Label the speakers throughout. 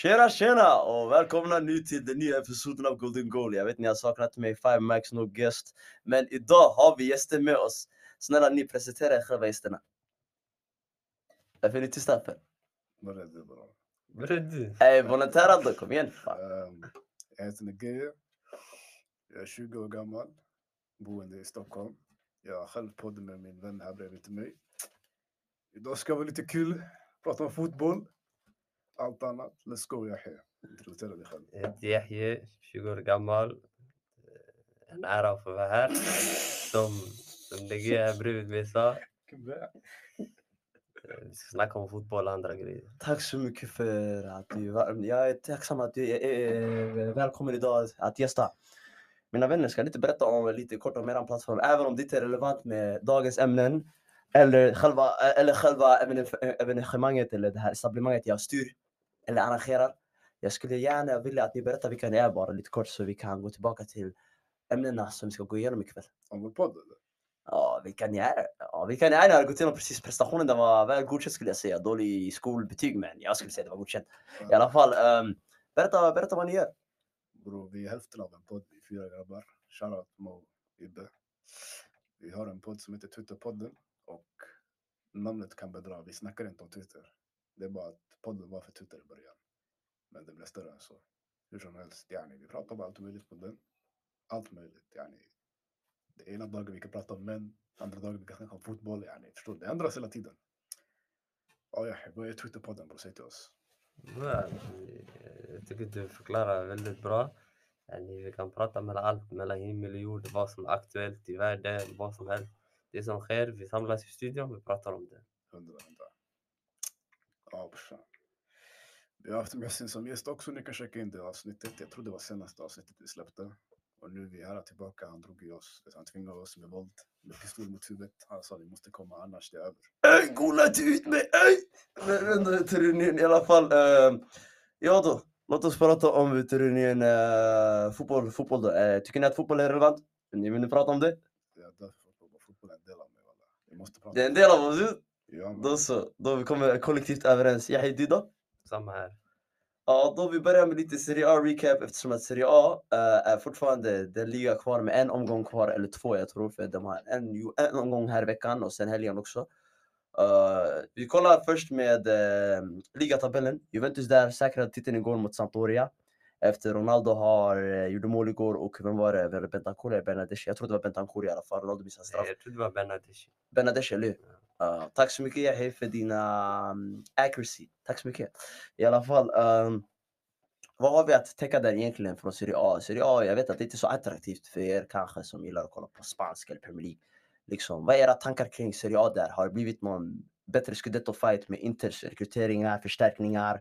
Speaker 1: Tjena tjena och välkomna nu till den nya episoden av Golden Goal. Jag vet ni har saknat mig, Five Max No Guest. Men idag har vi gäster med oss. Snälla ni presentera er själva gästerna. Varför är ni tysta för?
Speaker 2: Vad är det bra?
Speaker 3: Vad är det?
Speaker 1: Ey volontära då, kom igen. Fan.
Speaker 2: Ehm, Jag heter Negeye. Jag är 20 år gammal, boende i Stockholm. Jag har själv podden med min vän här bredvid till mig. Idag ska det vara lite kul, prata om fotboll, allt annat. Let's go Yahya. Introducera dig själv.
Speaker 3: Jag heter Yahya, 20 år gammal. Eh, En ära att få vara här. Som, som DG här bredvid mig sa, eh, vi ska snacka om fotboll och andra grejer.
Speaker 1: Tack så mycket för att du är varm. Jag är tacksam att du är, är, är välkommen idag att gästa. Mina vänner, ska ni inte berätta om, lite kort om er plattform, även om det inte är relevant med dagens ämnen eller själva, eller själva evene- evenemanget eller det här etablissemanget jag styr eller arrangerar. Jag skulle gärna vilja att ni berättar vilka ni är bara lite kort så vi kan gå tillbaka till ämnena som vi ska gå igenom ikväll.
Speaker 2: Om vår podd eller?
Speaker 1: Ja, vilka ni är. Ja, vilka ni är. Jag har gått igenom precis prestationen. Den var väl godkänd skulle jag säga. Dålig skolbetyg, men jag skulle säga det var godkänt. I alla fall, ehm, berätta, berätta vad ni gör.
Speaker 2: Bro, vi är hälften av en podd, vi är fyra grabbar. Shoutout Mo, Ibbe. Vi har en podd som heter Twitterpodden och namnet kan bedra. Vi snackar inte om Twitter. Det är bara att podden var för Twitter i början. Men det blev större än så. Hur som helst, yani, vi pratar om allt möjligt på den. Allt möjligt, yani. Det ena dagen vi kan prata om män, andra dagen vi kan snacka om fotboll, yani. Förstår du? Det ändras hela tiden. Ja, ja, vad är Twitterpodden bror? Säg till oss.
Speaker 3: Ja, eh, Jag tycker du förklarar väldigt bra. Eh, Vi kan prata mellan allt, mellan himmel och jord, vad som är aktuellt i världen, vad som helst. Det som sker, vi samlas i studion och vi pratar om det.
Speaker 2: Hundra, hundra. Ja, brorsan. Vi har haft Messin som gäst också. Ni kan checka in det avsnittet. Jag tror det var senaste avsnittet vi släppte. Och nu är vi här tillbaka. Han drog i oss. Han tvingade oss med våld. Med pistol mot huvudet. Han sa vi måste komma annars det är över.
Speaker 1: Ey, gola inte ut mig! Ey! Men vänta, Turinien. I alla fall, ehm, ja då. Låt oss prata om Turinien eh, fotboll. fotboll då. Eh, tycker ni att fotboll är relevant? Ni vill ni prata om det?
Speaker 2: Det är därför fotboll, fotboll är en del av mig. Walla. Vi måste prata.
Speaker 1: Det är en
Speaker 2: om
Speaker 1: del av oss.
Speaker 2: Ja, men,
Speaker 1: Då så. Då vi kommer kollektivt överens. Yahya, du då?
Speaker 3: Samma här.
Speaker 1: Ja, då vi börjar med lite Serie A-recap eftersom att Serie A eh, är fortfarande den liga kvar med en omgång kvar, eller två jag tror, för de har en, ju- en omgång här i veckan och sen helgen också. Eh, vi kollar först med eh, ligatabellen. Juventus där säkrade titeln igår mot Sampdoria. Efter Ronaldo har, eh, gjorde mål igår och vem var det? Var det Bentancur eller Benadesh? Jag tror det var Bentancur i alla fall. Ronaldo missade en straff.
Speaker 3: Eh, Jag trodde det var Benadesh.
Speaker 1: Benadesh, eller hur? Ja, Eh, tack så mycket Yahya för dina mm, accuracy. Tack så mycket. I alla fall, ehm, vad har vi att täcka där egentligen från Serie A? Serie A, jag vet att det inte är så attraktivt för er kanske som gillar att kolla på spanska eller Premier League. Liksom, vad är era tankar kring Serie A där? Har det blivit någon bättre scudetto-fight med Inters rekryteringar, förstärkningar?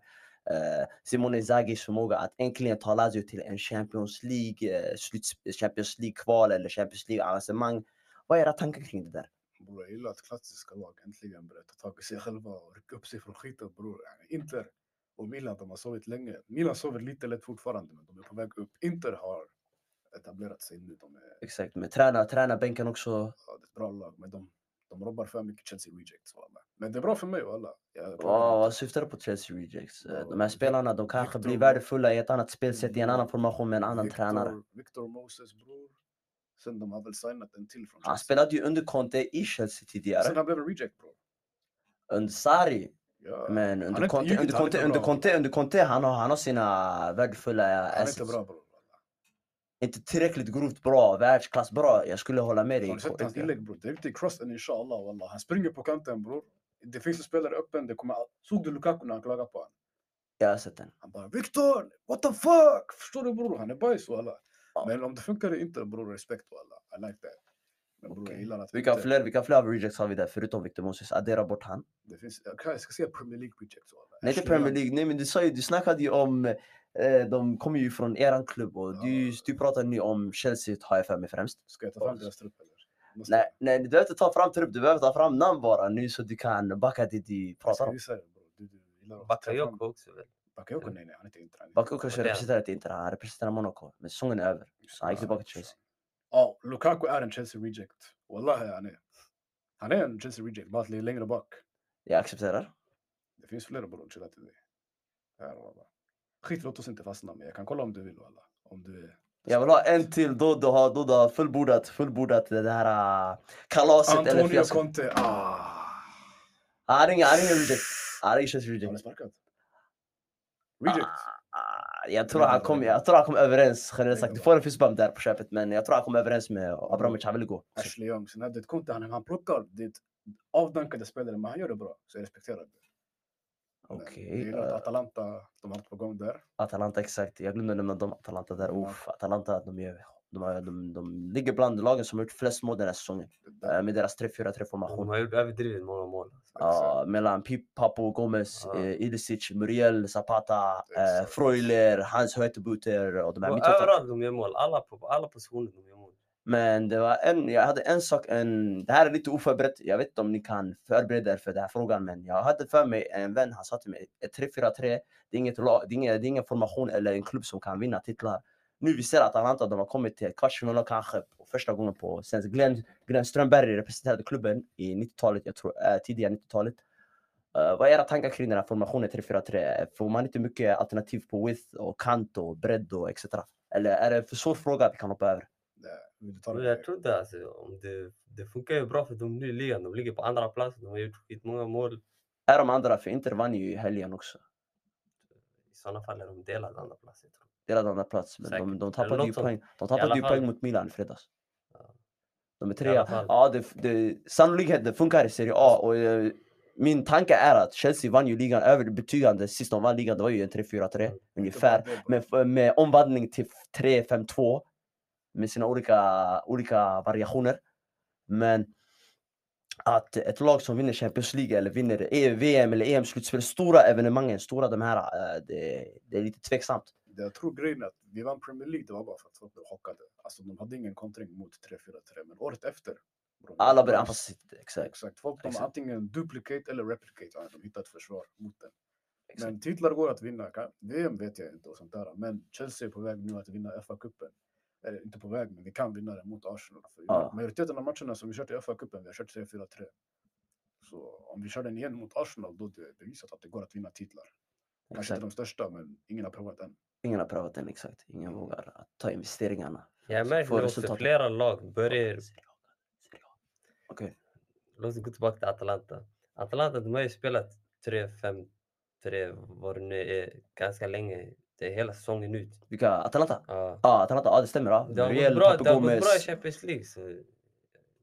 Speaker 1: Eh, Simone Zaghis förmåga att äntligen ta Lazio till en Champions League, eh, sluts- Champions League-kval eller Champions League-avancemang. Vad är era tankar kring det där?
Speaker 2: bror, jag gillar att klassiska lag äntligen börjar ta tag i sig själva och rycka upp sig från skiten bror. Yani, Inter och Milan, de har sovit länge. Milan sover lite lätt fortfarande, men de är på väg upp. Inter har etablerat sig nu. De är
Speaker 1: Exakt, men träna, träna bänken också.
Speaker 2: ja, det är ett bra lag, men de, de robbar för mycket Chelsea rejects. Walla. Men det är bra för mig alla. Jag,
Speaker 1: Vad vad syftar du på Chelsea Rejects? Eh, De här
Speaker 2: Ja,
Speaker 1: spelarna de kanske blir
Speaker 2: Victor-
Speaker 1: värdefulla i ett annat spelsätt, i en
Speaker 2: Ja,
Speaker 1: annan formation med en annan tränare.
Speaker 2: Victor Moses bror. Sen de har väl signat en till från
Speaker 1: Han spelade ju under Conte i Chelsea
Speaker 2: Sen
Speaker 1: tidigare.
Speaker 2: han blev en reject bror.
Speaker 1: Under Sarri.
Speaker 2: Ja.
Speaker 1: Men
Speaker 2: har
Speaker 1: under
Speaker 2: inte
Speaker 1: Conte,
Speaker 2: ljugit,
Speaker 1: under
Speaker 2: han är
Speaker 1: Conte,
Speaker 2: inte
Speaker 1: under
Speaker 2: bra.
Speaker 1: Conte, under Conte han har, han har sina värdefulla
Speaker 2: han är inte
Speaker 1: assets.
Speaker 2: bra bror. walla.
Speaker 1: Inte tillräckligt grovt bra, världsklass bra. Jag skulle hålla med dig.
Speaker 2: Har du sett hans inlägg bror? Det är riktigt crossen inshallah wallah. Han springer på kanten bror. Det finns en spelare öppen. Det kommer, all- såg du Lukaku när han klagade på honom?
Speaker 1: Jag har sett den.
Speaker 2: Han bara Victor! What the fuck! Förstår du bror? Han är bajs wallah.
Speaker 1: Ja.
Speaker 2: Men om det funkar inte bror, respekt wallah. I like that. Men bror
Speaker 1: Okej.
Speaker 2: jag gillar att
Speaker 1: Vilka
Speaker 2: inte-
Speaker 1: fler, vilka fler av rejects har vi där förutom Victor Moses? Addera bort han.
Speaker 2: Det finns, jag kan- jag ska säga Premier League rejects wallah.
Speaker 1: Nej, inte
Speaker 2: Ashley Young.
Speaker 1: Premier League. Nej, men du sa ju, du snackade ju om, eh, de kommer ju från eran klubb och du,
Speaker 2: Ja.
Speaker 1: du pratar nu om Chelsea har jag för mig främst.
Speaker 2: Ska jag ta fram deras trupp eller? Måste
Speaker 1: Nej, nej, du behöver inte ta fram trupp, du behöver ta fram namn bara nu så du kan backa det du
Speaker 2: jag? Jag
Speaker 1: pratar
Speaker 2: ska
Speaker 1: om.
Speaker 2: visa dig bror. Du, du gillar att ta fram-
Speaker 3: Bakayoko också väl?
Speaker 2: Bakayoko? Nej nej, han är inte intränad.
Speaker 1: Bakayoko
Speaker 3: Och det-
Speaker 1: representerar inte Inter, han representerar Monaco. Men säsongen är över. Så han gick tillbaka till Chelsea.
Speaker 2: Ja, Lukaku är en Chelsea reject. Wallahi han är. Han är en Chelsea reject, bara att det är längre bak.
Speaker 1: Jag accepterar.
Speaker 2: Det finns flera bror, chilla till dig. Här, wallah. Skit, låt oss inte fastna men jag kan kolla om du vill walla. Om du är...
Speaker 1: Jag vill ha en till då du har, då du har fullbordat, fullbordat det här äh, kalaset eller
Speaker 2: Antonio
Speaker 1: fiaskot.
Speaker 2: Conte, ah!
Speaker 1: Han ringer, han ringer reject. Han ringer känns
Speaker 2: Har han
Speaker 1: reject.
Speaker 2: sparkat? Reject?
Speaker 1: Ah, Jag tror han kom, jag tror han kom överens generellt sagt. Du får en fistbump där på köpet men jag tror han kom överens med Abramovic, han ville gå.
Speaker 2: Ashley Young. Sen hade Conte, han, han plockar ditt avdankade spelare men han gör det bra. Så jag respekterar det. Men
Speaker 1: Okej.
Speaker 2: Jag gillar
Speaker 1: eh,
Speaker 2: att Atalanta, de har haft på gång där.
Speaker 1: Atalanta, exakt. Jag glömde nämna dem. Atalanta där.
Speaker 2: Ja.
Speaker 1: Uff, Atalanta, de, gör, de, har- de, de ligger bland lagen som har gjort flest mål den här säsongen.
Speaker 2: Det där
Speaker 1: eh, Med deras 3-4-3
Speaker 3: De
Speaker 1: formation.
Speaker 3: har gjort överdrivet många mål.
Speaker 1: Eh, Ja, mellan Pip, Papo, Gomez,
Speaker 3: Ja.
Speaker 1: eh, Ilicic, Muriel, Zapata, eh,
Speaker 2: Exakt.
Speaker 1: Freuler, Hans Hötebuter och de här
Speaker 3: Och
Speaker 1: mittfältarna.
Speaker 3: överallt de gör mål. Alla, på, alla positioner de gör mål.
Speaker 1: Men det var en, jag hade en sak, en, det här är lite oförberett. Jag vet inte om ni kan förbereda er för den här frågan, men jag hade för mig en vän, han sa till mig, ett 3-4-3, det är, inget, lag- det, är ingen, det är ingen formation eller en klubb som kan vinna titlar. Nu vi ser att Atalanta, de har kommit till kvartsfinalen kanske på första gången på, sen Glenn, Glenn Strömberg representerade klubben i 90-talet, jag tror, eh, tidiga 90-talet. Eh, vad är era tankar kring den här formationen 3-4-3? Får man inte mycket alternativ på width och kant och bredd och etc? Eller är det en för svår fråga vi kan hoppa över?
Speaker 2: vill du ta
Speaker 3: Men
Speaker 2: det?
Speaker 3: jag tror det, alltså, om det. Det funkar ju bra för de e nu i ligan. De ligger på andra e plats. De har gjort skitmånga mål.
Speaker 1: Är de andra, för Inter vann ju i helgen också.
Speaker 3: I sådana fall är de delade andra e plats. Jag tror.
Speaker 1: Delad andra plats, men de,
Speaker 3: Säkert.
Speaker 1: de
Speaker 3: Eller
Speaker 1: tappade
Speaker 3: något
Speaker 1: ju
Speaker 3: sånt.
Speaker 1: poäng. De
Speaker 3: alla
Speaker 1: tappade ju poäng
Speaker 3: fall.
Speaker 1: mot Milan i fredags.
Speaker 3: Ja.
Speaker 1: De är
Speaker 3: alla
Speaker 1: trea.
Speaker 3: fall.
Speaker 1: Ja, det, det, sannolikheten det funkar i Serie A och eh, min tanke är att Chelsea vann ju ligan överbetygande sist de vann ligan. Det var ju en 3-4-3
Speaker 3: Mm.
Speaker 1: ungefär. Med, med omvandling till 3-5-2 med sina olika, olika variationer. Men att ett lag som vinner Champions League eller vinner E- VM eller EM-slutspel, stora evenemangen, stora de här, eh, det, det är lite tveksamt.
Speaker 2: Jag tror grejen är att vi vann Premier League, det var bara för att folk blev chockade. Alltså de hade ingen kontring mot 3-4-3, men året efter. bro, det
Speaker 1: Alla
Speaker 2: var
Speaker 1: börjar
Speaker 2: nice.
Speaker 1: anpassa sig. till det, Exakt.
Speaker 2: Exakt, folk de
Speaker 1: Exakt.
Speaker 2: har antingen duplicate eller replicate, ja, de hittar ett försvar mot den.
Speaker 1: exakt.
Speaker 2: Men titlar går att vinna, kan- VM vet jag inte och sånt där. Men Chelsea är på väg nu att vinna FA-cupen. Eller inte på väg, men vi kan vinna den mot Arsenal. För
Speaker 1: Ja.
Speaker 2: Majoriteten av matcherna som vi kört i FA-cupen, vi har kört 3-4-3. Så om vi kör den igen mot Arsenal, då är det bevisat att det går att vinna titlar. Kanske
Speaker 1: exakt.
Speaker 2: inte de största, men ingen har provat än.
Speaker 1: Ingen har prövat den exakt. Ingen vågar att ta investeringarna.
Speaker 3: Jag
Speaker 1: Så
Speaker 3: märker
Speaker 1: får
Speaker 3: nu också
Speaker 1: resultatet.
Speaker 3: flera lag börjar
Speaker 1: Serie A, Serie A. Okej,
Speaker 3: Låt oss gå tillbaka till Atalanta. Atalanta de e har ju spelat 3-5-3 vad det nu är ganska länge. Det är hela säsongen ut.
Speaker 1: vilka? Atalanta?
Speaker 3: Ja.
Speaker 1: Ja, Atalanta. Ja, det stämmer. Ja.
Speaker 3: Det har
Speaker 1: Muriel,
Speaker 3: gått bra,
Speaker 1: Papu
Speaker 3: det har gått
Speaker 1: Gomez.
Speaker 3: bra i Champions League. Så de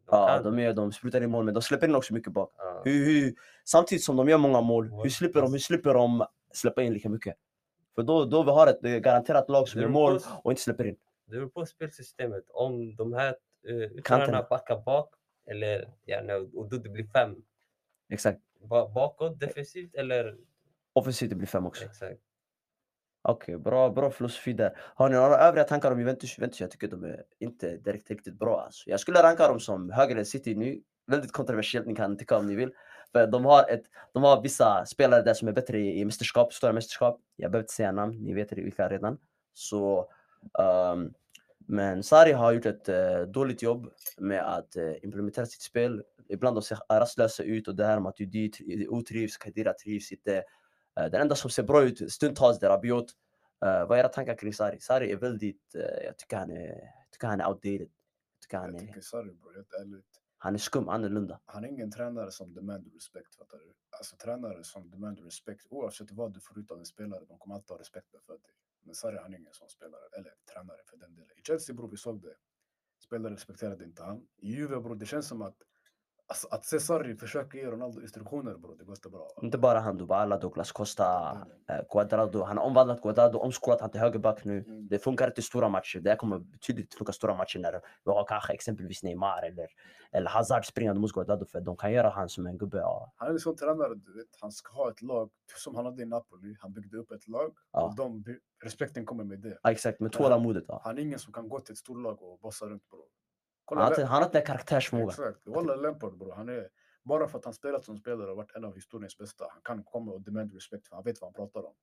Speaker 1: Ja,
Speaker 3: kan.
Speaker 1: de, är, de sprutar in mål, men de släpper in också mycket bak.
Speaker 3: Ja.
Speaker 1: Hur, hur, samtidigt som de gör många mål, hur
Speaker 3: Mål.
Speaker 1: slipper de, hur slipper de släppa in lika mycket? För då, då vi har ett eh, garanterat lag som
Speaker 3: Det
Speaker 1: gör
Speaker 3: beror
Speaker 1: mål
Speaker 3: på-
Speaker 1: och inte släpper in.
Speaker 3: Det beror på spelsystemet. Om de här eh, yttrarna backar bak eller ja, nej, och då det blir fem
Speaker 1: Exakt.
Speaker 3: ba- bakåt defensivt eller
Speaker 1: Offensivt det blir fem också.
Speaker 3: exakt.
Speaker 1: Okej, bra, bra filosofi där. Har ni några övriga tankar om Juventus? Juventus, jag tycker de är inte direkt riktigt bra. Alltså. Jag skulle ranka dem som högre än City nu. Väldigt kontroversiellt, ni kan tycka om ni vill. För de har, ett, de har vissa spelare där som är bättre i, i mästerskap, stora mästerskap. Jag behöver inte säga namn, ni vet vilka redan. Så, ehm, men Sarri har gjort ett eh, dåligt jobb med att eh, implementera sitt spel. Ibland de ser rastlösa ut och det här med att Udy tri- otrivs, Khedira trivs inte. Eh, Den enda som ser bra ut stundtals det är Rabiot. Eh, vad är era tankar kring Sari? Sari är väldigt, eh, jag, tycker han är, jag tycker han är outdated. Jag tycker han
Speaker 2: Jag
Speaker 1: är,
Speaker 2: tycker sorry bro, helt ärligt.
Speaker 1: han är skum, annorlunda.
Speaker 2: Han är ingen tränare som demand respect, fattar du? Alltså tränare som demand respect, oavsett vad du får ut av en spelare, de kommer alltid ha respekt för dig. Men Sarri, han är ingen sån spelare, eller tränare för den delen. I Chelsea, bror, vi såg det. Spelare respekterade inte han. I Juve, bror, det känns som att alltså, att se Sarri försöka ge Ronaldo instruktioner, bror, det går inte bra.
Speaker 1: Inte bara han, Dybala, Douglas Costa,
Speaker 2: Den delen.
Speaker 1: eh, Cuadrado. Han har omvandlat Cuadrado, omskolat han till högerback nu.
Speaker 2: Mm.
Speaker 1: Det funkar inte i stora matcher. Det här kommer betydligt funka i stora matcher när vi har kanske exempelvis Neymar eller, eller Hazard springande mot Cuadrado för de kan göra han som en gubbe. Ja,
Speaker 2: Han är en sån tränare, du vet, han ska ha ett lag, som han hade i Napoli. Han byggde upp ett lag,
Speaker 1: Ja.
Speaker 2: och de, by- respekten kommer med det.
Speaker 1: Ja, exakt, med
Speaker 2: Men han-
Speaker 1: tålamodet. Ja.
Speaker 2: Han är ingen som kan gå till ett storlag och bossa runt, bror.
Speaker 1: Han har
Speaker 2: Lem-
Speaker 1: inte- han har inte den karaktärsförmågan.
Speaker 2: Exakt. Walla Lampard bror, han är... Bara för att han spelat som spelare och varit en av historiens bästa, han kan komma och demand respect för han vet vad han pratar om.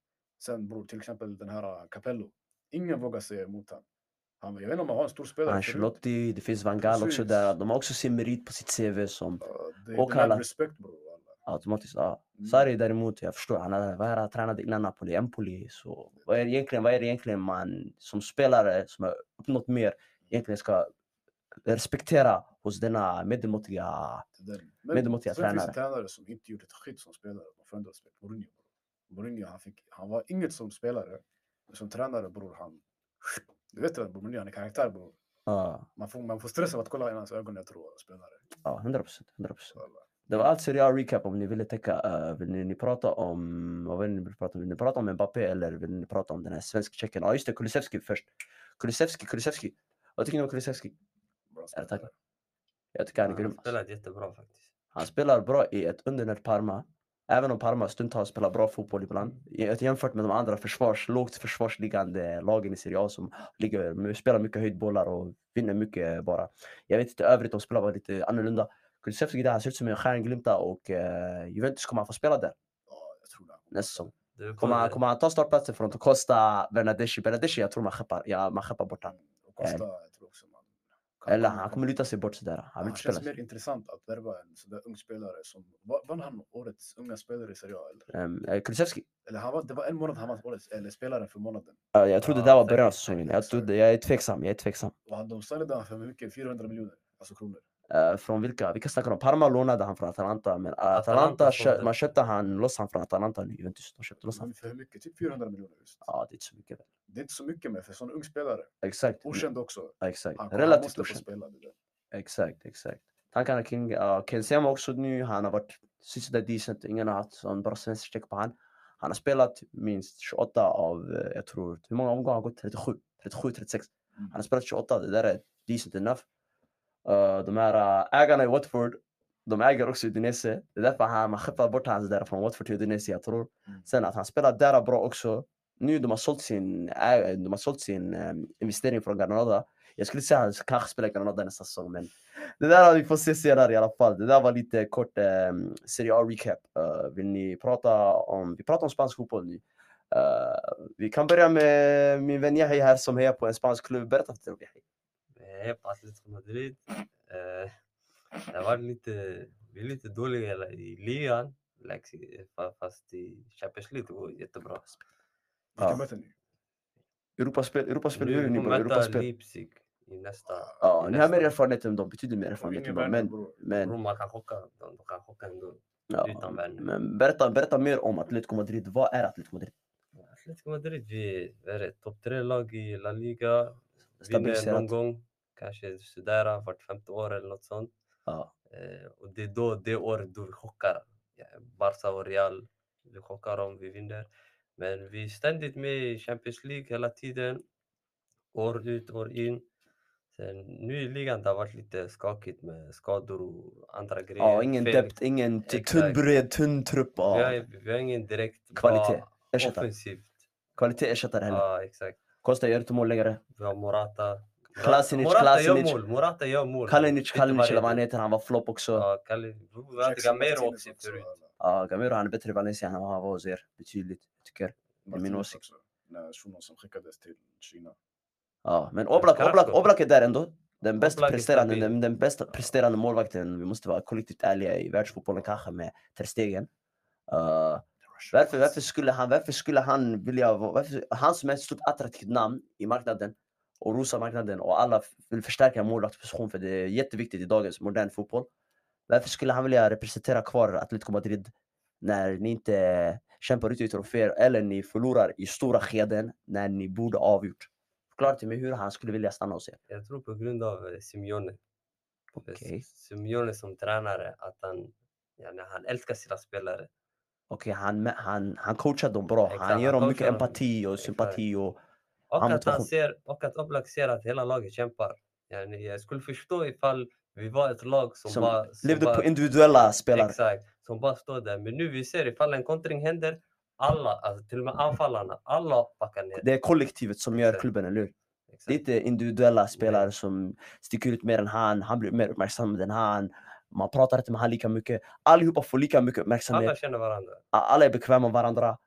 Speaker 2: Sen bror, till exempel den här äh, Capello. Ingen vågar säga emot han. han. Jag vet inte om han har en stor spelare förut.
Speaker 1: Ancelotti, det finns Van Gaal också
Speaker 2: Precis.
Speaker 1: där. De har också sin merit på sitt CV som
Speaker 2: Äh, Det är
Speaker 1: Och
Speaker 2: demand
Speaker 1: alla.
Speaker 2: respect bror. walla.
Speaker 1: Automatiskt, ja.
Speaker 2: Mm.
Speaker 1: Sarri däremot, jag förstår. Han hade, vad är det han tränade innan Napoli? Empoli. Så vad är, det egentligen, vad är det egentligen man som spelare som har uppnått mer egentligen ska respektera hos denna medelmåttiga...
Speaker 2: till den.
Speaker 1: Medelmåttiga
Speaker 2: sen finns
Speaker 1: tränare.
Speaker 2: det tränare som inte gjorde ett skit som spelare. De förändrades med Mourinho. Mourinho han, fick, han var inget som spelare. Men som tränare bror han. Du vet väl bror, Mourinho han är karaktär bror.
Speaker 1: Ja,
Speaker 2: Man får, man får stress av att kolla i hans ögon jag tror spelare.
Speaker 1: ja 100 procent. 100 procent.
Speaker 2: Så, alla.
Speaker 1: Det var allt Serie A recap om ni ville täcka. eh, vill ni, ni prata om... Vad vill ni prata om? Vill ni prata om Mbappé eller vill ni prata om den här svensk-tjecken? Ja, just det. Kulusevski först. Kulusevski, Kulusevski. Vad tycker ni om Kulusevski?
Speaker 2: Bra
Speaker 1: Ja, tack.
Speaker 2: spelare.
Speaker 1: Jag tycker han är
Speaker 3: Han
Speaker 1: grym.
Speaker 3: har spelat jättebra faktiskt.
Speaker 1: Han spelar bra i ett undernärt Parma. Även om Parma stundtals spelar bra fotboll ibland. i- Jämfört med de andra försvars, lågt försvarsliggande lagen i Serie A som ligger, spelar mycket höjdbollar och vinner mycket bara. Jag vet inte övrigt, de spelar bara lite annorlunda. Kulusevski där, han ser ut som en stjärnglimta och eh, Juventus kommer han få spela där
Speaker 2: Ja, jag tror det.
Speaker 1: nästa säsong.
Speaker 3: Du,
Speaker 1: Kommer han, kommer han ta startplatsen från Costa Bernadeschi? Bernadeschi, jag tror man skeppar, ja, man skeppar bort han.
Speaker 2: Och Costa, jag tror också man. kan-
Speaker 1: Eh, Eller han kommer luta sig bort sådär. Han vill
Speaker 2: Han
Speaker 1: inte spela.
Speaker 2: känns mer intressant att värva en sån där ung spelare som... va- Vann han årets unga spelare i Serie A? Eller,
Speaker 1: Ehm, eh, Kulusevski.
Speaker 2: eller han var, det var en månad han vann årets, eller spelaren för månaden.
Speaker 1: Ja, jag trodde
Speaker 3: Ja,
Speaker 1: det där var
Speaker 3: säkert,
Speaker 1: början av
Speaker 3: säkert,
Speaker 1: säsongen. Jag,
Speaker 2: säkert.
Speaker 1: trodde, jag är tveksam. Jag är tveksam.
Speaker 2: Och han, de sålde han för hur mycket? 400 miljoner? Alltså kronor.
Speaker 1: Eh, från vilka? Vilka snackar de om? Parma lånade han från Atalanta, men Atalanta,
Speaker 3: Atalanta
Speaker 1: kö-
Speaker 3: sålde.
Speaker 1: man köpte han loss han från Atalanta nu. Juventus, de köpte loss han.
Speaker 2: Men För hur mycket? Typ 400 miljoner just.
Speaker 1: Ja, det är inte så mycket. väl.
Speaker 2: Det är inte så mycket med för sån ung spelare.
Speaker 1: Exokt.
Speaker 2: Okänd också.
Speaker 1: Ja, exakt.
Speaker 2: Han, kommer- han
Speaker 1: Relativt
Speaker 2: måste få
Speaker 1: okänd.
Speaker 2: spela. Det där.
Speaker 1: Exakt, exakt. Tankarna kring uh, Kensema också nu. Han har varit sista decent. Ingen har haft sån bra svensk check på han. Han har spelat minst 28 av, eh, jag tror, hur många omgångar har gått? 37, 37, 36.
Speaker 2: Mm.
Speaker 1: Han har spelat 28, det där är decent enough. Eh, de här eh, ägarna i Watford, de äger också Udinese. Det är därför han, man skeppar bort hans där från Watford till Udinese, jag tror.
Speaker 2: Mm.
Speaker 1: Sen att han spelar där bra också. Nu de har sålt sin, ä- de har sålt sin eh, investering från Granada. Jag skulle säga att han kanske spelar i Granada nästa säsong, men det där har vi får se senare i alla fall. Det där var lite kort um, Serie A-recap. vill ni prata om, vi pratar om spansk fotboll nu. Eh, vi kan börja med min vän Yahi här som hejar på en spansk klubb. Berätta för mig.
Speaker 3: Eh, Jag på Atletico Madrid. Eh, det var lite, vi är lite dåliga i ligan. Lexi- fa- Fast i Champions League går det jättebra.
Speaker 2: Vilka
Speaker 1: Ja.
Speaker 2: möter ni?
Speaker 1: Europaspel, Europaspel, hur är ni
Speaker 3: Nu
Speaker 1: bra?
Speaker 3: kommer möta
Speaker 1: Europaspel.
Speaker 3: Leipzig i nästa.
Speaker 1: Ja,
Speaker 3: i
Speaker 1: ni har
Speaker 3: nästa.
Speaker 1: mer erfarenhet än dem, betydligt mer
Speaker 2: Och
Speaker 1: erfarenhet
Speaker 2: ingen
Speaker 1: än dem.
Speaker 2: Werner,
Speaker 1: Men,
Speaker 2: bror.
Speaker 1: men,
Speaker 3: Roma kan chocka. De, de kan chocka ändå.
Speaker 1: ja,
Speaker 3: utan Werner.
Speaker 1: men berätta, berätta mer om Atletico Madrid. Vad är Atletico Madrid?
Speaker 3: Atletico Madrid, vi är ett topp tre-lag i La Liga. Vinner någon
Speaker 1: Stabiliserat.
Speaker 3: gång. Kanske sådär vart femte år eller något sånt.
Speaker 1: Ja,
Speaker 3: Eh, och det är då det året då vi chockar. Ja, Barca och Real. Vi chockar om vi vinner. Men vi är ständigt med i Champions League hela tiden. År ut, år in. Sen, nu i ligan det har varit lite skakigt med skador och andra grejer.
Speaker 1: ja ingen
Speaker 3: Fel-
Speaker 1: depth, ingen t- tunn
Speaker 3: Exakt.
Speaker 1: bred, tunn trupp.
Speaker 3: Vi
Speaker 1: Ja.
Speaker 3: har, vi har ingen direkt bra
Speaker 1: Kvalitet. Ersättare.
Speaker 3: offensivt.
Speaker 1: Kvalitet ersättare heller.
Speaker 3: Ja, exakt.
Speaker 1: Costa gör inte mål längre.
Speaker 3: Vi har Morata. Morata-
Speaker 1: Klasinic,
Speaker 3: Morata
Speaker 1: Klasinic.
Speaker 3: gör mål. Morata gör mål.
Speaker 1: Kalinic,
Speaker 3: Vet du vad
Speaker 1: Kalinic
Speaker 3: det
Speaker 1: eller vad han
Speaker 3: är?
Speaker 1: heter, han var flopp också.
Speaker 3: Ja, Kalinic. Vi hade
Speaker 2: Jackson
Speaker 3: Gamero
Speaker 2: Martinez
Speaker 3: också
Speaker 2: också,
Speaker 3: förut.
Speaker 2: alla.
Speaker 1: Ja, Gamero han är bättre i Valencia än vad han var hos er. Betydligt, tycker min
Speaker 2: Martinez
Speaker 1: åsikt.
Speaker 2: också, När shunon som skickades till Kina.
Speaker 1: Ja, men
Speaker 3: Ja,
Speaker 1: Oblak, Oblak,
Speaker 3: Carrasco.
Speaker 1: Oblak är där ändå. Den bäst
Speaker 3: Oblak är
Speaker 1: presterande,
Speaker 3: stabil.
Speaker 1: den, den bästa presterande målvakten, vi måste vara kollektivt ärliga i världsfotbollen kanske med Ter Stegen. Eh, varför, varför, skulle han, varför skulle han vilja, vara- varför, han som är ett stort attraktivt namn i marknaden och rosa marknaden och alla f- vill förstärka målvaktsposition för det är jätteviktigt i dagens modern fotboll. Varför skulle han vilja representera kvar Atletico Madrid när ni inte kämpar ut i troféer eller ni förlorar i stora skeden när ni borde ha avgjort? Förklara till mig hur han skulle vilja stanna hos er.
Speaker 3: Jag tror på grund av eh, Simeone. Eh,
Speaker 1: Okej.
Speaker 3: Simeone som tränare, att han, yani, han älskar sina spelare.
Speaker 1: Okej, han, mä- han, han coachar dem bra.
Speaker 3: Exakt,
Speaker 1: han ger
Speaker 3: han
Speaker 1: dem mycket
Speaker 3: coachar dem.
Speaker 1: empati och
Speaker 3: Exakt.
Speaker 1: sympati. Och,
Speaker 3: Och
Speaker 1: Han
Speaker 3: att, han
Speaker 1: motivation.
Speaker 3: ser, och att Oblak ser att hela laget kämpar. Yani, jag skulle förstå ifall vi var ett lag som,
Speaker 1: som
Speaker 3: bara... Som
Speaker 1: levde
Speaker 3: bara
Speaker 1: på individuella spelare.
Speaker 3: exakt, som bara står där. Men nu vi ser ifall en kontring händer, alla, alltså till och med anfallarna, alla backar ner.
Speaker 1: Det är kollektivet som gör
Speaker 3: Exakt.
Speaker 1: klubben, eller hur?
Speaker 3: Exakt.
Speaker 1: Det är inte individuella spelare som sticker ut mer än han. Han blir mer uppmärksammad än han. Man pratar inte med han lika mycket. Allihopa får lika mycket uppmärksamhet.
Speaker 3: alla känner varandra.
Speaker 1: A- Alla är bekväma med varandra.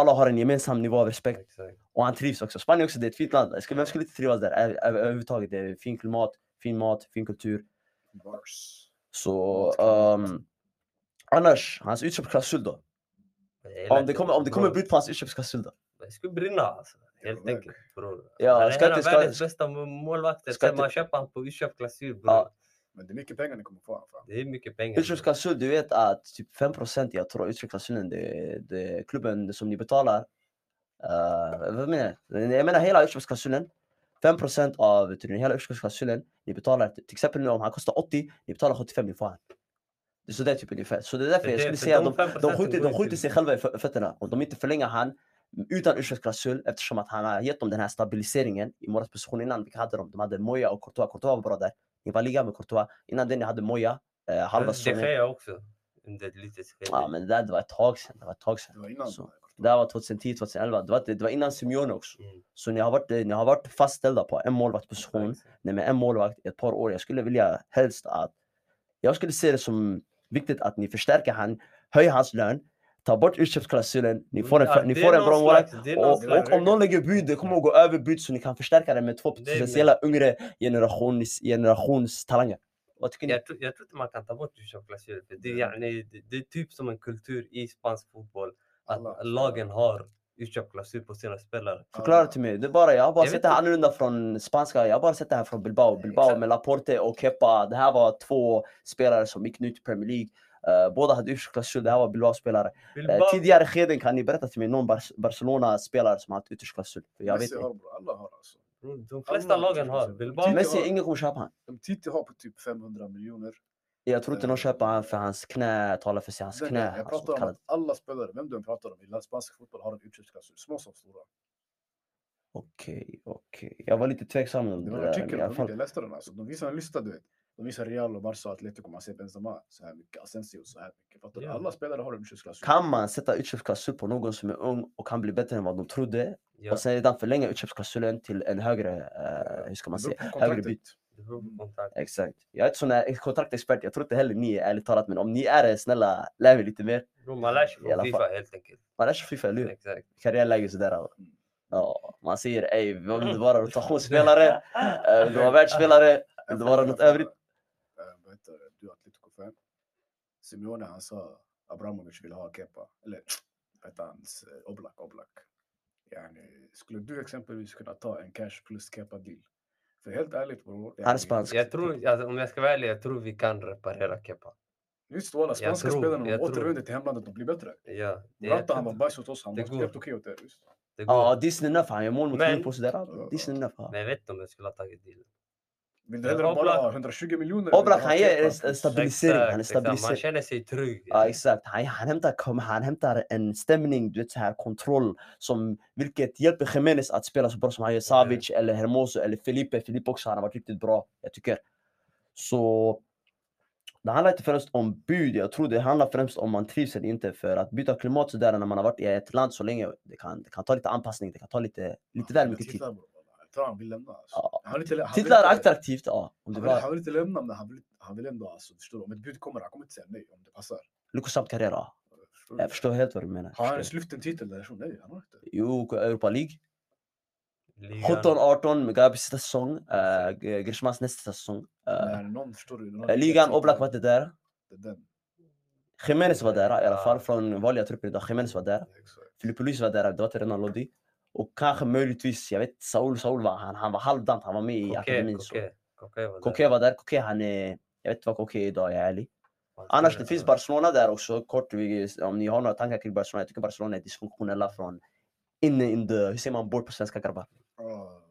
Speaker 1: Alla har en gemensam nivå av respekt.
Speaker 3: Exakt.
Speaker 1: Och han trivs också. Spanien också, det är ett fint land. Jag skulle, vem skulle inte trivas där? Ö- ö- Överhuvudtaget, det är fin klimat, fin mat, fin kultur.
Speaker 2: Vars.
Speaker 1: Så
Speaker 2: Mat kan vara
Speaker 1: ehm, Annars, hans utköpsklausul då? Om det kommer, om det kommer bud på hans utköpsklausul då?
Speaker 3: Jag skulle brinna alltså. Helt
Speaker 2: Kommer back.
Speaker 3: enkelt bror.
Speaker 1: Ja,
Speaker 3: han är
Speaker 1: ska
Speaker 3: en av
Speaker 1: inte- ska-
Speaker 3: världens bästa målvakter.
Speaker 1: ska
Speaker 3: Sen
Speaker 1: inte-
Speaker 3: man köper han på utköpsklausul bror.
Speaker 1: Ja.
Speaker 2: Men det är mycket pengar ni kommer få han för.
Speaker 3: Det är mycket pengar. bror.
Speaker 1: Utköpsklausul, du vet att typ 5% jag tror utköpsklausulen, det, det klubben som ni betalar. eh, vad menar jag? Jag menar hela utköpsklausulen. 5% av vet du, den hela utköpsklausulen, ni betalar till exempel nu om han kostar 80, ni betalar 75, ni får han. Det är sådär typ ungefär. Så det är därför
Speaker 3: Det är
Speaker 1: jag
Speaker 3: det,
Speaker 1: skulle
Speaker 3: för
Speaker 1: säga att
Speaker 3: de
Speaker 1: de, de,
Speaker 3: 5%
Speaker 1: skjuter,
Speaker 3: går
Speaker 1: de
Speaker 3: ju
Speaker 1: skjuter
Speaker 3: till-
Speaker 1: sig själva i fö- fötterna om de inte förlänger han utan utköpsklausul eftersom att han har gett dem den här stabiliseringen i målvaktsposition innan. Vilka hade de? De hade Moja och Courtois. Courtois var bra där. Ni var liga med Courtois. Innan det ni hade Moja, eh, halva
Speaker 3: Det
Speaker 1: säsongen.
Speaker 3: sker jag också. Under ett litet skede.
Speaker 1: Ja, men det där det var ett tag sedan. Det var ett tag
Speaker 2: Det
Speaker 1: sedan.
Speaker 2: var innan.
Speaker 1: Så. Det här var 2010, 2011. Det var, det var innan Simeone också.
Speaker 3: Mm.
Speaker 1: Så ni har varit, ni har varit fastställda på en målvaktsposition
Speaker 3: Exakt.
Speaker 1: nej, med en målvakt i ett par år. Jag skulle vilja helst att... Jag skulle se det som viktigt att ni förstärker han, höjer hans lön, tar bort utköpsklausulen, ni får en,
Speaker 3: Mm, Ja,
Speaker 1: ni
Speaker 3: det
Speaker 1: får
Speaker 3: är
Speaker 1: en bra
Speaker 3: någon
Speaker 1: målvakt.
Speaker 3: slags- det är någon
Speaker 1: Och,
Speaker 3: slags-
Speaker 1: och om någon lägger bud, det kommer att gå över bud så ni kan förstärka det med två
Speaker 3: Det är
Speaker 1: potentiella yngre generations, generationstalanger. Vad tycker ni?
Speaker 3: Jag tror, jag tror inte man kan ta bort utköpsklausuler. för Det, är-
Speaker 2: Ja.
Speaker 3: yani, det, det är typ som en kultur i spansk fotboll. Att
Speaker 2: Alla.
Speaker 3: lagen har utköpsklausul på sina spelare.
Speaker 1: Förklara till mig. Det är bara, jag har bara
Speaker 3: Jag
Speaker 1: sett
Speaker 3: vet
Speaker 1: det här
Speaker 3: inte.
Speaker 1: annorlunda från spanska. Jag har bara sett det här från Bilbao. Bilbao
Speaker 3: Exakt.
Speaker 1: med Laporte och Kepa. Det här var två spelare som gick nu till Premier League. Eh, båda hade utkörsklausul. Det här var Bilbao-spelare. Eh,
Speaker 3: Bilbao-
Speaker 1: tidigare skeden kan ni berätta till mig någon Bar- Barcelona-spelare som har haft utkörsklausul? För Jag vet
Speaker 2: Messi
Speaker 1: inte.
Speaker 2: har bror, alla har alltså.
Speaker 3: Bror, De flesta
Speaker 2: Alla
Speaker 3: lagen har.
Speaker 2: utköpsklausuler.
Speaker 3: Bilbao,
Speaker 2: Messi-
Speaker 1: Messi, ingen kommer köpa han.
Speaker 2: De Titi har på typ 500 miljoner.
Speaker 1: Jag tror inte någon köper han för hans knä talar för sig. Hans
Speaker 2: Den-
Speaker 1: knä. Alltså,
Speaker 2: Jag
Speaker 1: hans
Speaker 2: pratar om
Speaker 1: återkallade.
Speaker 2: att alla spelare, vem du än pratar om i spansk fotboll har en utköpsklausul, små som stora.
Speaker 1: Okej, okej. Jag var lite tveksam om
Speaker 2: Det
Speaker 1: det
Speaker 2: var en
Speaker 1: där. men
Speaker 2: artikel
Speaker 1: i alla
Speaker 2: på
Speaker 1: fall-
Speaker 2: Wiki, jag läste den alltså. De visar en lista du vet. De visar Real och Barca och Atletico, man ser Benzema så här mycket, Asensio så här mycket. Fattar du?
Speaker 3: Ja.
Speaker 2: Alla spelare har en utköpsklausul.
Speaker 1: Kan man sätta utköpsklausul på någon som är ung och kan bli bättre än vad de trodde
Speaker 3: ja,
Speaker 1: Och sen redan förlänga utköpsklausulen till en högre, eh, hur ska man
Speaker 2: Det beror
Speaker 1: säga,
Speaker 2: på
Speaker 1: högre
Speaker 2: kontraktet.
Speaker 1: bit.
Speaker 3: det beror på kontrakt.
Speaker 1: Exakt. Jag är inte sån här kontraktexpert, jag tror inte heller ni är ärligt talat, men om ni är det, snälla lär mig lite mer.
Speaker 3: Bror, Man lär sig
Speaker 1: I
Speaker 3: från
Speaker 1: alla
Speaker 3: Fifa
Speaker 1: fall.
Speaker 3: helt enkelt.
Speaker 1: Man lär sig Fifa, eller hur?
Speaker 3: Exakt.
Speaker 1: Karriärläge sådär. va? Ja, man säger ey, vill du vara rotationsspelare? Eh, Vill du vara världsspelare?
Speaker 2: En
Speaker 1: Det var
Speaker 2: fråga
Speaker 1: något
Speaker 2: för,
Speaker 1: övrigt.
Speaker 2: eh, Vad heter det? Du är Atletico-fan. Simeone han sa Abramovic ville ha Kepa. Eller vad heter hans? eh, Oblak, Oblak. Yani, skulle du exempelvis kunna ta en cash plus Kepa deal? För helt ärligt bror.
Speaker 1: Han är
Speaker 2: yani,
Speaker 1: spansk.
Speaker 3: Jag tror, alltså, om jag ska vara ärlig, jag tror vi kan reparera Kepa.
Speaker 2: Just walla, spanska
Speaker 3: tror-
Speaker 2: spelarna de
Speaker 3: jag tror-
Speaker 2: återvänder till hemlandet och blir bättre.
Speaker 3: Ja,
Speaker 2: Morata
Speaker 3: det, jag
Speaker 2: han
Speaker 3: tror
Speaker 2: var
Speaker 3: inte-
Speaker 2: bajs åt oss, han
Speaker 3: Det
Speaker 2: var
Speaker 3: går.
Speaker 2: helt okej åt er. visst?
Speaker 3: det går.
Speaker 1: Ja, Disney 9, han gör mål mot
Speaker 3: Men-
Speaker 1: Liverpool sådär. Disney 9. ja.
Speaker 3: Men jag vet inte om jag skulle ha tagit dealen.
Speaker 2: Vill du
Speaker 3: Men
Speaker 2: hellre bara
Speaker 3: Oblak-
Speaker 2: ha 120 miljoner? eller
Speaker 1: Oblak
Speaker 2: ha
Speaker 1: han ger
Speaker 2: Kepa
Speaker 1: en
Speaker 2: plus-
Speaker 1: st- stabilisering, han är
Speaker 3: Exakt, exakt. Man
Speaker 1: stabilisering.
Speaker 3: känner sig trygg.
Speaker 1: Ja, exakt. Han, han, hämtar, kom- han hämtar en stämning, du vet, så här kontroll, som, vilket hjälper Jiménez att spela så bra som han gör.
Speaker 3: Eller hur?
Speaker 1: Savic, eller Hermoso, eller Felipe. Felipe också, han har varit riktigt bra, jag tycker. Så det handlar inte främst om bud, jag tror det handlar främst om man trivs eller inte. För att byta klimat sådär när man har varit i ett land så länge, det kan, det kan ta lite anpassning, det kan ta lite, lite väl
Speaker 2: Men
Speaker 1: mycket tid.
Speaker 2: titlar, bror, walla. Jag tror han vill lämna. Alltså.
Speaker 1: Ja.
Speaker 2: Han vill inte lä- han vill
Speaker 1: Titlar är
Speaker 2: inte-
Speaker 1: attraktivt, ja. Om det
Speaker 2: Han vill, han
Speaker 1: var
Speaker 2: vill inte lämna, men han vill, han vill ändå alltså, förstår du? Om ett bud kommer, han kommer inte säga nej om det passar.
Speaker 1: lyckosamt karriär, ja.
Speaker 2: Förstår du?
Speaker 1: Jag förstår helt vad du menar. jag
Speaker 2: Har han
Speaker 1: förstår.
Speaker 2: ens lyft en titel där? Så Nej, han har inte.
Speaker 1: Jo, Europa League.
Speaker 3: Ligan.
Speaker 1: 17-18 med Gabis sista säsong, eh, G- Grishmans nästa säsong. Eh,
Speaker 2: När någon förstår du. någon-
Speaker 1: eh, ligan, Oblak var inte där.
Speaker 2: Det är den.
Speaker 1: Jiménez var där i alla
Speaker 3: Ah.
Speaker 1: fall, från vanliga truppen idag. Jiménez var där.
Speaker 2: Exakt.
Speaker 1: Filipe Luis var där, det var inte Renan Lodi. Och kanske möjligtvis, jag vet Saul, Saul var han, han var halvdant, han var med i
Speaker 3: Koke,
Speaker 1: akademin. så.
Speaker 3: Koke. Koke var där.
Speaker 1: Koke var där, Koke han är, jag vet inte vad Koke är idag, jag är ärlig.
Speaker 3: Han
Speaker 1: Annars det
Speaker 3: spelade
Speaker 1: finns
Speaker 3: där.
Speaker 1: Barcelona där också, kort vi- om ni har några tankar kring Barcelona. Jag tycker Barcelona är dysfunktionella från inne in the, hur säger man bort på svenska grabbar?
Speaker 2: Ja,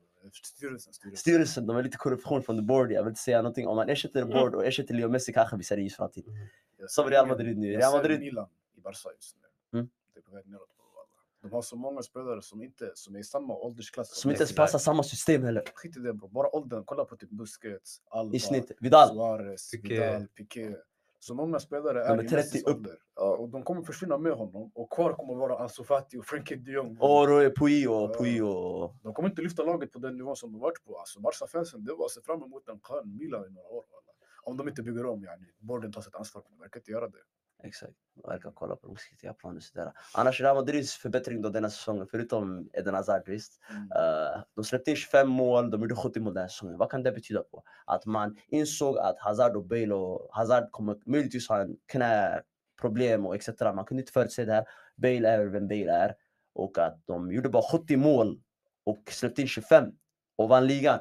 Speaker 2: Styrelsen, styrelsen.
Speaker 1: styrelsen, de är lite korruption från the board. Jag vill inte säga någonting. Om man ersätter
Speaker 2: Mm.
Speaker 1: the board och ersätter Leo Messi kanske vi ser ljus framtid.
Speaker 3: Mm.
Speaker 2: Jag
Speaker 1: Som
Speaker 2: ser
Speaker 1: Real
Speaker 2: ingen-
Speaker 1: Madrid nu.
Speaker 2: jag
Speaker 1: Real
Speaker 2: ser
Speaker 1: Madrid-
Speaker 2: Milan i Barca just nu.
Speaker 1: Mm.
Speaker 2: Det är på väg neråt. bror, walla. De har så många spelare som inte som är i samma åldersklass.
Speaker 1: Som inte ens
Speaker 2: Messi.
Speaker 1: passar samma system heller.
Speaker 2: Skit i det bro. bara åldern. Kolla på typ Busquets, Alba,
Speaker 1: I snitt. Vidal.
Speaker 2: Suarez,
Speaker 3: Piqué.
Speaker 2: Vidal, Piqué. Så många spelare
Speaker 1: De
Speaker 2: är
Speaker 1: är
Speaker 2: i
Speaker 1: 30
Speaker 2: Messis
Speaker 1: upp.
Speaker 2: ålder. Ja, och de kommer försvinna med honom. Och kvar kommer vara Ansu Fati och Frenkie de Jong.
Speaker 1: Och Roy Puy och Puy och...
Speaker 2: De kommer inte lyfta laget på den nivån som de varit på. Alltså Barca-fansen, det var att se fram emot en skön Milan i några år. Alla. Om de inte bygger om, yani. Borden tar sitt ansvar, men de verkar inte göra det.
Speaker 1: Exakt. De verkar kolla på långsiktiga planer och sådär. Annars Real Madrids förbättring då denna säsongen, förutom Eden Hazard visst. Eh, de släppte in 25 mål, de gjorde 70 mål den här säsongen. Vad kan det betyda på? Att man insåg att Hazard och Bale och Hazard kommer möjligtvis ha en knäproblem problem och etc. Man kunde inte förutse det här. Bale är vem Bale är. Och att de gjorde bara 70 mål och släppte in 25 och vann ligan.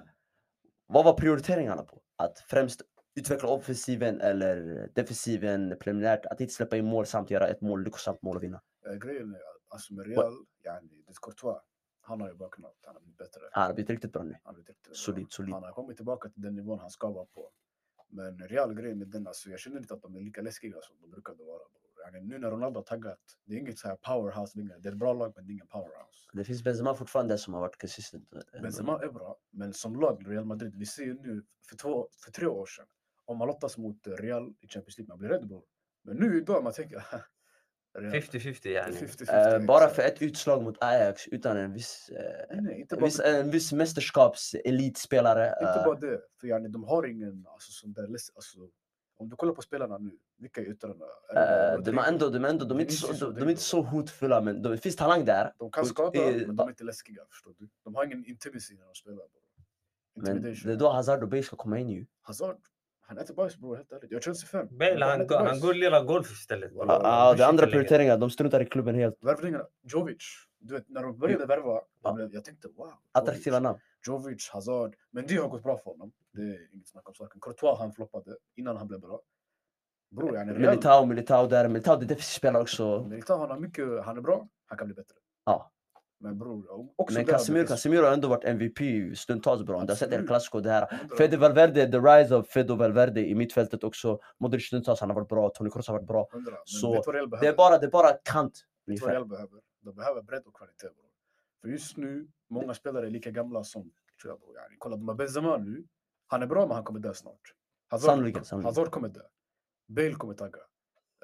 Speaker 1: Vad var prioriteringarna på? Att främst utveckla offensiven eller defensiven preliminärt. Att inte släppa in mål samt göra ett mål, lyckosamt mål och vinna.
Speaker 2: Eh, Grejen är att alltså med Real, yani, det är Courtois, han har ju vaknat, han har blivit bättre.
Speaker 1: Han har blivit riktigt bra nu.
Speaker 2: Han har blivit riktigt bra.
Speaker 1: Solid, solid.
Speaker 2: Han har kommit tillbaka till den nivån han ska vara på. Men Real grejen med den, alltså, jag känner inte att de är lika läskiga som de brukade vara. bror. Yani, nu när Ronaldo har taggat, det är inget så här powerhouse. längre. Det är ett bra lag, men det är ingen powerhouse.
Speaker 1: Det finns Benzema fortfarande som har varit consistent. eh,
Speaker 2: Benzema är bra, men som lag, Real Madrid, vi ser ju nu, för, två, för tre år sedan, om man lottas mot Real i Champions League, man blir rädd bror. Men nu idag, man tänker... Real,
Speaker 3: 50-50
Speaker 2: det är
Speaker 3: yani.
Speaker 2: 50-50,
Speaker 1: Eh, bara för ett
Speaker 2: exakt.
Speaker 1: utslag mot Ajax utan en viss, eh,
Speaker 2: Nej, nej, inte
Speaker 1: en
Speaker 2: bara
Speaker 1: viss, en viss mästerskapselitspelare.
Speaker 2: Inte
Speaker 1: eh,
Speaker 2: bara det, för yani, de har ingen alltså, sån där läs- alltså, Om du kollar på spelarna nu, vilka är yttrarna? Är det
Speaker 1: eh, de, är
Speaker 2: Rodrigo?
Speaker 1: ändå, de, är ändå, de, är inte så,
Speaker 2: Vinicius och
Speaker 1: de, de är
Speaker 2: Rodrigo.
Speaker 1: inte så hotfulla men de- det finns talang där.
Speaker 2: De kan
Speaker 1: Och
Speaker 2: skada,
Speaker 1: det-
Speaker 2: men de är inte läskiga. Förstår du? De har ingen intimacy när de spelar. bror.
Speaker 1: Men det
Speaker 2: Intimidation.
Speaker 1: är då Hazard och Bale ska komma in ju.
Speaker 2: Hazard, han äter bajs bror, helt ärligt. Jag är Chelsea-fan.
Speaker 3: Bale han,
Speaker 2: äter
Speaker 3: går- han
Speaker 2: bajs.
Speaker 3: går och lirar golf istället.
Speaker 2: Ja,
Speaker 3: bror.
Speaker 2: ja,
Speaker 3: Han
Speaker 1: Ah, det är andra
Speaker 3: skiter längre.
Speaker 1: prioriteringar, de struntar i klubben helt.
Speaker 2: Värvningarna, Jovic. Du vet, när de började värva,
Speaker 1: Ja.
Speaker 2: jag, blev, jag tänkte wow. Jovic.
Speaker 1: Attraktiva namn.
Speaker 2: Jovic, Hazard. Men det har gått bra för honom. Det är inget snack om saken. Courtois han floppade innan han blev bra. Bror, yani Real.
Speaker 1: Militao, Militao där. Militao det är defensiv spelare också.
Speaker 2: Militao, han har mycket, han är bra, han kan bli bättre.
Speaker 1: Ja.
Speaker 2: Men bror, och- också
Speaker 1: Men
Speaker 2: där har
Speaker 1: Casemiro,
Speaker 2: det finns-
Speaker 1: Casemiro har ändå varit MVP stundtals bra. Om Du har sett El
Speaker 2: Absolut.
Speaker 1: Clasico det här.
Speaker 2: Andra-
Speaker 1: Fede Valverde, the rise of Fede Valverde i mittfältet också. Modric stundtals, han har varit bra. Toni Kroos har varit bra.
Speaker 2: Hundra. Men
Speaker 1: Så,
Speaker 2: vet du vad Real
Speaker 1: Det är
Speaker 2: behöver?
Speaker 1: bara, det är bara kant.
Speaker 2: Vet du vad
Speaker 1: Ungefär.
Speaker 2: Real behöver? De behöver bredd och kvalitet. Bro. För just nu, många spelare är lika gamla som... tror jag, bro. Yani, Kolla, de har Benzema nu. Han är bra, men han kommer dö snart. Hazard,
Speaker 1: Sannoliken, sannoliken.
Speaker 2: Hazard kommer dö. Bale kommer tagga.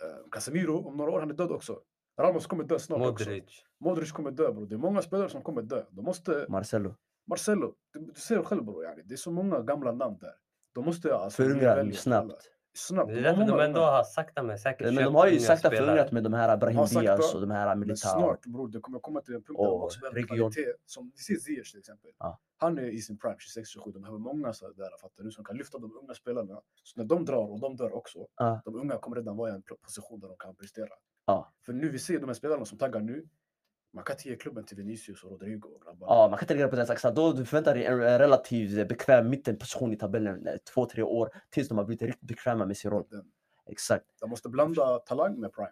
Speaker 2: Eh, Casemiro, om några år, han är död också. Ramos kommer dö snart också.
Speaker 3: Modric.
Speaker 2: Modric kommer dö, bro. Det är många spelare som kommer dö. De måste...
Speaker 1: Marcelo.
Speaker 2: Marcelo, du, du ser själv, bro. Yani. Det är så många gamla namn där. De måste... Alltså,
Speaker 1: Förungrad
Speaker 2: välja alla.
Speaker 1: snabbt.
Speaker 2: Snabbt.
Speaker 3: Det är
Speaker 2: har
Speaker 3: därför de
Speaker 2: många
Speaker 3: ändå
Speaker 2: namn.
Speaker 3: har sakta men säkert
Speaker 1: Men de
Speaker 3: köpt
Speaker 1: har ju
Speaker 3: unga
Speaker 1: sakta
Speaker 3: spelare.
Speaker 1: förungrat med de här Brahim
Speaker 2: har sakta,
Speaker 1: Diaz och de här
Speaker 2: Men
Speaker 1: Militao.
Speaker 2: snart bror, det kommer komma till en punkt där de
Speaker 1: Och
Speaker 2: också behöver
Speaker 1: region.
Speaker 2: kvalitet. Som vi ser Ziyech till exempel.
Speaker 1: Ja.
Speaker 2: Han är i sin prime, 26-27. De behöver många sådär, fattar du? Som kan lyfta de unga spelarna. Så när de drar, och de dör också,
Speaker 1: Ja.
Speaker 2: de unga kommer redan vara i en pl- position där de kan prestera.
Speaker 1: Ja.
Speaker 2: För nu, vi ser de här spelarna som taggar nu. Man kan inte ge klubben till Vinicius och Rodrigo och grabbarna.
Speaker 1: Ja, man kan inte ligga på den saxen. Då du förväntar dig en en relativt eh, bekväm mittenposition i tabellen eh, två, tre år tills de har blivit riktigt bekväma med sin roll.
Speaker 2: Den-
Speaker 1: Exakt,
Speaker 2: De måste blanda talang med prime.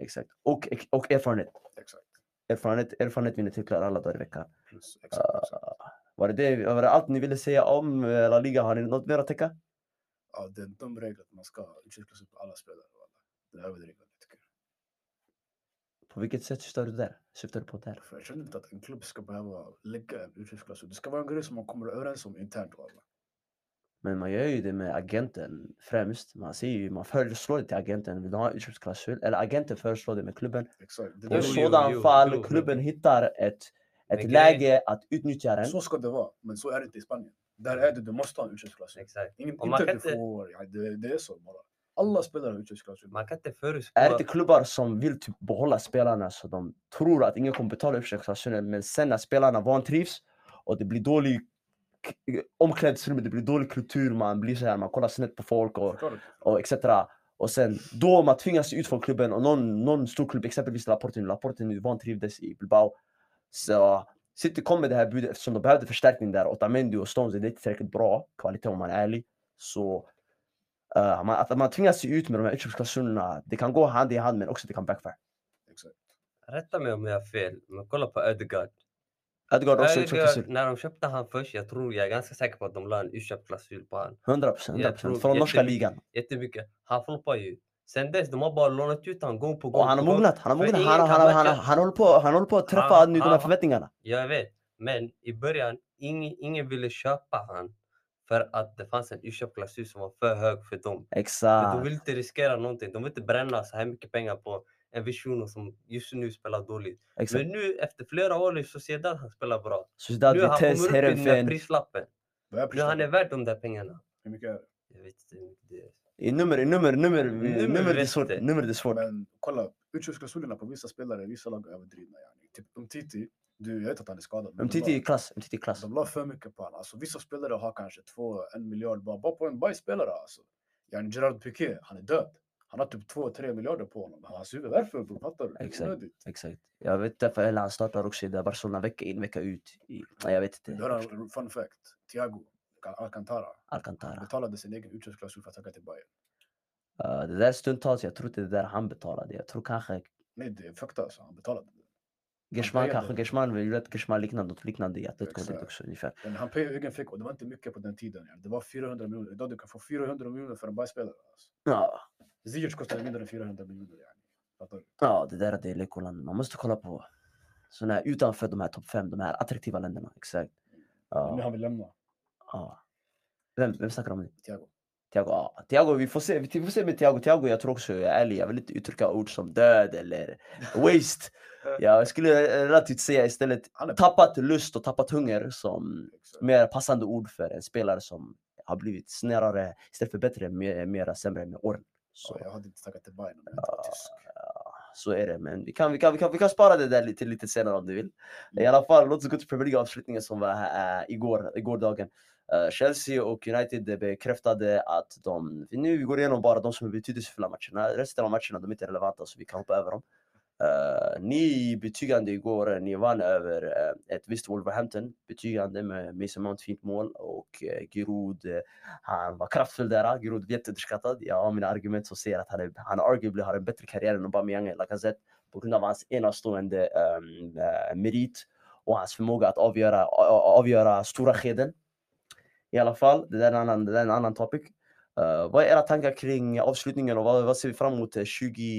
Speaker 1: exakt. Och, och erfarenhet.
Speaker 2: Exakt.
Speaker 1: Erfarenhet, erfarenhet vinner titlar alla dagar i veckan.
Speaker 2: Plus, exakt,
Speaker 1: Ah.
Speaker 2: exakt.
Speaker 1: Var det, det, var det allt ni ville säga om eh, La Liga? Har ni något mer att täcka?
Speaker 2: Ja, det är en dum regel att man ska utvecklas upp alla spelare. wallah. Det är överdrivet tycker
Speaker 1: På vilket sätt syftar du där? Syftar du på där?
Speaker 2: För jag känner inte att en klubb ska behöva lägga en utgiftsklausul. Det ska vara en grej som man kommer överens om internt. Alla.
Speaker 1: Men man gör ju det med agenten främst. Man ser ju, man föreslår det till agenten. Vill du ha en utköpsklausul? Eller agenten föreslår det med klubben.
Speaker 2: Exakt. Det
Speaker 1: Och i
Speaker 2: där,
Speaker 3: Jo, jo,
Speaker 1: sådan
Speaker 3: jo,
Speaker 1: fall
Speaker 3: jo, jo.
Speaker 1: klubben hittar ett, ett
Speaker 3: grejen-
Speaker 1: läge att utnyttja den.
Speaker 2: så ska det vara, men så är det inte i Spanien. Där är det, du måste ha en utgiftsklausul.
Speaker 3: Exakt.
Speaker 2: Ingen,
Speaker 3: Och man
Speaker 2: inte
Speaker 3: kan
Speaker 2: att du
Speaker 3: inte-
Speaker 2: får, ja, det, det är så bara. Alla spelare har utgiftsklausul.
Speaker 3: Man kan inte
Speaker 1: Är
Speaker 3: förutspå.
Speaker 1: det klubbar som vill typ behålla spelarna så de tror att ingen kommer betala utköpsklausulen men sen när spelarna vantrivs och det blir dålig k- omklädningsrum, det blir dålig kultur, man blir så här, man kollar snett på folk och,
Speaker 2: Förklarar du?
Speaker 1: och etc. Och sen då man tvingas ut från klubben och någon, någon stor klubb, exempelvis Laporte nu, Laporte nu vantrivdes i Bilbao. Så City kom med det här budet eftersom de behövde förstärkning där. Otamendi och Stones är inte tillräckligt bra kvalitet om man är ärlig. Så eh, man, att man tvingas se ut med de här utköpsklausulerna, det kan gå hand i hand men också det kan backfire.
Speaker 2: Exakt.
Speaker 3: Rätta mig om jag har fel, men kolla på Ödegaard.
Speaker 1: Ödegaard också
Speaker 3: Ödegaard,
Speaker 1: utköpsklausul.
Speaker 3: när de köpte han först, jag tror, jag är ganska säker på att de la en utköpsklausul på han.
Speaker 1: 100 procent, 100
Speaker 3: Jag tror
Speaker 1: procent. Från norska
Speaker 3: jättemycket.
Speaker 1: ligan.
Speaker 3: Jättemycket. Han floppar ju. Sen dess, de har bara lånat ut han gång på gång.
Speaker 1: Och han har
Speaker 3: på gång.
Speaker 1: mognat, han har
Speaker 3: För
Speaker 1: mognat.
Speaker 3: ingen
Speaker 1: Han, han,
Speaker 3: kan
Speaker 1: han, han,
Speaker 3: matcha-
Speaker 1: han, håller på, han håller på att träffa
Speaker 3: Han-
Speaker 1: nu de här
Speaker 3: han-
Speaker 1: förväntningarna.
Speaker 3: Jag vet, men i början ingen, ingen ville köpa han för att det fanns en utköpsklausul som var för hög för dem. För
Speaker 1: Exakt.
Speaker 3: de vill inte riskera någonting. De vill inte bränna så här mycket pengar på en vision som just nu spelar dåligt.
Speaker 1: exakt.
Speaker 3: Men nu efter flera år i Sociedad han spelar bra.
Speaker 1: Sociedad,
Speaker 3: nu han
Speaker 1: Vitesse,
Speaker 3: kommer upp i den där
Speaker 1: Heerenveen.
Speaker 3: prislappen.
Speaker 2: Vad är
Speaker 3: Nu han är
Speaker 2: prislappen?
Speaker 3: värd de där pengarna.
Speaker 2: Hur mycket är det?
Speaker 3: Jag vet inte hur mycket det är.
Speaker 1: I nummer, i nummer, nummer, nummer,
Speaker 3: Nummer
Speaker 1: nummer, det är
Speaker 3: vet
Speaker 1: svårt.
Speaker 3: det.
Speaker 1: Nummer det är svårt.
Speaker 2: Men kolla, utgiftsklausulerna på vissa spelare i vissa lag är överdrivna. Yani. Typ Umtiti, du, jag vet att han är skadad. men de
Speaker 1: Umtiti
Speaker 2: la-
Speaker 1: i klass, Umtiti i klass.
Speaker 2: De la för mycket på honom. Alltså, vissa spelare har kanske två, en miljard bara, bara på en bajsspelare. Alltså. Yani Gerard Piqué, han är död. Han har typ 2-3 miljarder på honom. Han suger varför bror? Fattar du? Det är
Speaker 1: Exakt.
Speaker 2: onödigt.
Speaker 1: Exakt. Jag vet inte, för han startar också i det Barcelona vecka in vecka ut. I, nej, jag vet
Speaker 2: Du
Speaker 1: inte.
Speaker 2: hör en fun fact. Thiago Al- Alcantara
Speaker 1: Alcantara.
Speaker 2: betalade sin egen utköpsklausul för att åka till Bayern.
Speaker 1: Eh, det där stundtals, jag tror inte det där han betalade. Jag tror kanske
Speaker 2: Nej, det är fakta alltså. Han betalade. det.
Speaker 1: Geschman,
Speaker 2: pejade.
Speaker 1: kanske Geschman, vi gjorde ett Geschman liknande, något liknande i Atletico Madrid
Speaker 2: Exakt.
Speaker 1: också ungefär.
Speaker 2: Men han pay egen fick och det var inte mycket på den tiden. ja. Det var 400 miljoner. Idag du kan få 400 miljoner för en bajsspelare. Alltså.
Speaker 1: Ja,
Speaker 2: Ziyech kostade mindre än 400 miljoner. ja. Fattar du?
Speaker 1: ja det där det är Lekoland. Man måste kolla på sådana här utanför de här topp fem, de här attraktiva länderna. Exakt.
Speaker 2: Nu
Speaker 1: Ja,
Speaker 2: han vill lämna.
Speaker 1: ja. Vem, vem snackar du om nu?
Speaker 2: Thiago.
Speaker 1: Thiago, ja. Thiago, vi får se. Vi får se med Thiago. Thiago, jag tror också, jag är ärlig, jag vill inte uttrycka ord som död eller waste. Jag skulle eh, relativt säga istället
Speaker 2: Han är
Speaker 1: tappat lust och tappat hunger som
Speaker 2: Exakt.
Speaker 1: mer passande ord för en spelare som har blivit snarare, istället för bättre, mer, mera sämre med åren. Så,
Speaker 2: Ja, jag hade inte snackat till Bayern om jag inte var tysk.
Speaker 1: så är det, men vi kan, vi, kan, vi, kan, vi kan spara det där lite, till lite senare om du vill. I alla fall, låt oss gå till Premier League-avslutningen som var här, eh, igår, igår dagen. Eh, Chelsea och United bekräftade att de, nu vi går igenom bara de som är betydelsefulla matcherna, resten av matcherna de är inte relevanta så vi kan hoppa över dem. Eh, ni betygande igår, ni vann över eh, ett visst Wolverhampton, betygande med Mason Mount fint mål och eh, Giroud, eh, han var kraftfull där, Giroud jätteunderskattad. Jag har mina argument som säger att han, är, han arguably har en bättre karriär än Aubameyang eller Lacazette på grund av hans enastående ehm, eh, merit och hans förmåga att avgöra, a- a- avgöra stora skeden. I alla fall, det där är en annan, det där är en annan topic. Eh, vad är era tankar kring avslutningen och vad, vad ser vi fram emot eh, 2021? Nej, 2020, 2020,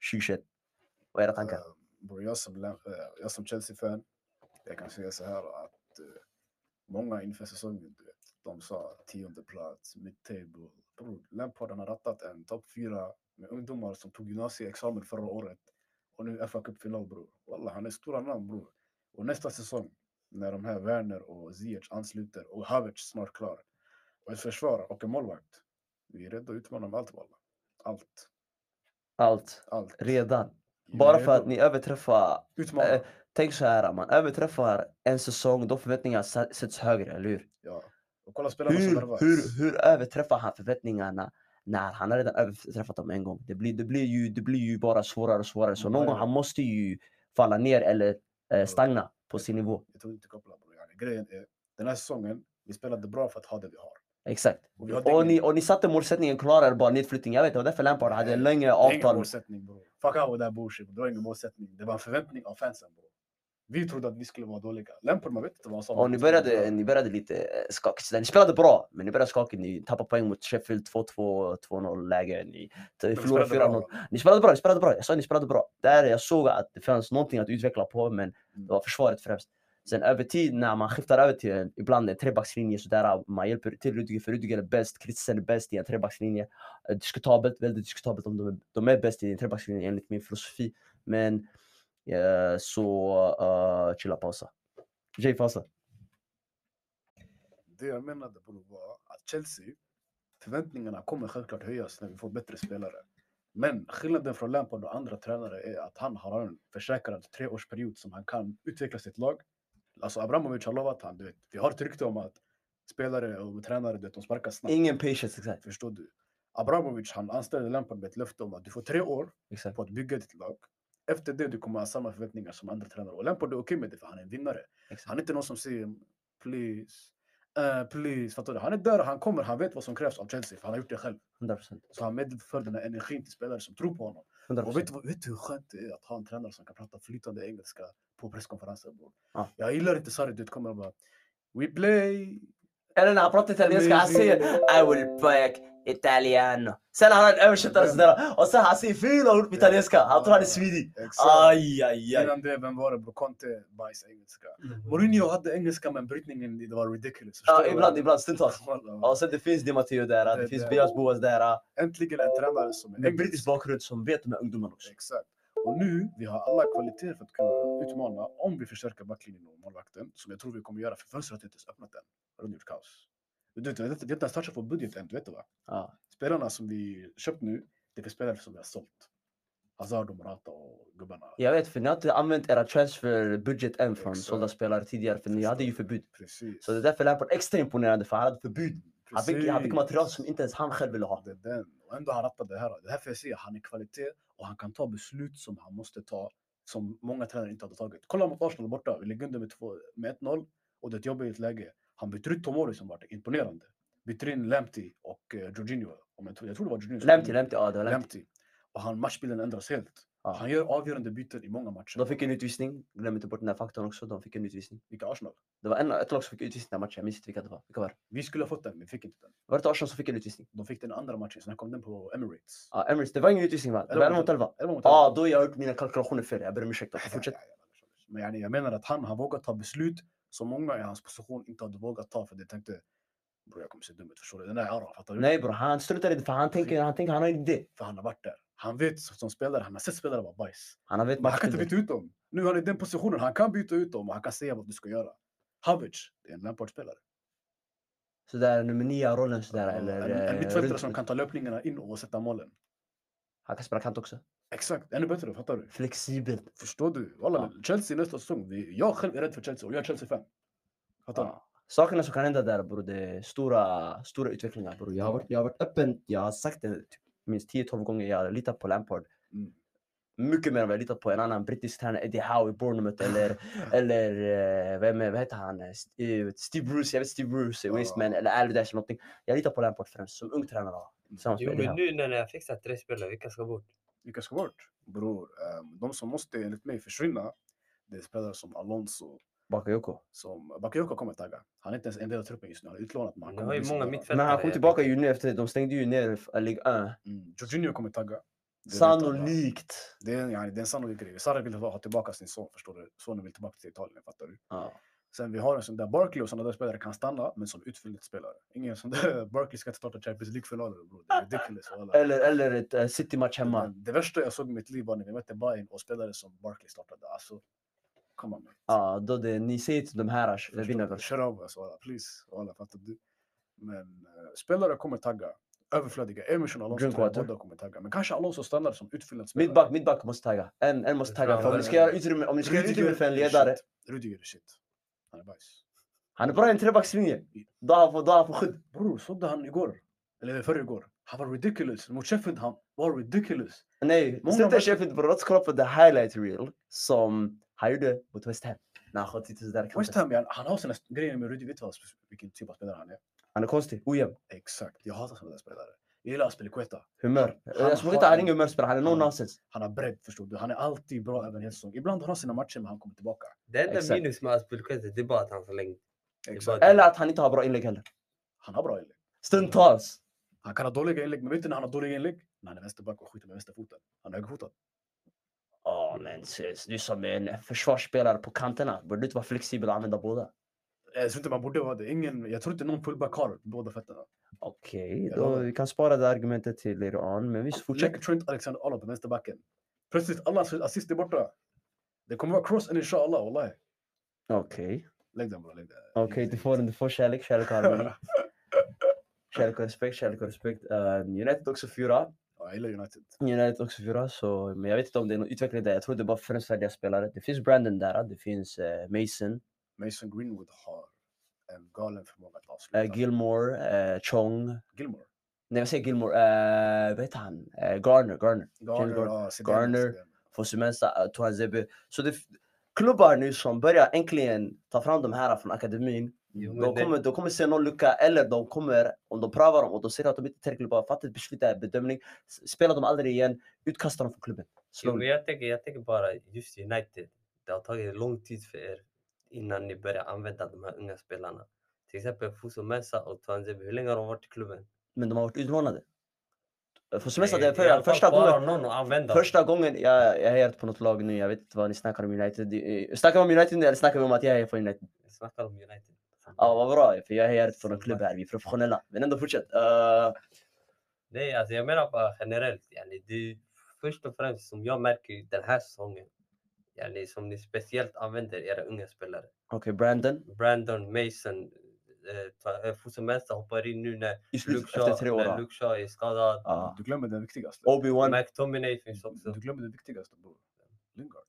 Speaker 1: 2021. Vad är era tankar?
Speaker 2: Eh, bror, jag som, lä- eh, jag som Chelsea-fan, jag kan säga så här att eh, många inför säsongen, du vet, de sa tionde plats, mid-table. Bror, Lampard han har rattat en topp fyra med ungdomar som tog gymnasieexamen förra året och nu FA Cup-final bror. Walla, han är stora namn bror. Och nästa säsong, när de här Werner och Ziyech ansluter och Havertz snart klar och ett försvar och en målvakt. Vi är redo att utmana med allt walla. Allt.
Speaker 1: Allt,
Speaker 2: Allt.
Speaker 1: redan.
Speaker 2: Vi är
Speaker 1: Bara för
Speaker 2: redo.
Speaker 1: att ni överträffar
Speaker 2: Utmana.
Speaker 1: eh, Tänk så här, man överträffar en säsong, då förväntningarna sa- sätts högre, eller hur?
Speaker 2: Ja. Och kolla spelarna som
Speaker 1: Hur,
Speaker 2: värvas.
Speaker 1: hur, hur överträffar han förväntningarna när han har redan överträffat dem en gång? Det blir, det blir, ju, det blir ju bara svårare och svårare, så någon
Speaker 2: Ja,
Speaker 1: gång
Speaker 2: ja.
Speaker 1: han måste ju falla ner eller eh, stagna på sin nivå.
Speaker 2: Jag tror inte koppla på det. Yani, Grejen är, den här säsongen, vi spelade bra för att ha det vi har.
Speaker 1: Exakt.
Speaker 2: Och vi har
Speaker 1: Och
Speaker 2: ingen-
Speaker 1: ni, och ni satte målsättningen klarare bara nedflyttning. Jag vet, det var därför Lampard hade en längre
Speaker 2: Ingen
Speaker 1: avtal.
Speaker 2: målsättning bror. Fuck out that bullshit. Det var ingen målsättning. Det var en förväntning av fansen bror. Vi trodde att vi skulle vara dåliga. Lampard, man vet inte vad han sa.
Speaker 1: Och ni började, ni började lite eh, skakigt. sådär. Ni spelade bra, men ni började skakigt. Ni tappade poäng mot Sheffield 2-2, 2-0 läge. Ni t- förlorade 4-0. Ni spelade bra, ni spelade bra. Jag sa ni spelade bra. Där jag såg att det fanns någonting att utveckla på, men
Speaker 2: Mm.
Speaker 1: det var försvaret främst. Sen över tid, när man skiftar över till en, ibland en trebackslinje sådär, man hjälper till Rudiger, för Rudiger är bäst, Christensen är bäst i en trebackslinje. Eh, Diskutabelt, väldigt diskutabelt om de är, de är bäst i en trebackslinje enligt min filosofi. Men eh, så, eh, chilla, pausa. Jay, pausa.
Speaker 2: Det jag menade bror var att Chelsea, förväntningarna kommer självklart höjas när vi får bättre spelare. Men skillnaden från Lampard och andra tränare är att han har en försäkrad treårsperiod som han kan utveckla sitt lag. Alltså Abramovic har lovat han, du vet, vi har ett rykte om att spelare och tränare, du vet, de sparkar snabbt.
Speaker 1: Ingen patience, exakt.
Speaker 2: Förstår du? Abramovic, han anställde Lampard med ett löfte om att du får tre år
Speaker 1: exakt.
Speaker 2: på att bygga ditt lag. Efter det du kommer ha samma förväntningar som andra tränare. Och Lampard är okej med det för han är en vinnare.
Speaker 1: Exakt.
Speaker 2: Han är inte någon som säger please, eh, please. Fattar du? Han är där, han kommer, han vet vad som krävs av Chelsea för han har gjort det själv.
Speaker 1: 100 procent.
Speaker 2: Så han medför den här energin till spelare som tror på honom. Och vet, du vad- vet du hur skönt det är att ha en tränare som kan prata flytande engelska på presskonferenser? bror?
Speaker 1: Ja.
Speaker 2: Jag gillar inte Sarri, du kommer och bara We play
Speaker 1: Eller när han pratar italienska, han säger I will break italiano. Sen har han en översättare sådär och sen han säger fyra ord på italienska. Han tror han är smidig.
Speaker 2: Exakt.
Speaker 1: Aj, aj, aj.
Speaker 2: Innan det, vem var det bror? Conte bajs engelska. Mm. Mourinho hade engelska men brytningen det var ridiculous. förstår
Speaker 1: Ja,
Speaker 2: du vad
Speaker 1: ibland,
Speaker 2: jag
Speaker 1: ibland, stundtals.
Speaker 2: menar? Wallah.
Speaker 1: Och sen det finns Di Matteo där, det
Speaker 2: Det
Speaker 1: finns
Speaker 2: där.
Speaker 1: Bias Boas där.
Speaker 2: Äntligen en tränare som är
Speaker 1: Med brittisk
Speaker 2: engelsk.
Speaker 1: bakgrund som vet de här ungdomarna också.
Speaker 2: Exakt. Och nu, vi har alla kvaliteter för att kunna utmana om vi förstärker backlinjen och målvakten, som jag tror vi kommer göra för fönstret har inte ens öppnat än. Det har gjort kaos. Du vet, vi har inte vi har inte ens touchat på budget än, du vet det va?
Speaker 1: Ja.
Speaker 2: Spelarna som vi köpt nu, det är för spelare som vi har sålt. Hazard och Morata och gubbarna.
Speaker 1: Jag vet, för ni har inte använt era transfer budget än från
Speaker 2: Exakt.
Speaker 1: sålda spelare tidigare, för ni hade ju förbud.
Speaker 2: Precis.
Speaker 1: Så det är därför Lampard är extra imponerande, för han hade förbud. Han fick, han fick
Speaker 2: Precis.
Speaker 1: material som inte ens han själv ville ha.
Speaker 2: Det är den. Och ändå har han rattat det här. Det är därför jag säger han är kvalitet och han kan ta beslut som han måste ta som många tränare inte hade tagit. Kolla mot Arsenal borta. Vi ligger under med, två- med 1-0 och det är ett jobbigt läge. Han byter ut Tomori som var imponerande. Byter in Lemty och eh, Jorginho. Om jag, tror, jag tror det var Jorginho. som kom
Speaker 1: Lämti,
Speaker 2: in.
Speaker 1: lämti. Ja, det var lämti.
Speaker 2: Lemty. Och han, matchbilden ändras helt.
Speaker 1: Ja.
Speaker 2: Han gör avgörande byten i många
Speaker 1: De
Speaker 2: matcher.
Speaker 1: fick en utvisning. Glöm inte bort den här faktorn också. De fick en utvisning.
Speaker 2: Vilka Arsenal?
Speaker 1: Det var en, ett lag som fick utvisning den här matchen. Jag minns inte vilka det var. Vilka var det?
Speaker 2: Vi skulle ha fått den, vi fick inte den.
Speaker 1: Var det Arsenal som fick en utvisning?
Speaker 2: De fick den andra matchen, sen kom den på Emirates.
Speaker 1: Ja, Emirates. Det var ingen utvisning va? Det var 11 mot 11.
Speaker 2: Elva mot elva.
Speaker 1: Ja, då har jag gjort mina kalkylationer fel. Jag ber om ursäkt. alltså.
Speaker 2: Ja,
Speaker 1: Fortsätt.
Speaker 2: ja, ja, ja, ja. Men yani, jag menar att han har vågat ta beslut som många i hans position inte hade vågat ta för de tänkte Bro, jag kommer se dum ut, förstår du? Den där Aron, fattar du?
Speaker 1: Nej bror, han struntar i det för han tänker, han tänker, han har en idé.
Speaker 2: För han har varit där. Han vet som spelare, han har sett spelare vara bajs.
Speaker 1: Han har vet
Speaker 2: Men han kan inte
Speaker 1: matchbilden.
Speaker 2: byta ut dem. Nu är han i den positionen, han kan byta ut dem och han kan säga vad du ska göra. Havertz, det är en Lampard-spelare.
Speaker 1: Sådär nummer nio rollen sådär.
Speaker 2: En-
Speaker 1: eller,
Speaker 2: en
Speaker 1: eh,
Speaker 2: mittfältare
Speaker 1: runt-
Speaker 2: som kan ta löpningarna in och sätta målen.
Speaker 1: Han kan spela kant också.
Speaker 2: Exakt, ännu bättre, fattar du?
Speaker 1: Flexibelt.
Speaker 2: Förstår du? Walla, Chelsea nästa säsong. Vi, jag själv är rädd för Chelsea och jag är Chelsea-fan. Fattar du?
Speaker 1: Ja. Sakerna som kan hända där bror, det är stora, stora utvecklingar bror. Jag har varit, jag har varit öppen, jag har sagt det typ, minst 10-12 gånger, jag litar på Lampard.
Speaker 2: Mm.
Speaker 1: Mycket mer än vad jag litat på en annan brittisk tränare, Eddie Howe i Bournemouth eller, eller eh, vem, är- vad heter han, Eh, St- eh, Steve Bruce, jag vet Steve Bruce, eh, i
Speaker 2: Ja.
Speaker 1: Wasteman eller Alvedash eller någonting. Jag litar på Lampard främst, som ung tränare. Tillsammans med
Speaker 3: Jo,
Speaker 1: Eddie
Speaker 3: men
Speaker 1: Howe.
Speaker 3: nu när ni har fixat tre spelare, vilka ska bort?
Speaker 2: Vilka ska bort? Bror, ehm, de som måste enligt mig försvinna, det är spelare som Alonso,
Speaker 1: Bakayoko.
Speaker 2: som Bakayoko kommer tagga. Han är inte ens en del av truppen just nu, han är utlånad. men han
Speaker 3: Ni
Speaker 2: kommer
Speaker 3: har ju
Speaker 2: bli central.
Speaker 3: många mittfältare.
Speaker 1: Men han kom
Speaker 3: jag
Speaker 1: tillbaka
Speaker 3: tänker.
Speaker 1: ju nu efter, de stängde ju ner f- Ligue 1.
Speaker 2: Mm. Jorginho kommer tagga. Det vet alla.
Speaker 1: Sannolikt.
Speaker 2: Det är, en- yani, det är en sannolik grej. Sarri vill ha ha tillbaka sin son, förstår du? Sonen vill tillbaka till Italien, fattar du?
Speaker 1: Ja.
Speaker 2: Sen vi har en sån där Barkley och sådana där spelare kan stanna, men som utfyllnadsspelare. Ingen sån där Barkley ska inte starta Champions League-finaler, bror. Det är ridiculous. walla.
Speaker 1: Eller, eller ett eh, City-match hemma.
Speaker 2: Men Det värsta jag såg i mitt liv var när vi mötte Bayern och spelare som Barkley startade. Alltså, come on. man.
Speaker 1: Ja, då det, ni säger till de här eh,
Speaker 2: Förstår
Speaker 1: vinnarna.
Speaker 2: du? Kör av oss alltså, alla, please. Alla, fattar du? Men eh, spelare kommer tagga. Överflödiga. Emerson och Alonso tror jag
Speaker 1: Drinkwater.
Speaker 2: båda kommer tagga. Men kanske Alonso stannar som utfyllnadsspelare.
Speaker 1: Mittback, mittback måste tagga. En, en måste
Speaker 3: Det
Speaker 1: tagga.
Speaker 3: tror
Speaker 1: För om
Speaker 3: jag
Speaker 1: ni ska
Speaker 2: väl.
Speaker 1: göra utrymme, om ni ska göra
Speaker 2: Rudiger
Speaker 1: utrymme för en
Speaker 2: är shit.
Speaker 1: ledare.
Speaker 2: Rudiger är shit. Han är bajs.
Speaker 1: Han är bra i en trebackslinje. Då har han fått- då har han fått skydd.
Speaker 2: Bror, såg du han igår? Eller förr igår? Han var ridiculous. Mot Sheffield, han var ridiculous.
Speaker 1: Nej,
Speaker 2: Många
Speaker 1: sluta
Speaker 2: matcher-
Speaker 1: köpa bror. Låt oss kolla på the highlight reel som han gjorde mot West Ham. När han sköt lite sådär. i
Speaker 2: West
Speaker 1: kanten.
Speaker 2: Ham, han, han har sina grejer med Rudiger. Vet du vad- vilken typ av spelare han är?
Speaker 1: Han är konstig, ojämn,
Speaker 2: Exakt. Jag hatar såna där spelare. Jag gillar Aspelikueta.
Speaker 1: humör.
Speaker 2: Han
Speaker 1: Jag tror
Speaker 2: har
Speaker 1: inte han är
Speaker 2: en-
Speaker 1: ingen humörspelare, han är no
Speaker 2: han-
Speaker 1: nonsense.
Speaker 2: Han har bredd, förstår du. Han är alltid bra över en hel säsong. Ibland har han sina matcher, men han kommer tillbaka.
Speaker 3: Det enda
Speaker 1: Exakt.
Speaker 3: minus med Aspelkuete, det är bara att han förlängde. Exakt.
Speaker 1: Eller att han inte har bra inlägg heller.
Speaker 2: Han har bra inlägg.
Speaker 1: Stundtals.
Speaker 2: Han kan ha dåliga inlägg, men vet du när han har dåliga inlägg? När han är vänsterback och skjuter med vänsterfoten. Han är högerfotad.
Speaker 1: Ja, men ses, du som är en försvarsspelare på kanterna, borde du inte vara flexibel och använda båda?
Speaker 2: Jag tror Eh, inte man borde vara det. Ingen, jag tror inte någon fullback har båda fötterna.
Speaker 1: Okej,
Speaker 2: Jag
Speaker 1: då
Speaker 2: lovar.
Speaker 1: vi kan spara det argumentet till Iran, men visst, fortsätt.
Speaker 2: Lägg Trent Alexander-Arnold på vänsterbacken. Plötsligt, alla assist är borta. Det kommer vara cross inshallah, wallahi.
Speaker 1: Okej,
Speaker 2: Lägg den bara, lägg den.
Speaker 1: okej, du får den, du får kärlek, kärlek och harmoni. kärlek och respekt, kärlek och respekt. Eh, United också fyra.
Speaker 2: Ja, jag gillar United.
Speaker 1: United också fyra, så, men jag vet inte om det är någon utveckling där. Jag tror det är bara främst färdiga spelare. Det finns Brandon där, det finns eh, Mason,
Speaker 2: Mason Greenwood har en galen förmåga att
Speaker 1: eh,
Speaker 2: avsluta.
Speaker 1: Gilmore, eh, Chong.
Speaker 2: Gilmore.
Speaker 1: Nej, jag säger Gilmore, eh, vad heter han? Eh, Garner, Garner.
Speaker 2: Garner.
Speaker 1: Gilmore.
Speaker 2: ja, eh, Zidane,
Speaker 1: Garner.
Speaker 2: Zidane.
Speaker 1: Fosumensa, Tuanzebe. Så det f- klubbar nu som börjar äntligen ta fram de här från akademin.
Speaker 3: Jo, men
Speaker 1: De
Speaker 3: det-
Speaker 1: kommer, de kommer se någon lucka eller de kommer, om de prövar dem och de ser att de inte är tillräckligt bra, fattar ett beslut, där, bedömning, s- spelar dem aldrig igen, utkastar dem från klubben.
Speaker 3: Jo, men
Speaker 1: Slowly.
Speaker 3: jag, tänker, jag tänker bara just United. Det har tagit lång tid för er innan ni börjar använda de här unga spelarna. Till exempel Fuso Mesa och Tuanzebe. Hur länge har de varit i klubben?
Speaker 1: Men de har varit utlånade. Fosumensa,
Speaker 3: Nej,
Speaker 1: det är
Speaker 3: i
Speaker 1: för,
Speaker 3: alla fall
Speaker 1: första
Speaker 3: bara
Speaker 1: gången
Speaker 3: någon att använda.
Speaker 1: Första gången jag, jag hejar på något lag nu, jag vet inte vad ni snackar om United. Eh, Snackar vi om United nu eller snackar vi om att jag hejar på United?
Speaker 3: Vi snackar om United.
Speaker 1: Ja, vad bra, för jag hejar inte på någon klubb här, vi är professionella. Men ändå fortsätt. Eh,
Speaker 3: Nej, alltså jag menar bara generellt. Yani, det är först och främst som jag märker den här säsongen. Yani, som ni speciellt använder era unga spelare.
Speaker 1: Okej, Brandon.
Speaker 3: Brandon, Mason, eh, Fuso Mesa hoppar in nu när
Speaker 1: I slutet,
Speaker 3: Luke Shaw,
Speaker 1: efter tre år.
Speaker 3: när
Speaker 1: ja.
Speaker 3: Luke Shaw är skadad.
Speaker 1: Ja.
Speaker 2: Du glömmer den viktigaste.
Speaker 1: Obi-Wan.
Speaker 3: McTominay finns också.
Speaker 2: Du glömmer den viktigaste, bror. Lingard.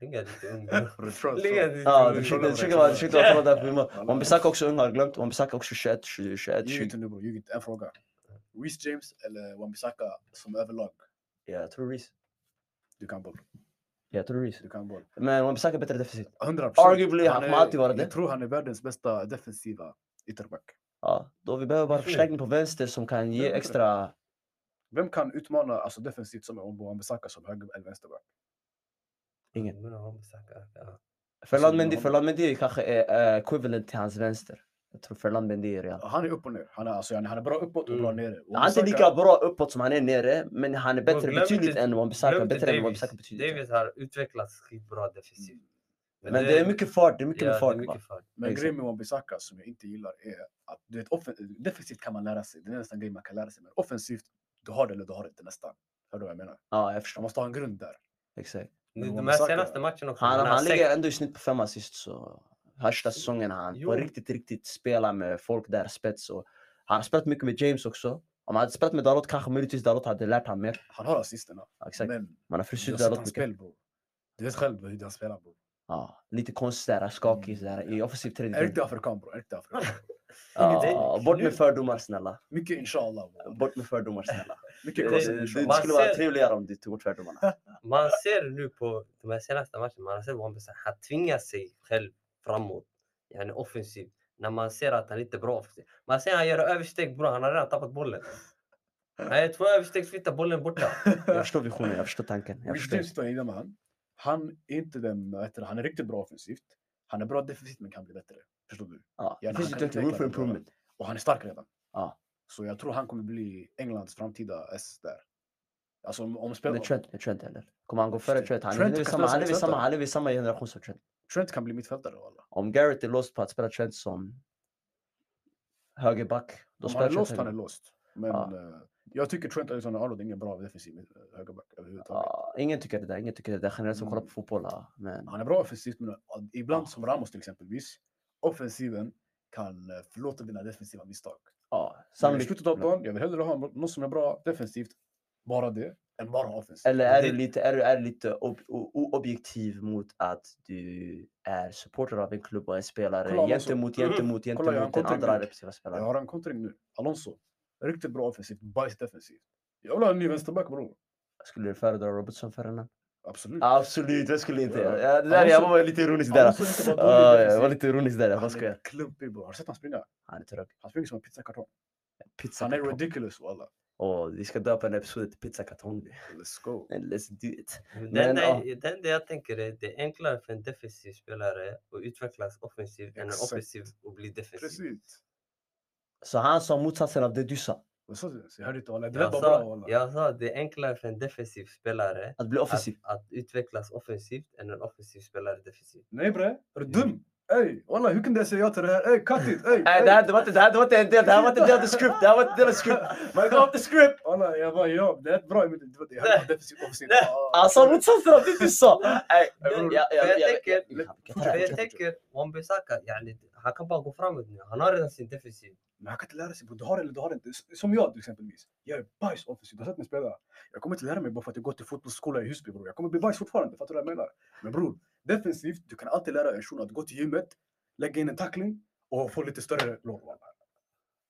Speaker 3: ligga lite under.
Speaker 2: Retroll,
Speaker 3: Ligga
Speaker 2: så.
Speaker 3: lite
Speaker 1: Ja,
Speaker 3: under.
Speaker 1: du försökte
Speaker 2: Kolla på
Speaker 1: du försökte
Speaker 2: det.
Speaker 1: vara du försökte vara troll där för mig.
Speaker 2: Kolla.
Speaker 1: Wan-Bissaka också ung, har jag glömt. Wan-Bissaka också 21, 20, 21,
Speaker 2: Ljug
Speaker 1: 20.
Speaker 2: inte nu bror, ljug inte. En fråga. Reece James eller Wan-Bissaka som överlag?
Speaker 1: Ja, jag tror Reece.
Speaker 2: Du kan boll.
Speaker 1: Ja, jag tror Reece.
Speaker 2: Du kan boll.
Speaker 1: Men Wan-Bissaka är bättre defensivt.
Speaker 2: 100
Speaker 1: Arguably, han kommer alltid vara det.
Speaker 2: Jag tror han är världens bästa defensiva ytterback.
Speaker 1: Ja, då vi behöver bara förstärkning på vänster som kan ge
Speaker 2: Ja.
Speaker 1: extra...
Speaker 2: Vem kan utmana alltså defensivt som Ombo Wan-Bissaka som höger eller vänsterback?
Speaker 1: Ingen.
Speaker 3: Men han besöker, ja.
Speaker 1: Ferland
Speaker 2: Alltså,
Speaker 1: Mendy,
Speaker 2: han-
Speaker 1: Ferland Mendy kanske är eh, equivalent till hans vänster. Jag tror Ferland Mendy är real.
Speaker 3: آه،
Speaker 2: Han är upp och ner. Han är, alltså, han är bra uppåt och bra
Speaker 3: Mm.
Speaker 2: nere.
Speaker 1: Han är inte lika bra uppåt som han är nere, men han är
Speaker 3: Och
Speaker 1: bättre
Speaker 3: glöm
Speaker 1: betydligt
Speaker 3: inte-
Speaker 1: än Wan-Bissaka.
Speaker 3: Glöm inte
Speaker 1: Bättre än
Speaker 3: Davis.
Speaker 1: Wan-Bissaka betydligt.
Speaker 3: Davis har utvecklats skitbra defensivt.
Speaker 1: Mm. Men det är mycket fart, det är mycket
Speaker 3: ja,
Speaker 1: med fart.
Speaker 3: det är
Speaker 1: bara.
Speaker 3: mycket fart.
Speaker 2: Mm. Men
Speaker 1: Exakt.
Speaker 2: grejen med Wan-Bissaka som jag inte gillar är att du vet, offen- defensivt kan man lära sig. Det är nästan grej man kan lära sig. Men offensivt, du har det eller du har det inte nästan. Hör du vad jag menar?
Speaker 1: Ja, jag
Speaker 2: Man
Speaker 1: förstår.
Speaker 2: måste ha en grund där.
Speaker 1: Exakt.
Speaker 2: Men
Speaker 3: De här
Speaker 2: Wan-Bissaka-
Speaker 3: senaste matcherna också.
Speaker 1: Han,
Speaker 3: har
Speaker 1: han
Speaker 3: sex-
Speaker 1: ligger ändå i snitt på fem assist så första säsongen har han
Speaker 3: Jo.
Speaker 1: på riktigt, riktigt spelar med folk där spets och han har spelat mycket med James också. Om han hade spelat med Dalot kanske möjligtvis Dalot hade lärt honom mer.
Speaker 2: Han har assisterna.
Speaker 1: Ja, Exakt.
Speaker 2: Men
Speaker 1: Man har
Speaker 2: du
Speaker 1: frusit
Speaker 2: har sett
Speaker 1: Dalot
Speaker 2: hans
Speaker 1: mycket.
Speaker 2: spel bror. Du vet själv hur han spelar bror.
Speaker 1: Ja, lite konstigt där, skakig där i offensiv
Speaker 2: En
Speaker 1: tredje.
Speaker 2: riktig afrikan bror. En riktig afrikan.
Speaker 1: Ja,
Speaker 3: det-
Speaker 1: bort med
Speaker 3: nu-
Speaker 1: fördomar snälla.
Speaker 2: Mycket inshallah bror.
Speaker 1: Bort med fördomar snälla.
Speaker 2: Mycket
Speaker 1: Det,
Speaker 2: cross
Speaker 1: det,
Speaker 2: and
Speaker 1: det
Speaker 2: inshallah.
Speaker 3: Man
Speaker 1: skulle vara
Speaker 3: ser-
Speaker 1: trevligare om du tog bort fördomarna.
Speaker 3: Man ser nu på de här senaste matcherna, man har sett Wan-Bissaka, han tvingar sig själv framåt. Han är offensiv. När man ser att han inte är bra offensiv. Man ser han gör översteg bra, han har redan tappat bollen. Han gör två översteg, flyttar bollen borta.
Speaker 1: Jag förstår visionen, jag förstår tanken. Jag
Speaker 2: Reece
Speaker 1: förstår.
Speaker 2: James står inne med han. Han är inte den, vad heter det, han är riktigt bra offensivt. Han är bra defensivt men kan bli bättre. Förstår du?
Speaker 1: Ja,
Speaker 2: Ja,
Speaker 1: det finns ju
Speaker 2: han kan
Speaker 1: inte room
Speaker 2: utveckla
Speaker 1: for
Speaker 2: det bra.
Speaker 1: improvement.
Speaker 2: Och han är stark redan.
Speaker 1: Ja.
Speaker 2: Så jag tror han kommer bli Englands framtida S där. Alltså om, om
Speaker 1: Men
Speaker 2: spelar, Trent.
Speaker 1: Trent, Trent eller? Kommer han gå före
Speaker 2: Trent-
Speaker 1: Trent? Han
Speaker 2: Trent
Speaker 1: lever i
Speaker 2: kan
Speaker 1: samma- han
Speaker 2: spela som
Speaker 1: lever i samma-
Speaker 2: mittfältare.
Speaker 1: han lever i samma generation som Trent.
Speaker 2: kan bli mittfältare walla.
Speaker 1: Om Garrett är låst på att spela Trent som högerback, då
Speaker 2: Om
Speaker 1: spelar
Speaker 2: han
Speaker 1: Trent
Speaker 2: är lost, han är
Speaker 1: högerback.
Speaker 2: lost. Men
Speaker 1: Ja.
Speaker 2: eh, jag tycker Trent Alexander-Arnold är ingen bra defensiv eh, högerback överhuvudtaget.
Speaker 1: Ja, ingen tycker det där, ingen tycker det där. Generellt som kollar på
Speaker 2: Mm.
Speaker 1: fotboll, ja, men
Speaker 2: Han är bra offensivt men eh, ibland som Ramos till exempelvis. Offensiven kan eh, förlåta dina defensiva misstag.
Speaker 1: ja,
Speaker 2: Sannolikt. I
Speaker 1: sannolikt.
Speaker 2: slutet av dagen, jag vill hellre ha någon som är bra defensivt, bara det, än bara offensivt.
Speaker 1: Eller är
Speaker 3: Det-
Speaker 1: du lite, är du, är du lite ob, o, oobjektiv mot att du är supporter av en klubb och en spelare
Speaker 2: Kolla Alonso.
Speaker 1: gentemot,
Speaker 3: Mm.
Speaker 1: gentemot,
Speaker 2: Kolla, jag har en
Speaker 1: gentemot den
Speaker 2: kontring
Speaker 1: andra
Speaker 2: nu.
Speaker 1: repressiva
Speaker 2: Jag
Speaker 1: spelaren?
Speaker 2: har en kontring nu. Alonso. Riktigt bra offensivt, bajs defensivt. Jag vill ha en ny vänsterback bror.
Speaker 1: Skulle du föredra Robertson före henne?
Speaker 2: Absolut.
Speaker 1: Absolut, jag skulle inte.
Speaker 2: Mm. Ja.
Speaker 1: Ja, det där, jag
Speaker 2: Alonso-
Speaker 1: var lite ironisk där.
Speaker 2: Alonso är inte bara dålig
Speaker 1: Ja, jag
Speaker 2: defensivt.
Speaker 1: var lite ironisk där, jag bara
Speaker 2: han är
Speaker 1: skojar.
Speaker 2: klumpig bror. Har du sett han springa?
Speaker 1: Han är trög.
Speaker 2: Han springer som en pizzakartong.
Speaker 1: Pizza
Speaker 2: Han är
Speaker 1: kartong.
Speaker 2: ridiculous walla.
Speaker 1: Åh, Oh, vi ska döpa den här episoden till pizzakartong.
Speaker 2: Let's go.
Speaker 1: Let's do it.
Speaker 3: Men,
Speaker 1: Men,
Speaker 3: det,
Speaker 1: ja.
Speaker 3: enda, det enda jag tänker är det är enklare för en defensiv spelare att utvecklas offensivt än en
Speaker 2: Exakt.
Speaker 3: offensiv att bli defensiv.
Speaker 2: Precis.
Speaker 1: Så han sa motsatsen av det du sa.
Speaker 2: Vad sa du? Jag hörde inte walla. Det där
Speaker 3: Jag
Speaker 2: var bra
Speaker 3: sa,
Speaker 2: walla.
Speaker 3: jag sa att det är enklare för en defensiv spelare
Speaker 1: Att bli
Speaker 3: att,
Speaker 1: offensiv.
Speaker 3: att utvecklas offensivt än en offensiv spelare defensivt.
Speaker 2: Nej bre, är du dum? Ey walla hur kunde jag säga ja till det här? Ey cut it! Ey!
Speaker 1: Nej,
Speaker 2: ey.
Speaker 1: det här det var inte- det här- det var inte en del, det här var inte en del av the script. Det här var inte en del av the script. Man går off the script.
Speaker 2: Walla jag bara ja, det är ett bra. men det var- Jag hörde defensivt offensivt.
Speaker 3: Nej.
Speaker 2: Ah.
Speaker 1: Han sa motsatsen av det du sa. Nej,
Speaker 3: Men-
Speaker 1: jag- jag-
Speaker 3: men jag
Speaker 1: jag- jag-
Speaker 3: tänker-
Speaker 1: jag- jag-
Speaker 2: fortsätt,
Speaker 3: För
Speaker 1: jag-
Speaker 3: jag
Speaker 2: fortsätt.
Speaker 3: tänker, Wan-Bissaka, yani, han kan bara gå framåt nu. Han har redan sin defensiv.
Speaker 2: Men han kan inte lära sig. bro. Du har det eller du har det inte. S- Som jag till exempelvis. Jag är bajs offensivt. Du har sett mig spela. Jag kommer inte lära mig bara för att jag går till fotbollsskola i Husby bror. Jag kommer bli bajs fortfarande. Fattar du vad jag menar? Men bror, defensivt, du kan alltid lära en shuno att gå till gymmet, lägga in en tackling och få lite större lår. walla.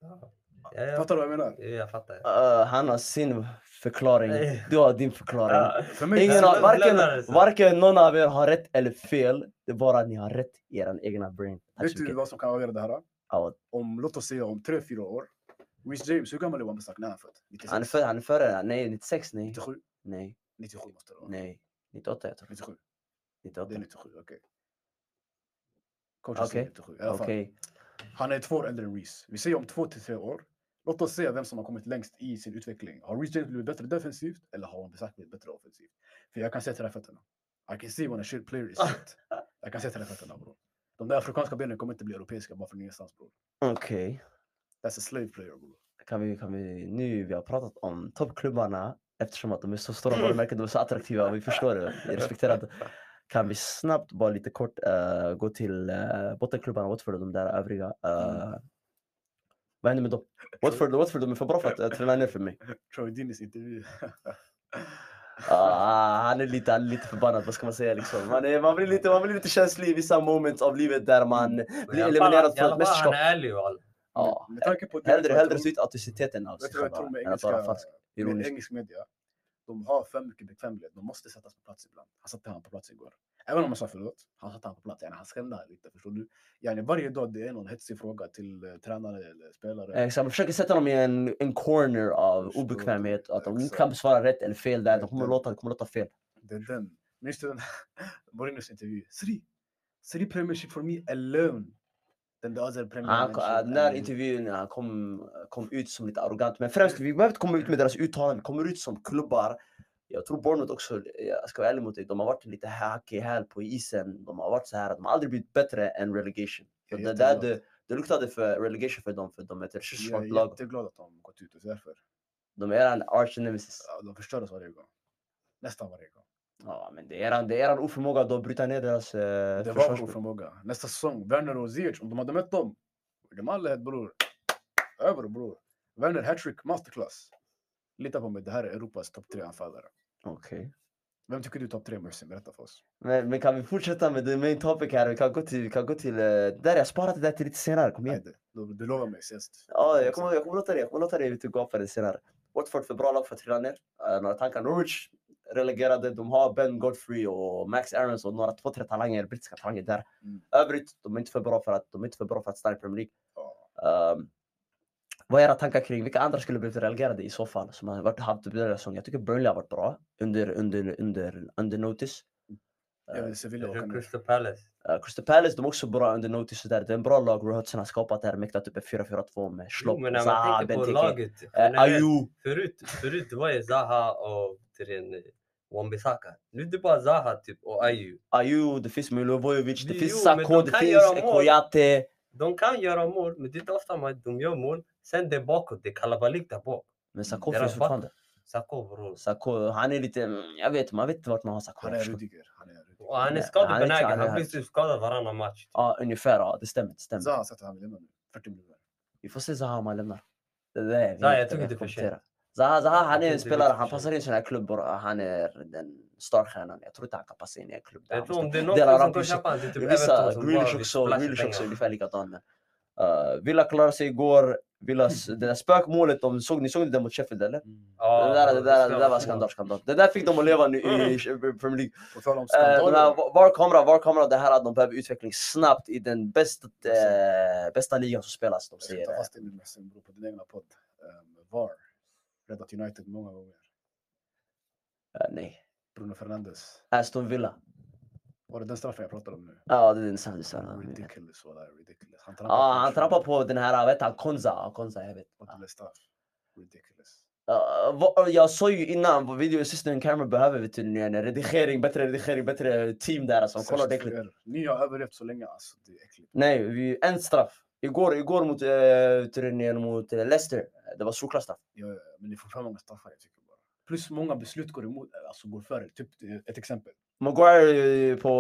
Speaker 3: Ja, ja,
Speaker 2: Fattar du vad jag menar?
Speaker 3: ja, jag fattar.
Speaker 1: Eh, Han har sin förklaring. Du har din förklaring.
Speaker 3: Ja,
Speaker 2: För mig,
Speaker 1: Ingen
Speaker 2: det
Speaker 1: har,
Speaker 2: här,
Speaker 3: av-
Speaker 1: varken,
Speaker 3: lämnar det så.
Speaker 1: varken någon av er har rätt eller fel. Det är bara att ni har rätt i er egna brain. Tack
Speaker 2: vet
Speaker 1: så
Speaker 2: du
Speaker 1: mycket.
Speaker 2: vad som kan avgöra det här?
Speaker 1: Ja, vad-
Speaker 2: Om, låt oss säga om 3-4 år. Reece James, hur gammal är Wan-Bissaka när han är född?
Speaker 1: Han är
Speaker 2: 96?
Speaker 1: född, han är före, nej 96, nej.
Speaker 2: 97?
Speaker 1: Nej,
Speaker 2: 97 måste det vara.
Speaker 1: nej. 98 jag tror.
Speaker 2: 97. Det
Speaker 1: 98.
Speaker 2: är 97, okej. Coachen
Speaker 1: Okej.
Speaker 2: säger 97. I alla fall.
Speaker 1: Okej.
Speaker 2: Han är två år äldre än Reece. Vi säger om två till tre år. Låt oss se vem som har kommit längst i sin utveckling. Har Reece James blivit bättre defensivt eller har han Besack blivit bättre offensivt? För jag kan se till de här fötterna. I can see when a shit player is shit. jag kan se till de här fötterna bror. De där afrikanska benen kommer inte bli europeiska bara för ingenstans bror.
Speaker 1: Okej.
Speaker 2: That's a slave player bror.
Speaker 1: Kan vi, kan vi, nu vi har pratat om toppklubbarna eftersom att de är så
Speaker 2: Mm.
Speaker 1: stora varumärken, de är så attraktiva och vi förstår det, vi respekterar det. Kan vi snabbt bara lite kort eh, gå till eh, bottenklubbarna Watford och de där övriga.
Speaker 2: Mm.
Speaker 1: eh, vad händer med dem? Watford, Watford de är för bra för att eh, träna ner för mig.
Speaker 2: Troy Dinnys intervju.
Speaker 1: Ja, Ah, han, är lite, han är lite förbannad, vad ska man säga liksom. Man, är, man, blir lite, man blir lite känslig i vissa moments av livet där
Speaker 2: Mm.
Speaker 1: man...
Speaker 3: Men i alla
Speaker 1: eliminerad
Speaker 3: fall- i
Speaker 1: från
Speaker 3: alla
Speaker 1: ett
Speaker 3: fall, Han är ärlig och all.
Speaker 1: Ja,
Speaker 2: Med tanke på
Speaker 1: hellre,
Speaker 2: jag
Speaker 1: hellre
Speaker 2: tror-
Speaker 1: se ut autenticiteten av sig
Speaker 2: Vet du vad
Speaker 1: själv
Speaker 2: jag
Speaker 1: bara,
Speaker 2: tror med
Speaker 1: än att vara
Speaker 2: engelska,
Speaker 1: falsk.
Speaker 2: med
Speaker 1: Ironisk.
Speaker 2: engelsk media? De har för mycket bekvämlighet. De måste sättas på plats ibland. Han satte han på plats igår. Även om han sa förlåt, han satte han på plats. Yani han skrämde han lite, förstår du? Yani varje dag det är någon hetsig fråga till eh, tränare eller spelare.
Speaker 1: Exakt, man försöker sätta dem i en, en corner eh, av
Speaker 2: Förstår du?
Speaker 1: obekvämhet. Att de inte
Speaker 2: Exakt.
Speaker 1: kan besvara rätt eller fel där. De kommer
Speaker 2: Verkligen.
Speaker 1: låta, de kommer låta fel.
Speaker 2: Det är den. Minns du den? Mourinhos intervju. Sri! Sri Premiership for me alone. Den där other Premier
Speaker 1: Han,
Speaker 2: Manager
Speaker 1: den där
Speaker 2: alone.
Speaker 1: intervjun han nou, kom, eh, kom ut som lite arrogant. Men främst, vi behöver inte komma ut med deras uttalanden. Vi kommer ut som klubbar. Jag tror Bournemouth också, jag ska vara ärlig mot dig, de har varit lite hack i häl på isen. De har varit så här, att de har aldrig blivit bättre än relegation. Så
Speaker 2: Jag är
Speaker 1: det, där,
Speaker 2: jätteglad.
Speaker 1: det, det luktade för relegation för dem, för de är ett resurssvagt
Speaker 2: Jag är
Speaker 1: lag.
Speaker 2: jätteglad att de gått ut och därför.
Speaker 1: De är en arch nemesis.
Speaker 2: Ja, De förstör oss varje gång. Nästan varje gång.
Speaker 1: Ja, men det är eran, det är eran oförmåga att då bryta ner deras eh,
Speaker 2: Det var vår
Speaker 1: försvarsspel.
Speaker 2: förmåga. Nästa säsong, Werner och Ziyech, om de hade mött dem. Gamallehet bror. Över bror. Werner hattrick masterclass. Lita på mig, det här är Europas topp tre anfallare.
Speaker 1: Okej.
Speaker 2: Vem tycker du är topp tre Mersin? Berätta för oss.
Speaker 1: Men, men kan vi fortsätta med the main topic här? Vi kan gå till... Vi kan gå till eh, där, jag sparat det där till lite senare. Kom igen.
Speaker 2: Nej, det- Du, du lovar mig sist.
Speaker 1: Ja, jag kommer, jag kommer låta dig, jag kommer låta dig ut och gapa det senare. Watford för bra lag för att trilla ner. Eh, några tankar. Norwich relegerade. De har Ben Godfrey och Max Aarons och några två, tre talanger, brittiska talanger där.
Speaker 2: Mm.
Speaker 1: Övrigt, de är inte för bra för att, de är inte för bra för att stanna i Premier League.
Speaker 2: Ja.
Speaker 1: Ehm, vad är era tankar kring vilka andra skulle blivit relegerade i så fall som har varit haft under säsongen? Jag tycker Burnley har varit bra under, under, under, under notice.
Speaker 2: Jag vill Sevilla åka
Speaker 3: Jag
Speaker 2: nu.
Speaker 3: Crystal Palace.
Speaker 1: Eh, Crystal Palace, de är också bra under notice och där. Det är en bra lag Rohutsen har skapat där, mäktat upp en 4-4-2 med
Speaker 3: Jo,
Speaker 1: Schlopp,
Speaker 3: men när man tänker på laget.
Speaker 1: eh,
Speaker 3: generellt,
Speaker 1: Ayu.
Speaker 3: Förut, förut det var ju Zaha och Tiren Wan-Bissaka. Nu är det bara Zaha typ, och Ayu.
Speaker 1: Ayu, det finns Milovojevic, det
Speaker 3: Jo,
Speaker 1: finns
Speaker 3: men
Speaker 1: Sako,
Speaker 3: de
Speaker 1: det
Speaker 3: kan
Speaker 1: finns
Speaker 3: göra mål.
Speaker 1: Koyate.
Speaker 3: De kan göra mål, men det är inte ofta man, de gör mål. Sen det är bakåt, det är kalabalik där bak.
Speaker 1: Men Sako
Speaker 3: Mm, Deras
Speaker 1: finns
Speaker 3: back-
Speaker 1: fortfarande.
Speaker 3: Sakho bror.
Speaker 1: Sako, han är lite, mm, jag vet, man vet inte vart man har Sako.
Speaker 2: Han är Rudiger. Han är Rudiger.
Speaker 3: Och han är
Speaker 1: Nej, han är inte- han
Speaker 3: skadebenägen,
Speaker 1: är
Speaker 3: han blir
Speaker 1: här.
Speaker 3: typ skadad varannan match.
Speaker 1: Ja, ungefär. Ja, det stämmer. Det stämmer.
Speaker 2: Zaha har sagt att han vill lämna nu. 40 miljoner.
Speaker 1: Vi får se Zaha om han lämnar. Det där är vi
Speaker 3: Zaha, jag
Speaker 1: inte
Speaker 3: tycker
Speaker 1: kan
Speaker 3: det är för
Speaker 1: kommentera.
Speaker 3: sent.
Speaker 1: Zaha, Zaha,
Speaker 3: Jag
Speaker 1: han är
Speaker 3: tycker
Speaker 1: en
Speaker 3: det är
Speaker 1: spelare,
Speaker 3: lite
Speaker 1: han
Speaker 3: för
Speaker 1: passar in i sådana här klubbar. Han är den starstjärnan. Jag tror inte han kan passa in i en klubb. där
Speaker 3: Jag
Speaker 1: han
Speaker 3: tror om det är
Speaker 1: Delar
Speaker 3: någon som
Speaker 1: upp
Speaker 3: kan
Speaker 1: i sig.
Speaker 3: köpa honom, det är typ
Speaker 1: Vissa,
Speaker 3: Everton som bara
Speaker 1: Grealish
Speaker 3: vill
Speaker 1: också,
Speaker 3: splasha
Speaker 1: Grealish också är
Speaker 3: pengar.
Speaker 1: ungefär likadan. Men, eh, Villa klarade sig igår. Villas, det där spökmålet, de såg, ni såg det där mot Sheffield eller?
Speaker 3: Ja,
Speaker 1: det, där, det,
Speaker 3: bror,
Speaker 1: där,
Speaker 3: ska
Speaker 1: det där var
Speaker 3: vara
Speaker 1: skandal, skandal. Det där fick de att leva nu i Premier League.
Speaker 2: På tal om
Speaker 1: Eh, de här,
Speaker 2: skandaler.
Speaker 1: var kamera, var kamera, det här att de behöver utveckling snabbt i den bästa, eh, bästa ligan som spelas. De
Speaker 2: Jag ska
Speaker 1: säger.
Speaker 2: ta
Speaker 1: det.
Speaker 2: fast dig nu Mersin, bror, på din egna podd. Ehm, VAR. Räddat United många gånger.
Speaker 1: Eh, nej.
Speaker 2: Bruno Fernandes.
Speaker 1: Aston Villa.
Speaker 2: Var det den straffen jag pratade om nu?
Speaker 1: Ja, det är den sanna sanningen.
Speaker 2: Ridiculous wallah, ridiculous. Han
Speaker 1: eh, Ja, han
Speaker 2: matchen
Speaker 1: trampar på den här, vet han, Konza. Konza, jag vet.
Speaker 2: och det blev straff. Ridiculous.
Speaker 1: Ja, vad- jag sa ju innan, vad video assistant camera behöver vi tydligen en redigering, bättre redigering, bättre team där alltså. som kollar
Speaker 2: Särskilt
Speaker 1: det klippet.
Speaker 2: för er. Ni har överlevt så länge alltså, det är äckligt.
Speaker 1: Nej, vi, en straff. Igår, igår mot, eh, turneringen mot eh, Leicester, det var solklar straff.
Speaker 2: Ja, ja, men ni får för många straffar jag tycker bara. Plus många beslut går emot, alltså går för er. Typ eh, ett exempel.
Speaker 1: Maguire eh, på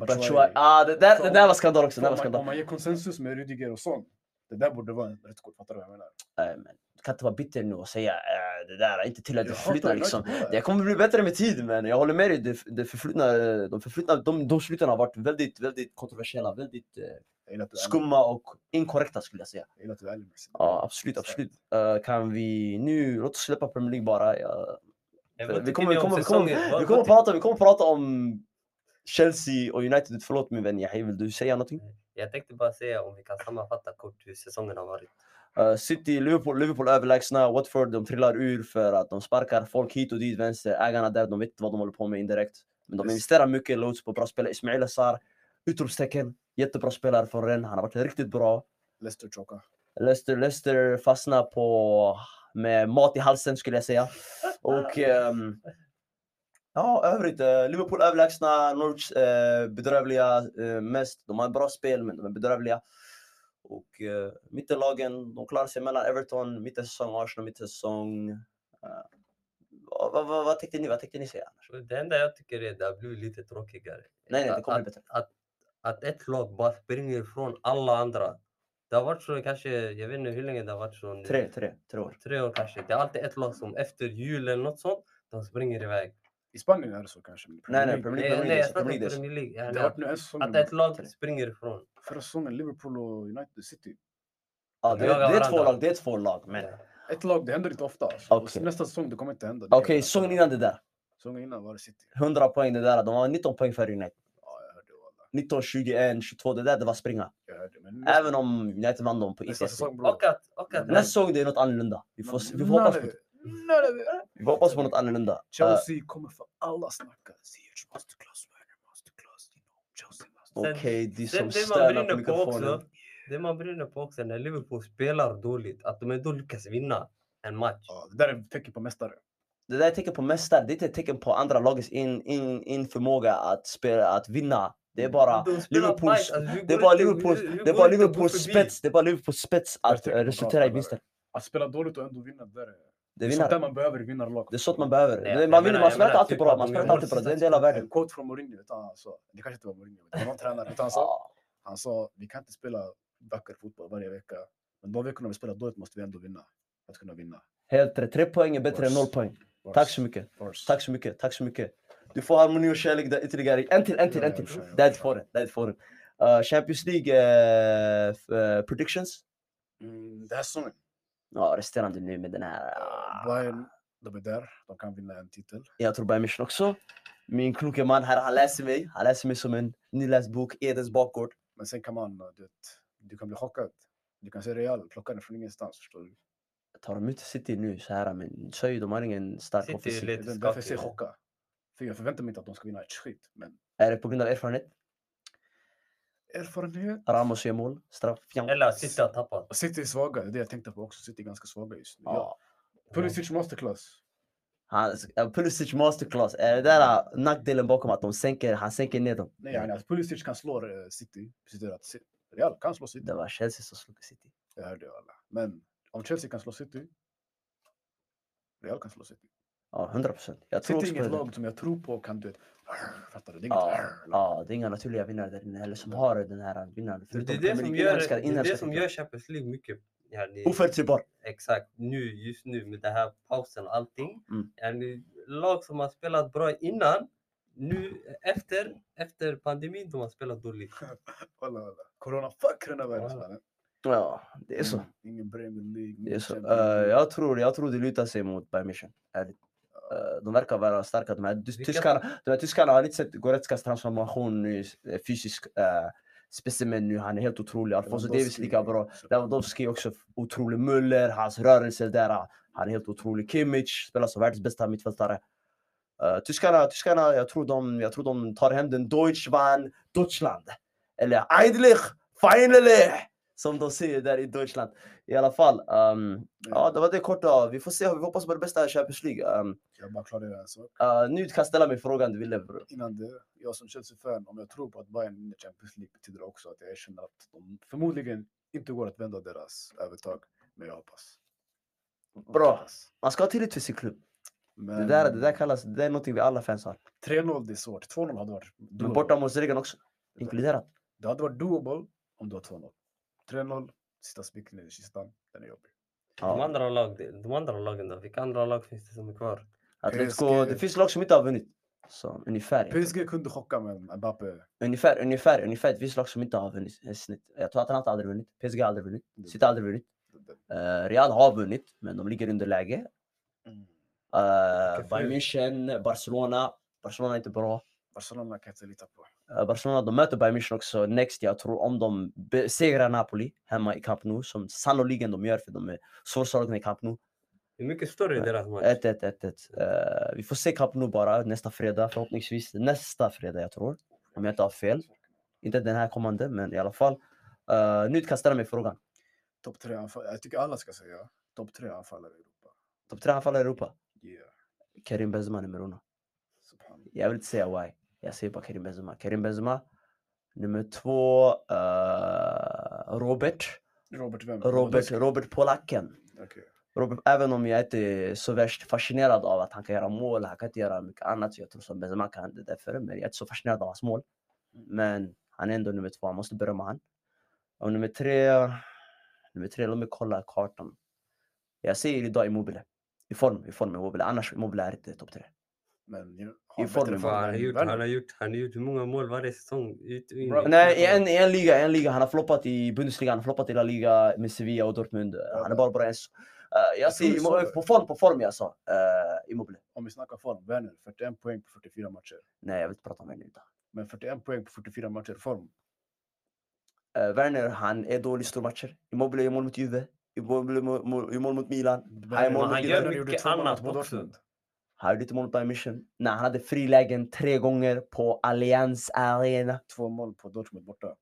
Speaker 2: Batshuayi.
Speaker 1: Batshuayi. Ah, det, där, det där var skandal också. Det där var
Speaker 2: Om man, om
Speaker 1: skandal.
Speaker 2: man ger konsensus med Rudiger och sånt. Det där borde vara ett rött kort, fattar du vad jag menar?
Speaker 1: Nej, men Du kan inte vara bitter nu och säga eh, det där är inte till att det
Speaker 2: Jag hatar
Speaker 1: förflutna
Speaker 2: United
Speaker 1: liksom.
Speaker 2: bara.
Speaker 1: Det kommer bli bättre med tid men jag håller med dig. Det, det förflutna, eh, de förflutna, de, de sluten har varit väldigt, väldigt kontroversiella, väldigt eh,
Speaker 2: Jag gillar att du är ärlig.
Speaker 1: skumma och inkorrekta skulle jag säga.
Speaker 2: Jag gillar att du är ärlig. Mersin.
Speaker 1: Ja, absolut, absolut. Eh, kan vi nu, låt oss släppa Premier League bara. Ja.
Speaker 3: Jag
Speaker 1: För vi
Speaker 3: vet inte
Speaker 1: kommer-
Speaker 3: om
Speaker 1: vi kommer- vi
Speaker 3: säsongen. Vad-
Speaker 1: Vi
Speaker 3: vad
Speaker 1: kommer
Speaker 3: tycker-
Speaker 1: prata, vi kommer prata om Chelsea och United. Förlåt min vän Yahi, vill du säga någonting?
Speaker 3: Jag tänkte bara säga om vi kan sammanfatta kort hur säsongen har varit.
Speaker 1: Eh, City, Liverpool, Liverpool överlägsna. Watford, de trillar ur för att de sparkar folk hit och dit, vänster. Ägarna där, de vet inte vad de håller på med indirekt. Men de
Speaker 2: Yes.
Speaker 1: investerar mycket, loads på bra spelare. Ismail Assar, utropstecken. Jättebra spelare från Rennes, han har varit riktigt bra.
Speaker 2: Leicester choka.
Speaker 1: Leicester, Leicester fastnar på med mat i halsen skulle jag säga. Och ehm, ja, övrigt. eh, Liverpool överlägsna, Norwich eh, bedrövliga eh, mest. De har bra spel, men de är bedrövliga. Och eh, mittenlagen, de klarar sig mellan Everton, mittensäsong, Arsenal, mittensäsong. Eh, vad, vad, vad, vad tänkte ni? Vad tänkte ni säga? annars?
Speaker 3: Det enda jag tycker är att det har blivit lite tråkigare.
Speaker 1: Nej, nej, det
Speaker 3: Att-
Speaker 1: kommer
Speaker 3: att-
Speaker 1: bli bättre.
Speaker 3: Att, att ett lag bara springer ifrån alla andra. Det har varit så kanske, jag vet inte hur länge det har varit så. nu.
Speaker 1: Tre, tre, tre år.
Speaker 3: Tre år kanske. Det är alltid ett lag som efter jul eller något sånt, de springer iväg.
Speaker 2: I Spanien är det så kanske. men i Premier
Speaker 1: Nej, nej,
Speaker 2: League-
Speaker 1: Premier
Speaker 3: Nej,
Speaker 1: League,
Speaker 3: nej, jag
Speaker 1: Premier
Speaker 3: snackar
Speaker 1: League.
Speaker 3: Premier League.
Speaker 2: Det
Speaker 3: يعني
Speaker 2: har varit
Speaker 3: Att
Speaker 2: nu en
Speaker 3: att
Speaker 2: säsong.
Speaker 3: ett lag springer ifrån.
Speaker 2: Förra säsongen Liverpool och United City.
Speaker 1: Ja, det,
Speaker 3: Jag
Speaker 1: är- det är
Speaker 3: varandra.
Speaker 1: två lag, det är två lag. Men... Okej,
Speaker 2: Ett lag, det händer inte ofta. Alltså. Och
Speaker 1: Okej.
Speaker 2: Nästa säsong, det kommer inte hända. Det kan jag
Speaker 1: säsongen
Speaker 2: garantera.
Speaker 1: innan det där.
Speaker 2: Säsongen innan var det City.
Speaker 1: 100 poäng det där. De har 19 poäng för United.
Speaker 2: Ja, jag hörde. wallah.
Speaker 1: 19, 21, 22. Det där, det var springa.
Speaker 2: Jag hörde. Men nästa,
Speaker 1: Även om United vann dem på
Speaker 2: nästa
Speaker 1: ICS.
Speaker 2: säsong, bror.
Speaker 3: Och att... Och att...
Speaker 1: Nästa säsong, det är något annorlunda. Vi får, se- vi får hoppas på det. Vi får hoppas på något annorlunda. Eh,
Speaker 2: Chelsea kommer för alla snacka. Ziyech masterclass, Werner masterclass. You know, Chelsea masterclass.
Speaker 1: Eh, Okej,
Speaker 3: Sen-
Speaker 1: de
Speaker 3: Det,
Speaker 1: som
Speaker 3: det man
Speaker 1: ställer på
Speaker 3: brinner på
Speaker 1: mikrofonen.
Speaker 3: också. Det man brinner på också när Liverpool spelar dåligt. Att de ändå lyckas vinna en match.
Speaker 2: Ja, det där är ett tecken på mästare.
Speaker 1: Det där är tecken på mästare. Det är inte ett tecken på andra lagets in, in, in förmåga att, spela, att vinna. Det är bara
Speaker 3: De spelar
Speaker 1: Liverpools-
Speaker 3: fight, alltså, vi
Speaker 1: det är
Speaker 3: går
Speaker 1: bara
Speaker 3: inte- vi-
Speaker 1: Liverpools-
Speaker 3: vi
Speaker 1: det är
Speaker 3: går
Speaker 1: bara
Speaker 3: inte att gå
Speaker 1: Liverpools
Speaker 3: förbi.
Speaker 1: spets. Det är bara Liverpools spets
Speaker 2: är
Speaker 1: att
Speaker 2: tecken på
Speaker 1: eh,
Speaker 2: bra
Speaker 1: resultera i
Speaker 2: spelare.
Speaker 1: vinster.
Speaker 2: Att spela dåligt och ändå vinna, det där är...
Speaker 1: Det är
Speaker 2: sånt där
Speaker 1: vinnare.
Speaker 2: man behöver i vinnarlag.
Speaker 1: Det är sånt man behöver.
Speaker 3: Nej,
Speaker 1: Det-
Speaker 3: jag
Speaker 1: man vinner,
Speaker 3: menar-
Speaker 1: man
Speaker 3: jag
Speaker 1: spelar
Speaker 3: menar
Speaker 1: alltid
Speaker 3: typ
Speaker 1: bra.
Speaker 3: att
Speaker 1: Man
Speaker 3: de
Speaker 1: spelar
Speaker 3: vinner
Speaker 1: alltid bra. Det är en
Speaker 3: sista
Speaker 1: del av
Speaker 2: En
Speaker 1: världen.
Speaker 2: quote från Mourinho, utan han sa, det kanske inte var Mourinho, utan det var någon tränare. Utan han sa,
Speaker 1: Ja.
Speaker 2: han sa, vi kan inte spela vacker fotboll varje vecka. Men de veckorna vi spelar dåligt måste vi ändå vinna. För att kunna vinna.
Speaker 1: Helt rätt. Tre poäng är bättre än noll poäng.
Speaker 2: Vars.
Speaker 1: Tack så mycket.
Speaker 2: Vars.
Speaker 1: Tack så mycket. Tack så mycket. Du får harmoni och kärlek där ytterligare. En till, en till,
Speaker 2: Ja,
Speaker 1: en
Speaker 2: jag
Speaker 1: till.
Speaker 2: förstår, jag
Speaker 1: Det är
Speaker 2: förstår.
Speaker 1: får den. Det är får den. Eh, Champions League eh, f- eh, predictions.
Speaker 2: Mm, det här säsongen.
Speaker 1: Ja, resterande nu med den här. ah,
Speaker 2: Bayern, de är där. De kan vinna en titel.
Speaker 1: Jag tror Bayern München också. Min kloke man här, han läser mig. Han läser mig som en nyläst bok, Edens bakgård.
Speaker 2: Men sen kan man, du vet, du kan bli chockad. Du kan se Real plocka den från ingenstans. Förstår du?
Speaker 1: Tar de ut City nu så här, men så är ju de har ingen stark
Speaker 3: City är
Speaker 1: offensiv.
Speaker 3: lite-
Speaker 2: Det är därför jag
Speaker 3: skakigt,
Speaker 2: säger
Speaker 3: ja.
Speaker 2: chocka. För jag förväntar mig inte att de ska vinna ett skit. Men
Speaker 1: Är det på grund av erfarenhet?
Speaker 2: erfarenhet.
Speaker 1: Ramos gör mål, straff, fjam.
Speaker 3: Eller att City har tappat.
Speaker 2: Och City är svaga. Det är det jag tänkte på också. City är ganska svaga just nu. Ja.
Speaker 1: Ja.
Speaker 2: Pulisic masterclass.
Speaker 1: Hans, eh, Pulisic masterclass. Är det där eh, nackdelen bakom att de sänker, han sänker ner dem?
Speaker 2: Nej, yani att Pulisic kan slå eh, City betyder att Ci- Real kan slå City.
Speaker 1: Det var Chelsea som slog City.
Speaker 2: Jag hörde ju alla. Men om Chelsea kan slå City. Real kan slå City.
Speaker 1: Ja, 100 procent. Jag tror
Speaker 2: City är
Speaker 1: också på
Speaker 2: inget
Speaker 1: det.
Speaker 2: lag som jag tror på kan du vet. Fattar du? Det är inget.
Speaker 1: Ja,
Speaker 2: "Arr", lag.
Speaker 1: ja, det är inga naturliga vinnare där inne heller som har den här vinnaren.
Speaker 3: Det är
Speaker 1: Förutom
Speaker 3: det
Speaker 1: Premier
Speaker 3: som
Speaker 1: League,
Speaker 3: gör,
Speaker 1: inhemska-
Speaker 3: det, är
Speaker 1: inhemska
Speaker 3: det som
Speaker 1: titlar.
Speaker 3: gör Champions League mycket. يعني
Speaker 1: Oförutsägbar.
Speaker 3: Exakt, nu, just nu med den här pausen och allting.
Speaker 1: Mm.
Speaker 3: يعني lag som har spelat bra innan, nu efter, efter pandemin, de har spelat dåligt.
Speaker 2: Walla, walla. Corona, fuck den här världen.
Speaker 3: Walla.
Speaker 2: mannen.
Speaker 1: Ja, det är så.
Speaker 3: Mm.
Speaker 2: Ingen- Ingen Premier League.
Speaker 1: Det är
Speaker 2: ingen
Speaker 1: så.
Speaker 2: Champions League.
Speaker 1: Eh, jag, tror, jag tror det lutar sig mot Bayern München. ärligt. Eh, de verkar vara starka. De här, dys-
Speaker 3: Vilka-
Speaker 1: tyskarna, de här tyskarna har inte sett Goretzkas transformation nu, eh, fysisk eh, specimen nu. Han är helt otrolig. Alfonso Davis
Speaker 2: Lewandowski,
Speaker 1: lika bra.
Speaker 2: så-
Speaker 1: Lewandowski är också otrolig. Müller, hans rörelser där. ah, Han är helt otrolig. Kimmich spelar som världens bästa mittfältare. Eh, tyskarna, tyskarna jag, tror de, jag tror de tar hem den Deutschland, Deutschland. Eller Eidlich, Feinlich! Som de säger där i Deutschland. I alla fall. ehm, ja, det var det korta. Vi får se. Vi hoppas på det bästa i Champions League. Um,
Speaker 2: Jag bara klarar en sak.
Speaker 1: nu kan jag ställa mig frågan du ville. bror.
Speaker 2: Innan det, jag som Chelsea-fan, om jag tror på att Bayern vinner Champions League betyder det också att jag erkänner att de förmodligen inte går att vända deras övertag. Men jag hoppas. Jag
Speaker 1: Bra.
Speaker 2: hoppas.
Speaker 1: Man ska ha tillit till sin klubb.
Speaker 2: Men
Speaker 1: Det där, det där kallas, det är någonting vi alla fans har.
Speaker 2: 3-0 det är svårt. 2-0 hade varit
Speaker 1: Men
Speaker 2: doable.
Speaker 1: borta mot Zregan också. Inkluderat.
Speaker 2: Det hade varit doable om det var 2-0. 3-0, sista spiken i kistan, den är jobbig.
Speaker 3: De
Speaker 1: Ja.
Speaker 3: andra, lag, de andra lagen då, vilka andra lag finns det som är kvar?
Speaker 1: Atletico, det finns lag som inte har vunnit. Så, ungefär. jag tror.
Speaker 2: PSG kunde chocka men Mbappe,
Speaker 1: Ungefär, ungefär, ungefär. Det finns lag som inte har vunnit. eh, Snitt. Jag tror att han har aldrig vunnit. PSG har aldrig vunnit.
Speaker 2: Mm.
Speaker 1: City har aldrig vunnit. Eh, Real har vunnit, men de ligger under läge. Mm. Eh, Bayern
Speaker 3: fult.
Speaker 1: München, Barcelona. Barcelona är inte bra.
Speaker 2: Barcelona kan jag inte lita på.
Speaker 1: Eh, Barcelona de möter Bayern München också next. Jag tror om de besegrar Napoli hemma i Camp Nou, som sannoliken de gör för de är svårslagna i Camp Nou.
Speaker 3: Hur mycket större är
Speaker 1: Nej.
Speaker 3: deras match?
Speaker 1: 1-1, 1-1. Eh, vi får se Camp Nou bara nästa fredag, förhoppningsvis. Nästa fredag, jag tror. Om jag inte har fel. Inte den här kommande, men i alla fall. Eh, nu kan jag ställa mig frågan.
Speaker 2: Topp tre anfallare, jag tycker alla ska säga topp tre anfallare i Europa.
Speaker 1: Topp tre anfallare i Europa.
Speaker 2: Yeah.
Speaker 1: Karim Benzema nummer uno.
Speaker 2: Subhanallah.
Speaker 1: Jag vill inte säga why. Jag säger bara Karim Benzema. Karim Benzema. Nummer två, eh, Robert.
Speaker 2: Robert vem?
Speaker 1: Robert,
Speaker 2: Lewandowski?
Speaker 1: Robert Polacken.
Speaker 2: Okej.
Speaker 1: Robert, även om jag inte är så värst fascinerad av att han kan göra mål, han kan inte göra mycket annat. Jag tror som Benzema kan det därför, men jag är inte så fascinerad av hans mål. Men han är ändå nummer två, han måste berömma han. Och nummer tre, nummer tre, låt mig kolla kartan. Jag säger idag Immobile. I form, i form Immobile. Annars Immobile är inte topp tre.
Speaker 2: Men ju- har
Speaker 1: I
Speaker 2: bättre
Speaker 1: form.
Speaker 2: form
Speaker 3: Fan, han, har
Speaker 2: än
Speaker 3: gjort,
Speaker 2: Werner.
Speaker 3: han, har gjort, han har gjort hur många mål varje säsong? Ut, in, Eh,
Speaker 2: Bra.
Speaker 3: ut,
Speaker 1: Nej, i
Speaker 3: in.
Speaker 1: en, i en liga, i en liga. Han har floppat i Bundesliga, han har floppat i La Liga med Sevilla och Dortmund. Han är bara bra en... s- Eh, jag
Speaker 2: Jag tror
Speaker 1: ser
Speaker 2: vi
Speaker 1: Imo-
Speaker 2: såg det.
Speaker 1: på form, på form jag sa. Uh, Immobile.
Speaker 2: Om vi snackar form, Werner 41 poäng på 44 matcher.
Speaker 1: Nej, jag vill inte prata om Werner idag.
Speaker 2: Men 41 poäng på 44 matcher, form.
Speaker 1: Eh, Werner, han är dålig i stora matcher. Immobile gör mål mot Juve. Immobile mo- mo- gör mål mot Milan.
Speaker 2: Werner-
Speaker 1: mål mot
Speaker 2: Werner
Speaker 1: Milan.
Speaker 2: gjorde
Speaker 3: Mycket
Speaker 2: två mål mot
Speaker 3: annat också.
Speaker 2: Dortmund.
Speaker 1: Han gjorde inte mål mot Bayern München. Nej, han hade frilägen tre gånger på Allianz Arena.
Speaker 2: Två mål på Dortmund borta.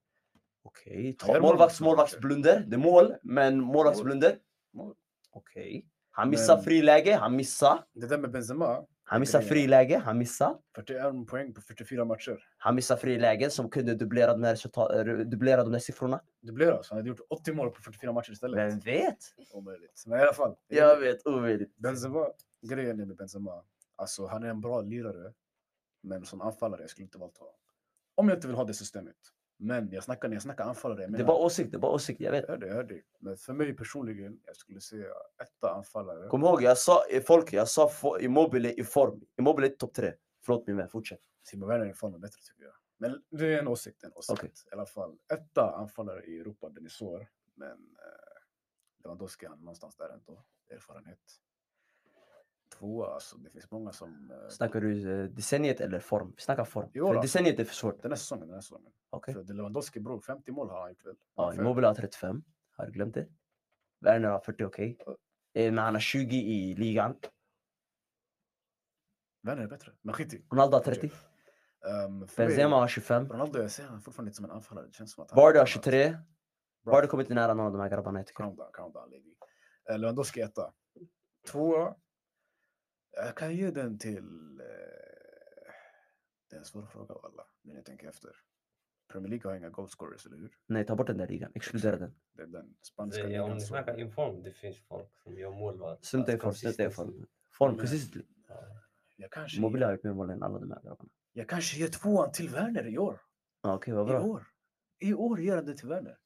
Speaker 1: Okej,
Speaker 2: gör
Speaker 1: okay.
Speaker 2: mål
Speaker 1: målvakts
Speaker 2: mot Bayern München.
Speaker 1: målvaktsblunder. Det är mål, men målvaktsblunder.
Speaker 2: Mål.
Speaker 1: Okej. Han missar
Speaker 2: Men-
Speaker 1: friläge, han missar.
Speaker 2: Det där med Benzema,
Speaker 1: Han missar
Speaker 2: det.
Speaker 1: friläge, han missar.
Speaker 2: 41 poäng på 44 matcher.
Speaker 1: Han missar frilägen som kunde dubblera de här, resultat, eh, dubblera de här siffrorna.
Speaker 2: Det blev alltså, han hade gjort 80 mål på 44 matcher istället.
Speaker 1: Vem vet?
Speaker 2: Omöjligt. Men i alla fall. det är
Speaker 1: Jag
Speaker 2: det.
Speaker 1: vet, omöjligt.
Speaker 2: Benzema, grejen är med Benzema, alltså han är en bra lirare, men som anfallare jag skulle inte valt ha. Om jag inte vill ha det systemet. Men jag snackar, när jag snackar anfallare, jag
Speaker 1: Det
Speaker 2: menar...
Speaker 1: var åsikt, det var åsikt, jag vet.
Speaker 2: Jag hör det, jag hör det. Men för mig personligen, jag skulle säga etta anfallare.
Speaker 1: Kom ihåg, jag sa eh, folk, jag sa fo- Immobile i form. Immobile är topp tre. Förlåt min vän, fortsätt.
Speaker 2: Timo Werner är fan bättre tycker jag. Men det är en åsikt, en åsikt.
Speaker 1: Okej.
Speaker 2: I alla fall, etta anfallare i Europa, den är svår. Men eh, Lewandowski han är någonstans där ändå, erfarenhet. Tvåa, alltså det finns många som... Eh,
Speaker 1: Snackar du eh, decenniet eller form? Vi snackar form.
Speaker 2: Jo
Speaker 1: För
Speaker 2: då.
Speaker 1: decenniet är för svårt.
Speaker 2: den här säsongen, den här säsongen.
Speaker 1: Okej.
Speaker 2: För Lewandowski bror, 50 mål har han gjort väl?
Speaker 1: Ja,
Speaker 2: Ungefär.
Speaker 1: Immobile har 35. Har du glömt det? Werner har 40, okej. Eh, Men han har 20 i ligan.
Speaker 2: Werner är bättre, men skit i.
Speaker 1: Ronaldo har 30.
Speaker 2: Um, för mig-
Speaker 1: Benzema har 25.
Speaker 2: Ronaldo, jag ser han fortfarande inte som en anfallare. Det känns som att han...
Speaker 1: Vardy har
Speaker 2: han-
Speaker 1: 23.
Speaker 2: Bra.
Speaker 1: Vardy kommer inte nära någon av de här grabbarna jag tycker.
Speaker 2: Calm down, calm down lady. Eh, Lewandowski etta. Tvåa. Jag kan ge den till... Eh, det är en svår fråga alla. nu när jag tänker efter. Premier League har inga goalscorers, eller hur?
Speaker 1: Nej, ta bort den där ligan. Exkludera den.
Speaker 2: Det är den
Speaker 3: Det
Speaker 2: spanska
Speaker 3: är- Om
Speaker 2: ligan.
Speaker 3: ni
Speaker 2: som-
Speaker 3: snackar inform, det finns folk som gör mål. va?
Speaker 1: Strunta i
Speaker 3: Alltså,
Speaker 1: form, strunta i
Speaker 3: consistency.
Speaker 1: form. Form,
Speaker 2: Men-
Speaker 1: precis.
Speaker 2: Jag kanske,
Speaker 1: Immobile
Speaker 2: ger,
Speaker 1: har gjort mer mål än alla de här grabbarna.
Speaker 2: jag kanske ger tvåan till Werner i år.
Speaker 1: Ja, Okej, vad
Speaker 2: I
Speaker 1: bra.
Speaker 2: år. I år ger jag det till Werner.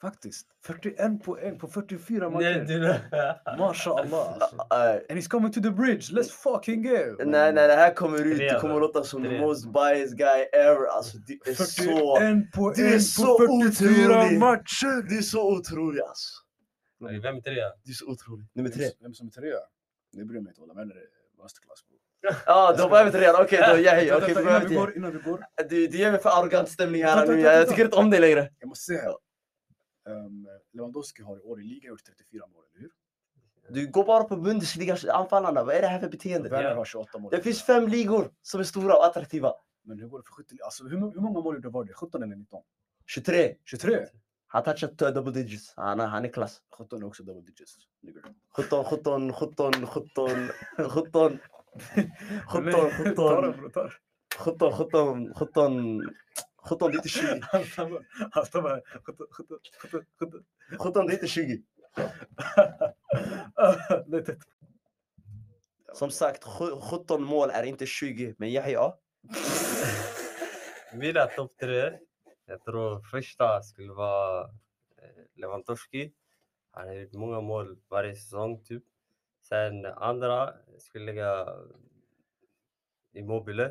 Speaker 2: Faktiskt. 41 poäng på 44
Speaker 3: Nej,
Speaker 2: matcher.
Speaker 3: du...
Speaker 2: Masha Allah. Alltså.
Speaker 1: Eh,
Speaker 2: And he's coming to the bridge. Let's fucking go!
Speaker 1: Nej, nej, det här kommer ut. Du
Speaker 3: Tre
Speaker 1: kommer
Speaker 3: då.
Speaker 1: låta som the
Speaker 3: Tre.
Speaker 1: most biased guy ever. Alltså, du Eh. är så...
Speaker 2: 41 poäng
Speaker 1: Du är så
Speaker 2: på 44
Speaker 1: otrolig.
Speaker 2: matcher!
Speaker 1: Du är er så otrolig alltså.
Speaker 3: Nej, Vem är trea?
Speaker 1: Du är er så otrolig. Nummer
Speaker 2: Vem
Speaker 1: tre.
Speaker 2: som- Vem som är trea? Det bryr jag mig inte om. Men det är masterclass. bror.
Speaker 1: Ja,
Speaker 2: Jag
Speaker 1: de
Speaker 2: ska-
Speaker 1: Ah, var över tre. redan. Okej, då. Ja, ja,
Speaker 2: Vänta,
Speaker 1: okej,
Speaker 2: vänta,
Speaker 1: vi går över
Speaker 2: innan vi
Speaker 1: till...
Speaker 2: går, innan vi går.
Speaker 1: Du, du ger mig för arrogant stämning här
Speaker 2: Vänta,
Speaker 1: nu.
Speaker 2: vänta,
Speaker 1: Jag
Speaker 2: vänta.
Speaker 1: tycker inte om dig längre.
Speaker 2: Jag måste säga här. Ehm, Lewandowski har i år i ligan gjort 34 mål, eller hur?
Speaker 1: Du går bara på Bundesligas anfallarna. Vad är er det här för beteende?
Speaker 2: Werner har 28 mål.
Speaker 1: Det finns fem ligor som er är stora och attraktiva.
Speaker 2: Men hur går det för 70? Alltså hur, hur många mål gjorde Vardy? 17 eller 19?
Speaker 1: 23.
Speaker 2: 23?
Speaker 1: Han touchat eh, double digits. Han, är- han är klass.
Speaker 2: 17 är också double digits. nigger.
Speaker 1: 17, 17, 17, 17, 17. 17,
Speaker 2: Ta
Speaker 1: 17.
Speaker 2: den bror, ta den.
Speaker 1: 17, 17, 17, 17, det är inte 20.
Speaker 2: Han tar bara- han tar bara 17, 17, 17, 17.
Speaker 1: 17, det är inte 20.
Speaker 2: Nej, det-
Speaker 1: Som sagt, sju- 17 mål är inte 20, men Yahya,
Speaker 3: Mina topp tre. Jag tror första skulle vara eh, Lewandowski. Han har gjort många mål varje säsong typ. Sen andra skulle lägga Immobile.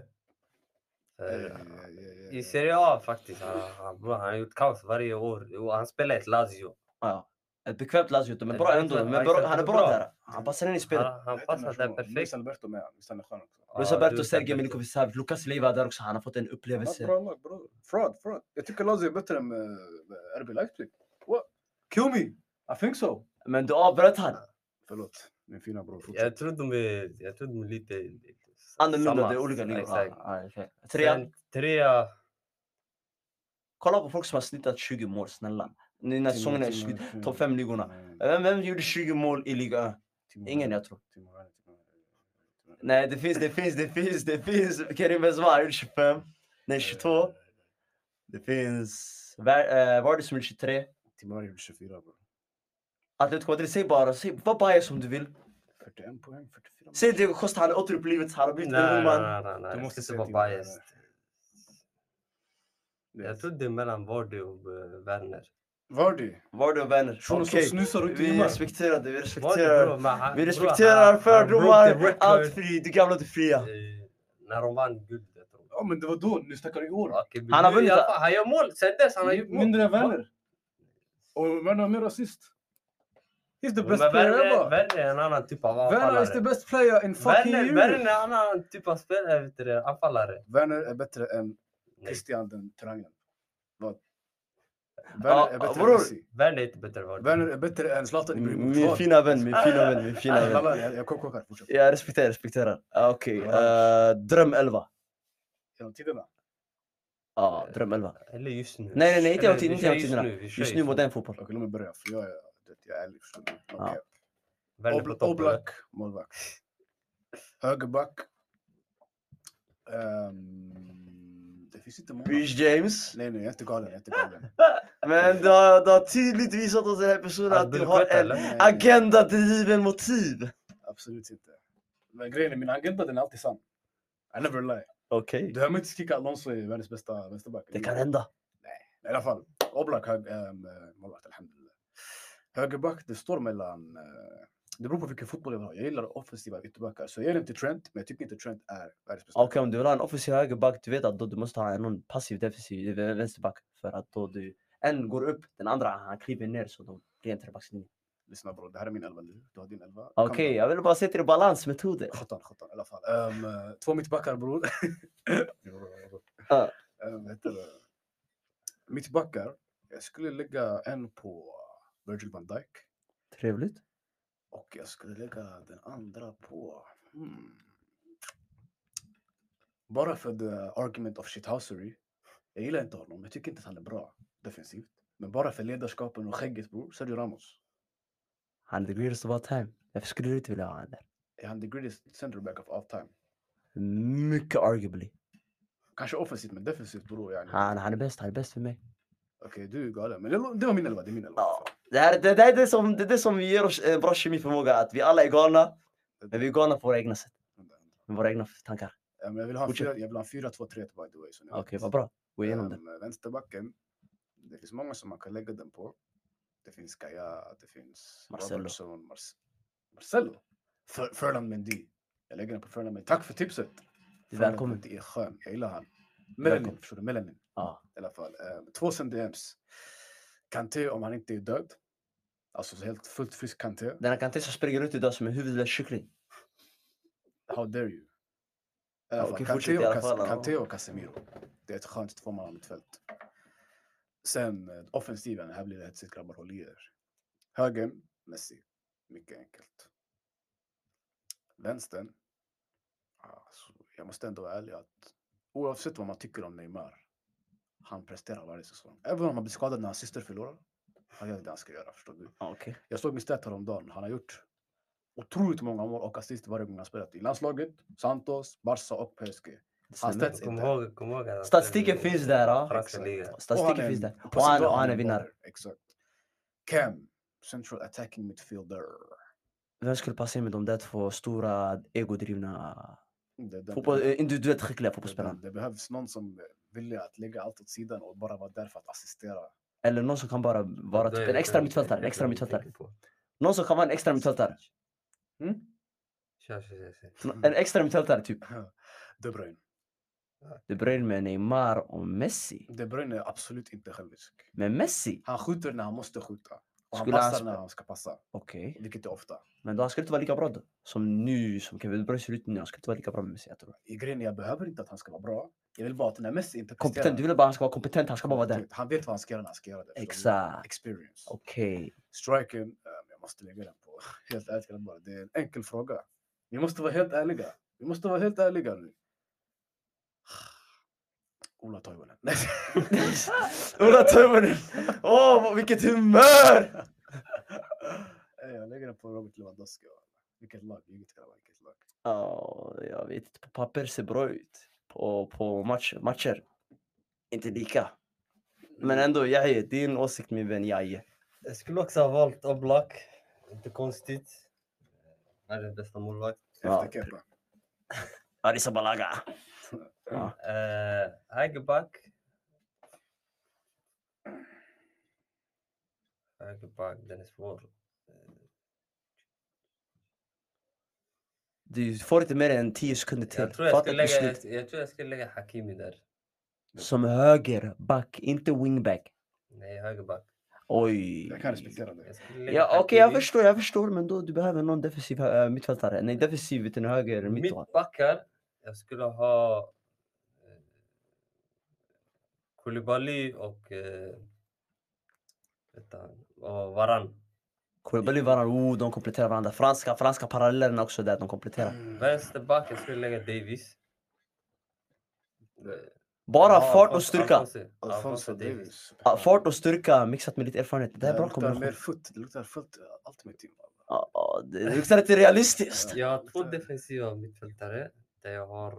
Speaker 2: Ja,
Speaker 3: För,
Speaker 1: Eh,
Speaker 2: ja, ja, ja,
Speaker 3: Eh, I
Speaker 2: ja.
Speaker 3: Serie A faktiskt. Han, han, bro, han har gjort kaos varje år. Och han spelar i ett Lazio.
Speaker 1: ja. Ett bekvämt Lazio, de är
Speaker 3: Ett
Speaker 1: bra ändå.
Speaker 3: bekvämt-
Speaker 1: De
Speaker 3: ja,
Speaker 1: är bra,
Speaker 3: exakt,
Speaker 1: han är
Speaker 3: de är
Speaker 1: bra
Speaker 3: bra.
Speaker 1: där. Han passar in i spelet.
Speaker 3: Han, han
Speaker 2: Vad heter
Speaker 3: passar
Speaker 2: här
Speaker 3: där
Speaker 2: som- Luis
Speaker 3: perfekt.
Speaker 2: Alberto med, visst han är skön också?
Speaker 1: Luis
Speaker 3: Ja,
Speaker 1: Alberto,
Speaker 3: Luis
Speaker 1: Sergej
Speaker 3: Alberto.
Speaker 1: Milinkovic-Savic, Lucas Leiva där också. Han har fått en
Speaker 2: Han har ett
Speaker 1: upplevelse.
Speaker 2: bra lag bror. Fraud, fraud. Jag tycker Lazio är bättre än eh, RB Leipzig. What? Kill me! I think so!
Speaker 1: Men du avbröt han.
Speaker 2: Förlåt, min fina bror.
Speaker 3: Jag
Speaker 2: Fortsätt.
Speaker 3: tror de är, jag tror de är lite... lite
Speaker 1: Annorlunda,
Speaker 3: samma.
Speaker 1: det är olika ligor. Ja,
Speaker 3: Exakt.
Speaker 1: ja, exakt. Trean.
Speaker 3: Sen trea.
Speaker 1: Kolla på folk som har snittat 20 mål, snälla. Nu när säsongen är slut, topp fem ligorna. Vem, vem gjorde 20 mål i Liga 1? Ingen, jag tror. Nej, det finns, det finns, det finns, det finns. Karim Benzema har gjort 25. Nej,
Speaker 2: Eh,
Speaker 1: 22. Det finns Ver- eh, Vardy som gjorde 23.
Speaker 2: Timar gjorde 24 bror.
Speaker 1: Atletico Madrid, säg bara, säg, var bias som du vill.
Speaker 2: 41 poäng, 44
Speaker 1: Säg Diego Costa, han är återupplivet, han har
Speaker 3: Nej,
Speaker 1: blivit en
Speaker 3: nej,
Speaker 1: ung man.
Speaker 3: nej, nej, nej.
Speaker 2: Du måste
Speaker 3: Du måste inte
Speaker 2: se till
Speaker 3: vara
Speaker 2: vad det
Speaker 3: biased.
Speaker 2: Det är-
Speaker 3: Jag trodde mellan Vardy och eh, Werner.
Speaker 2: Vardy!
Speaker 1: Vardy och Werner.
Speaker 2: Shunon som
Speaker 1: Okej,
Speaker 2: snusar och inte
Speaker 1: vi
Speaker 2: limmar.
Speaker 1: respekterar det, vi
Speaker 3: Vardy,
Speaker 1: respekterar.
Speaker 3: bro, men han-
Speaker 1: Vi
Speaker 3: bro,
Speaker 1: respekterar
Speaker 3: han- han broke the
Speaker 1: fördomar,
Speaker 3: record,
Speaker 1: allt fri, du gamla du fria.
Speaker 3: eh, När de vann guld, jag tror.
Speaker 2: Ja men det var då, nu snackar vi år.
Speaker 3: Okej, men
Speaker 1: Han har
Speaker 3: nu i
Speaker 1: vunnit
Speaker 3: alla
Speaker 1: det.
Speaker 3: fall, Han gör mål sen dess. Han har gjort mål.
Speaker 2: Mindre vänner. Och Werner har mer assist. He's the
Speaker 3: Men
Speaker 2: best player
Speaker 3: Werner
Speaker 2: ever.
Speaker 3: Werner är en annan typ av
Speaker 2: Werner is the
Speaker 3: anfallare.
Speaker 2: best player in fucking
Speaker 3: Werner Werner är
Speaker 2: Europe.
Speaker 3: en annan typ av spelare, vet du det, anfallare.
Speaker 2: Werner är bättre än
Speaker 3: Nej,
Speaker 2: Christian den Trangen. Vad?
Speaker 3: Ja,
Speaker 2: Werner är bättre än
Speaker 3: bror.
Speaker 2: Messi.
Speaker 3: Werner är inte bättre än Werner.
Speaker 2: Werner är bättre än Zlatan Ibrahimovic.
Speaker 1: Min
Speaker 2: Vad?
Speaker 1: fina vän, min fina vän, min fina vän.
Speaker 2: Alla, jag- Jag kom kvar, fortsätt.
Speaker 1: Jag respekterar, respekterar. Ah, Okej,
Speaker 2: Ja.
Speaker 1: eh, dröm 11.
Speaker 2: Genom tiderna.
Speaker 1: Ja, dröm 11.
Speaker 3: Eller just nu.
Speaker 1: Nej, nej, nej, inte
Speaker 3: Eller
Speaker 1: jag tid,
Speaker 3: vi
Speaker 1: inte jag
Speaker 3: kör
Speaker 1: tiderna.
Speaker 3: nu, vi kör
Speaker 1: Just nu modern fotboll.
Speaker 2: Okej, låt mig börja för jag är, jag är ärlig. förstår du? No
Speaker 1: Ja.
Speaker 2: cap.
Speaker 3: Werner på
Speaker 2: Obl-
Speaker 3: topp, eller?
Speaker 2: Oblak, målvakt. Högerback. Ehm, det finns inte många.
Speaker 1: Beach James.
Speaker 2: Nej, nej, jag är inte galen. Jag är inte galen.
Speaker 1: Men du har, du har tydligt visat oss den här personen
Speaker 3: Han
Speaker 1: att Alltså, du
Speaker 3: blir
Speaker 1: har
Speaker 3: skött,
Speaker 1: en
Speaker 3: eller?
Speaker 2: Nej, nej,
Speaker 1: agenda driven motiv.
Speaker 2: Absolut inte. Men grejen är, min agenda den är alltid sann. I never lie.
Speaker 1: Okej.
Speaker 2: Du hör mig inte skrika Alonso är världens bästa vänsterback.
Speaker 1: Det kan hända.
Speaker 2: I alla fall, Oblak hög, ähm, målvakt, alhamdulillah. Högerback, det står mellan... eh, det beror på vilken fotboll jag vill ha. Jag gillar offensiva ytterbackar. Så jag ger den till Trent, men jag tycker inte Trent är världens bästa.
Speaker 1: Okej, om du vill ha en offensiv högerback, du vet att då du måste ha någon passiv defensiv eh, vänsterback. För att då du, en går upp, den andra han kliver ner så de blir en trebackslinje.
Speaker 2: Lyssna bror, det här är min elva nu. Du har din elva. Calm
Speaker 1: Okej,
Speaker 2: down.
Speaker 1: jag vill bara se till balansmetoder.
Speaker 2: Sjutton, sjutton i alla fall. Ehm, eh, två mittbackar bror.
Speaker 1: Ja.
Speaker 2: Ehm, heter det? Mittbackar. Jag skulle lägga en på Virgil van Dijk.
Speaker 1: Trevligt.
Speaker 2: Och jag skulle lägga den andra på... Hmm. Bara för the argument of shithousery. Jag gillar inte honom. Jag tycker inte att han är bra defensivt. Men bara för ledarskapen och skägget bror. Sergio Ramos.
Speaker 1: Han är the greatest of all time. Varför skulle du inte vilja ha han där?
Speaker 2: Är han the greatest centerback of all time?
Speaker 1: Mycket arguably.
Speaker 2: Kanske offensivt men defensivt bror. yani.
Speaker 1: Han, han är bäst, han är bäst för mig.
Speaker 2: Okej, du är galen. Men det det var min elva. Det är min elva.
Speaker 1: Ja. Det, här, det, det, här är det, som, det är det som ger oss eh, en bra kemiförmåga, att vi alla är galna, men vi är galna på våra egna sätt.
Speaker 2: Vänta, vänta.
Speaker 1: Med våra egna tankar.
Speaker 2: Ja, men Jag vill ha en
Speaker 1: Fortsätt.
Speaker 2: 4-2-3 by the way. så ni
Speaker 1: Okej,
Speaker 2: vet.
Speaker 1: vad bra. Gå igenom det.
Speaker 2: Ehm, Vänsterbacken. Det finns många som man kan lägga den på. Det finns Gaia, det finns
Speaker 1: Marcelo.
Speaker 2: Robertson, Marce- Marcelo. Fer- Ferland Mendy. Jag lägger den på Ferland Mendy. Tack för tipset! Ferland
Speaker 1: Välkommen.
Speaker 2: Mendy är skön. Jag gillar han.
Speaker 1: Välkommen.
Speaker 2: Melanin, förstår du? Melanin
Speaker 1: Ja.
Speaker 2: i alla fall. Ehm, Två CDMs. Kanté om han inte är död. Alltså så helt fullt frisk Kanté.
Speaker 1: Denna Kanté som springer ut idag som en huvudlös kyckling.
Speaker 2: How dare you? I
Speaker 1: Ja,
Speaker 2: alla fall,
Speaker 1: okej, fortsätt
Speaker 2: Kanté
Speaker 1: i alla
Speaker 2: och, Cas-
Speaker 1: fall, ja.
Speaker 2: Kanté och Casemiro. Det är ett skönt tvåmannamittfält. Sen eh, offensiven, här blir det hetsigt grabbar, håll i er. Högern, Messi. Mycket enkelt. Vänstern. Alltså, jag måste ändå vara ärlig att oavsett vad man tycker om Neymar, han presterar varje säsong. Även om han blir skadad när hans syster förlorar. Han gör det han ska göra, förstår du?
Speaker 1: Okej.
Speaker 2: Jag såg min stat häromdagen. Han har gjort otroligt många mål och assist varje gång han spelat i landslaget, Santos, Barca och PSG. Han
Speaker 1: stämmer.
Speaker 2: stats
Speaker 3: Kom
Speaker 2: inte.
Speaker 3: ihåg, kom ihåg att-
Speaker 1: Statistiken finns där. Ja.
Speaker 3: Franska ligan.
Speaker 2: Och han
Speaker 1: Statistiken
Speaker 2: är
Speaker 1: finns
Speaker 2: en-
Speaker 1: där.
Speaker 2: på
Speaker 1: Och
Speaker 2: sin
Speaker 1: han,
Speaker 2: dag
Speaker 1: och han är
Speaker 2: en
Speaker 1: vinnare.
Speaker 2: baller, Exakt. Cam, central attacking midfielder.
Speaker 1: Vem skulle passa in med de där två stora egodrivna
Speaker 2: Det, det,
Speaker 1: fotboll,
Speaker 2: det,
Speaker 1: eh, individuellt skickliga
Speaker 2: det,
Speaker 1: fotbollsspelarna?
Speaker 2: det behövs någon som vill att lägga allt åt sidan och bara vara där för att assistera.
Speaker 1: Eller någon som kan bara vara
Speaker 3: Då är
Speaker 1: typ en
Speaker 3: det
Speaker 1: extra
Speaker 3: vem-
Speaker 1: mittfältare. En
Speaker 3: vem
Speaker 1: extra
Speaker 3: vi
Speaker 1: mittfältare.
Speaker 3: tänker på.
Speaker 1: Någon som kan vara en extra mittfältare. Mm.
Speaker 3: Kör, kör, kör, kör.
Speaker 1: En extra mittfältare typ.
Speaker 2: De Bruyne.
Speaker 1: De Bruyne med Neymar och Messi.
Speaker 2: De Bruyne är absolut inte självisk.
Speaker 1: Men Messi?
Speaker 2: Han skjuter när han måste skjuta. Och han
Speaker 1: Skulle han spe-
Speaker 2: passar när han ska passa,
Speaker 1: Okej.
Speaker 2: vilket är ofta.
Speaker 1: Men då han skulle inte vara lika bra då. Som nu, som Kevin De Bruyne ser ut nu. Han skulle inte vara lika bra med Messi jag tror.
Speaker 2: I grejen är, jag behöver inte att han ska vara bra. Jag vill bara att när Messi inte
Speaker 1: Kompetent. Du vill bara att han ska vara kompetent. Han ska bara vara där.
Speaker 2: Typ, Han vet vad han ska göra när han ska göra det. förstår du?
Speaker 1: Exakt.
Speaker 2: Experience.
Speaker 1: Okej.
Speaker 2: Striken, ehm, jag måste lägga den på. Helt ärligt grabbar, det är en enkel fråga. Vi måste vara helt ärliga. Vi måste vara helt ärliga nu. Ola Toivonen. Nej,
Speaker 1: Ola Tömmernen! Åh, vad- vilket humör!
Speaker 2: eh, jag lägger den på Robert Lewandowski. Vilket lag, vilket grabbar, vilket lag.
Speaker 1: Ja, jag vet inte. På papper ser bra ut. På, på match, matcher. Inte lika. Men ändå, Jaje, din åsikt min vän Jaje.
Speaker 3: Jag skulle också ha valt Oblak. Inte konstigt. Världens bästa målvakt.
Speaker 1: Ja.
Speaker 2: Efter Kepa.
Speaker 1: Arisa Balaga.
Speaker 3: Eh, högerback. Högerback, den är svår.
Speaker 1: Du får inte mer än 10 sekunder till.
Speaker 3: Jag tror jag,
Speaker 1: Fatta ett
Speaker 3: skulle lägga,
Speaker 1: beslut.
Speaker 3: jag, jag tror jag skulle lägga Hakimi där.
Speaker 1: Som högerback, inte wingback.
Speaker 3: Nej, högerback.
Speaker 1: Oj.
Speaker 2: Jag kan respektera det.
Speaker 3: skulle lägga
Speaker 1: Ja, Okej, jag
Speaker 3: Hakimi.
Speaker 1: förstår, jag förstår. Men då du behöver någon defensiv äh, mittfältare. Nej, defensiv utan höger mittfältare.
Speaker 3: Mittbackar. Jag skulle ha eh, Koulibaly och, eh, vet han, och Varan.
Speaker 1: Koulibaly varandra, oh, de kompletterar varandra. Franska, franska parallellerna också där, de kompletterar.
Speaker 2: Mm.
Speaker 3: Vänsterback, jag skulle lägga Davis.
Speaker 1: Bara
Speaker 3: Ja,
Speaker 1: fart och
Speaker 3: Alfonso-
Speaker 1: styrka.
Speaker 3: Alfonso-
Speaker 2: Alfonso
Speaker 3: Alfonso Davis.
Speaker 2: Davis.
Speaker 1: Ja, Fart och styrka mixat med lite erfarenhet. Det här är bra
Speaker 2: luktar mer
Speaker 1: kombination.
Speaker 2: fullt. Det luktar fullt. eh, Allt med team.
Speaker 1: Ja, ja, Det det luktar lite realistiskt.
Speaker 3: Jag har två
Speaker 2: Lite-
Speaker 3: defensiva mittfältare där jag har... eh,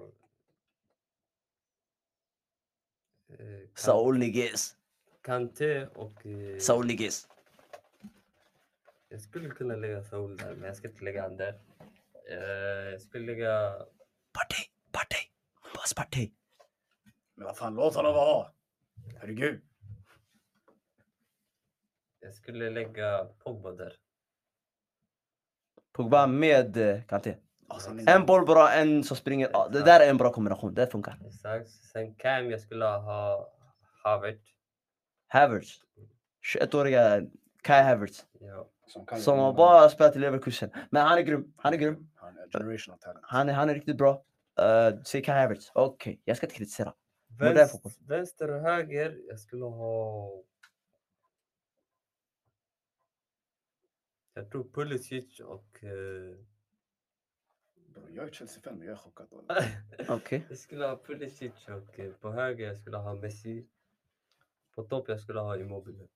Speaker 3: Kan-
Speaker 1: Saul Niguez.
Speaker 3: Kanté och... eh,
Speaker 1: Saul Niguez.
Speaker 3: Jag skulle kunna lägga Saul där, men jag ska inte lägga han där. Eh, Jag skulle lägga...
Speaker 1: Parti, parti. Hoppas parti.
Speaker 2: Men vad fan, låt honom vara. Herregud.
Speaker 3: Jag skulle lägga Pogba där.
Speaker 1: Pogba med eh, Kanté.
Speaker 2: Alltså, ni-
Speaker 1: En boll bra, en som springer. Ja, det där är en bra kombination. Det funkar.
Speaker 3: Exakt. Sen Cam, jag skulle ha Havertz.
Speaker 1: Havertz. 21-åriga Kai Havertz.
Speaker 3: Ja.
Speaker 2: Som, kan
Speaker 1: Som
Speaker 2: göra
Speaker 1: har
Speaker 2: mål.
Speaker 1: bara spelat i Leverkusen. Men han är grym. Han är grym.
Speaker 2: Han är generational talent.
Speaker 1: Han är, han är riktigt bra. Uh, Säg Kai Havertz. Okej, jag ska inte kritisera. Men där
Speaker 3: Vänst,
Speaker 1: fotboll.
Speaker 3: vänster och höger, jag skulle ha... Jag tror Pulisic och... eh,
Speaker 2: Bro, Jag är Chelsea-fan, men jag är chockad. alltså.
Speaker 1: Äh, Okej.
Speaker 3: Jag skulle ha Pulisic och eh, på höger jag skulle ha Messi. På topp jag skulle ha Immobile.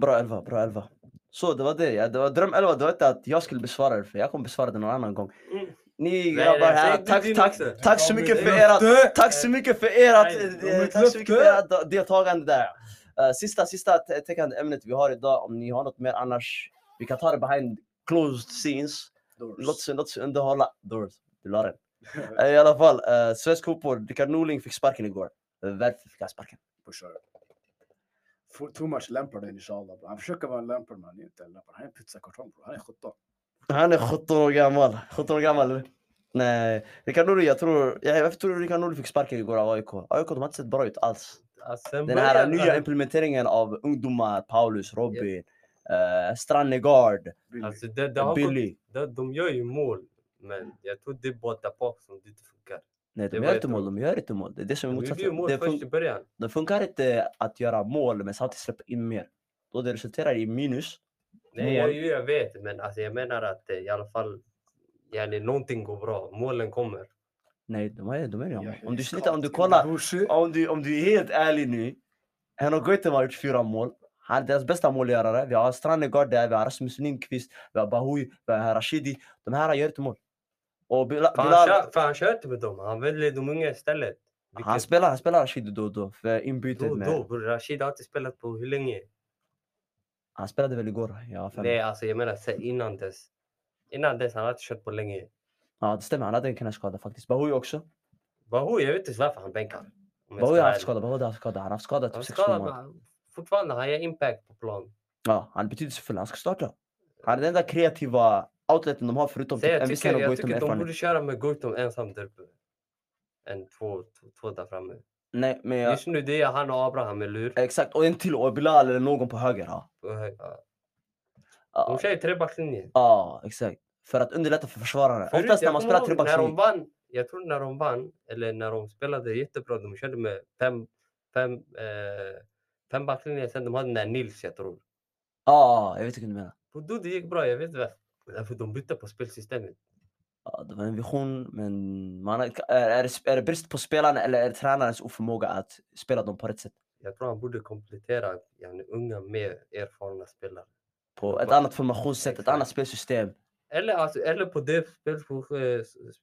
Speaker 1: Bra elva, bra elva. Så det var det. Ja. Det var dröm elva. Det var inte att jag skulle besvara det, för jag kommer besvara det någon annan gång.
Speaker 3: Mm.
Speaker 1: Ni
Speaker 3: Nej,
Speaker 1: grabbar
Speaker 3: nej,
Speaker 1: här,
Speaker 3: säg
Speaker 1: tack,
Speaker 3: din
Speaker 1: tack,
Speaker 3: också.
Speaker 1: tack så
Speaker 3: Ja, men
Speaker 1: mycket
Speaker 3: det
Speaker 1: för
Speaker 3: är
Speaker 1: ert,
Speaker 3: löfte.
Speaker 1: tack så mycket för ert,
Speaker 3: Nej,
Speaker 1: eh,
Speaker 3: de är
Speaker 1: tack så mycket för
Speaker 3: löfte.
Speaker 1: ert da- deltagande där. Eh, sista, sista t- täckande ämnet vi har idag, om ni har något mer annars, vi kan ta det behind closed scenes. Låt oss, låt oss underhålla. Doors, du la den. Eh, I alla fall, eh, svensk fotboll, Rickard Norling fick sparken igår. Eh, Varför fick han sparken?
Speaker 2: Pushar. F- Too much Lampard inshallah. bro. Han försöker vara en Lampard, men han är inte en Lampard. Han är en pizzakartong, bro. Han är 17.
Speaker 1: Han är 17 år gammal. 17 år gammal. Nej, Rickard Norling, jag tror... Ja, varför tror du Rickard Norling fick sparken igår av AIK? AIK, de har inte sett bra ut alls.
Speaker 3: Alltså, sen
Speaker 1: Den här
Speaker 3: början-
Speaker 1: nya implementeringen av ungdomar, Paulus, Robin, eh, Strannegard,
Speaker 2: Billy.
Speaker 3: Alltså, det, det har gått,
Speaker 1: Billy.
Speaker 3: det, de gör ju mål. Men jag tror det är båda bak som det inte funkar.
Speaker 1: Nej, de
Speaker 3: det
Speaker 1: gör
Speaker 3: var
Speaker 1: inte
Speaker 3: ett-
Speaker 1: mål. De gör inte mål. Det är det som är
Speaker 3: De gjorde ju
Speaker 1: motsatsen.
Speaker 3: mål
Speaker 1: Det,
Speaker 3: först i
Speaker 1: fun-
Speaker 3: början.
Speaker 1: det funkar inte att göra mål men samtidigt släppa in mer. Då det resulterar i minus.
Speaker 3: Nej, jag,
Speaker 1: mål.
Speaker 3: ju, jag vet, men alltså, jag menar att eh, i alla fall yani, någonting går bra. Målen kommer.
Speaker 1: Nej, de är de är
Speaker 2: Jag
Speaker 1: ju
Speaker 2: är
Speaker 1: Om du
Speaker 2: skakad.
Speaker 1: slutar, om du kollar.
Speaker 2: Bror, shit.
Speaker 1: Om du, om du är helt ärlig nu. Han har inte varit fyra mål. Han är deras bästa målgörare. Vi har Strannegard där, vi har Rasmus Lindqvist, vi har Bahoui, vi har Rashidi. De här gör inte mål. Och Bila-
Speaker 3: För han,
Speaker 1: Bilal-
Speaker 3: kör, för han kör inte med dem. Han väljer de unga istället.
Speaker 1: Han
Speaker 3: Vilket-
Speaker 1: spelar, han spelar Rashid då och då, för inbytet
Speaker 3: då,
Speaker 1: med...
Speaker 3: då, bror. Rashid har inte spelat på hur länge?
Speaker 1: Han spelade väl igår? Ja, fem.
Speaker 3: Nej, alltså jag menar sen innan dess. Innan dess, han har inte kört på länge.
Speaker 1: ja, det stämmer. Han hade en knäskada faktiskt. Bahoui också.
Speaker 3: Bahoui, jag vet inte varför han bänkar. om jag ska
Speaker 1: Bahoui har
Speaker 3: vara
Speaker 1: haft
Speaker 3: ärlig.
Speaker 1: skada, Bahoui har haft skada. Han har haft skada
Speaker 3: Han
Speaker 1: typ 6-7
Speaker 3: skadar, men
Speaker 1: månader.
Speaker 3: han- fortfarande, han gör impact på plan.
Speaker 1: Ja, han är betydelsefull. Han ska starta. Han är den enda kreativa outleten de har förutom
Speaker 3: Så
Speaker 1: typ
Speaker 3: jag
Speaker 1: en
Speaker 3: tycker,
Speaker 1: Wisley och
Speaker 3: jag
Speaker 1: Goitom
Speaker 3: tycker de
Speaker 1: erfarenhet.
Speaker 3: borde köra med Goitom ensam där uppe. En två, två, två där framme.
Speaker 1: Nej, men jag...
Speaker 3: Just nu det är han och Abraham, eller hur?
Speaker 1: Exakt, och en till. Och Bilal eller någon på höger. Ja,
Speaker 3: Ja. De
Speaker 1: ja,
Speaker 3: kör ju trebackslinjen.
Speaker 1: ja exakt. För att underlätta för försvararna.
Speaker 3: Förut,
Speaker 1: Oftast när
Speaker 3: jag
Speaker 1: man
Speaker 3: kommer
Speaker 1: spelar
Speaker 3: ihåg när de
Speaker 1: trebackslinje.
Speaker 3: vann, Jag tror när de vann, eller när de spelade jättebra, de körde med fem, fem, eh, fem backlinjer. Sen de hade den där Nils, jag tror.
Speaker 1: Ja, jag vet inte vad du menar.
Speaker 3: Och då det gick bra, jag vet varför. Därför de bytte på spelsystemet.
Speaker 1: Ja, det var en vision, men man har, är, är, det- är det brist på spelarna eller är det tränarens oförmåga att spela dem på rätt sätt?
Speaker 3: Jag tror han borde komplettera yani, unga med erfarna spelare.
Speaker 1: På
Speaker 3: Ja,
Speaker 1: ett
Speaker 3: bara-
Speaker 1: annat formationssätt, ett
Speaker 3: Exakt.
Speaker 1: annat spelsystem.
Speaker 3: Eller, alltså, eller på det spel på, eh, s- s-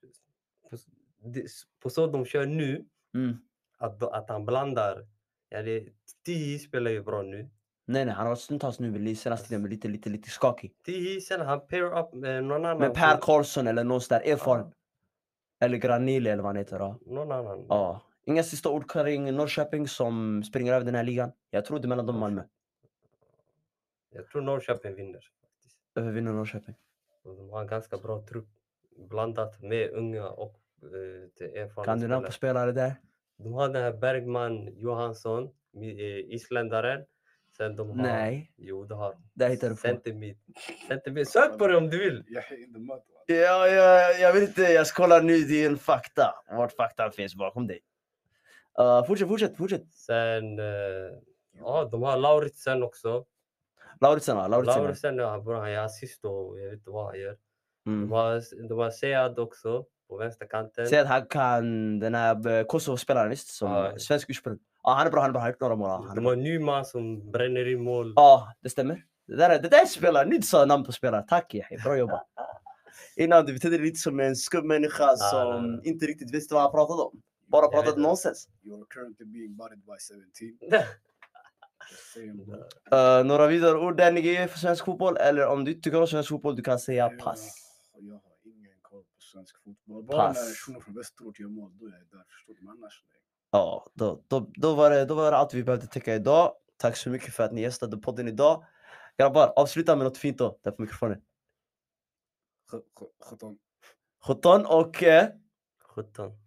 Speaker 3: på, s- det- s- på så de kör nu,
Speaker 1: Mm.
Speaker 3: att, de- att han blandar. Yani, Tihi spelar ju bra nu.
Speaker 1: Nej, nej, han har varit stundtals nu vid senaste tiden men lite, lite, lite skakig.
Speaker 3: Tihi, sen han pair up med någon annan.
Speaker 1: Men Per
Speaker 3: som-
Speaker 1: Karlsson eller någon sån där erfaren. Eller Granili eller vad han heter. Ja.
Speaker 3: någon annan.
Speaker 1: Ja. Inga sista ord kring Norrköping som springer över den här ligan. Jag tror det är mellan dem och Malmö.
Speaker 3: Jag tror Norrköping vinner. faktiskt.
Speaker 1: Övervinner Norrköping.
Speaker 3: Och De har en ganska bra trupp. blandat med unga och eh, till erfarna
Speaker 1: Kan du namn på spelare
Speaker 3: spelare.
Speaker 1: där?
Speaker 3: De har den här Bergman Johansson, mi- eh, isländaren. Sen de har...
Speaker 1: Nej,
Speaker 3: Jo, det har de.
Speaker 1: där hittar du på.
Speaker 3: Centermid. Centermid. Sök på det om du vill.
Speaker 2: Jag är inte mat. va?
Speaker 1: Ja, ja, jag vet inte, jag kollar nu din fakta. Vart faktan finns bakom dig. Uh, fortsätt, fortsätt, fortsätt.
Speaker 3: Sen... eh, Ja, de har Lauritsen också.
Speaker 1: Lauritsen, ja. Lauritsen. ja.
Speaker 3: Lauritsen, ja, bror, han gör assist och jag vet inte vad han gör. De
Speaker 1: Mm.
Speaker 3: har, de har Sead också på vänsterkanten.
Speaker 1: Säg att han kan den här eh, Kosovo-spelaren, visst? Som
Speaker 3: Ja.
Speaker 1: svensk ursprung. Ja, han är bra, han är bra. Han har gjort några mål. ja, han är
Speaker 3: De
Speaker 1: bra.
Speaker 3: har Nyman som bränner in mål.
Speaker 1: Ja, det stämmer. Det där, är- det där är spelaren, ni sa namn på spelaren. Tack Yahi, bra jobbat. Innan du betedde dig lite som en skum människa
Speaker 3: nej,
Speaker 1: som
Speaker 3: nej.
Speaker 1: inte riktigt visste vad han pratade om. Bara
Speaker 3: Jag vet
Speaker 1: pratade
Speaker 3: inte.
Speaker 1: nonsens.
Speaker 2: You're currently being bodied by 17. Same. bro.
Speaker 1: Eh, några vidare ord där ni ger för svensk fotboll? Eller om du inte tycker om svensk fotboll, du kan säga
Speaker 2: Jag-
Speaker 1: pass.
Speaker 2: Jag har ingen koll på svensk fotboll. Bara
Speaker 1: Pass.
Speaker 2: när personer från västerort gör mål, då är jag där. Förstår du? Men annars, nej.
Speaker 1: Ja, då, då, då, var det, då var det allt vi behövde täcka idag. Tack så mycket för att ni gästade podden idag. Grabbar, avsluta med något fint då, där på mikrofonen.
Speaker 2: Sj- sj- sjutton.
Speaker 1: 17 och... eh,
Speaker 3: 17.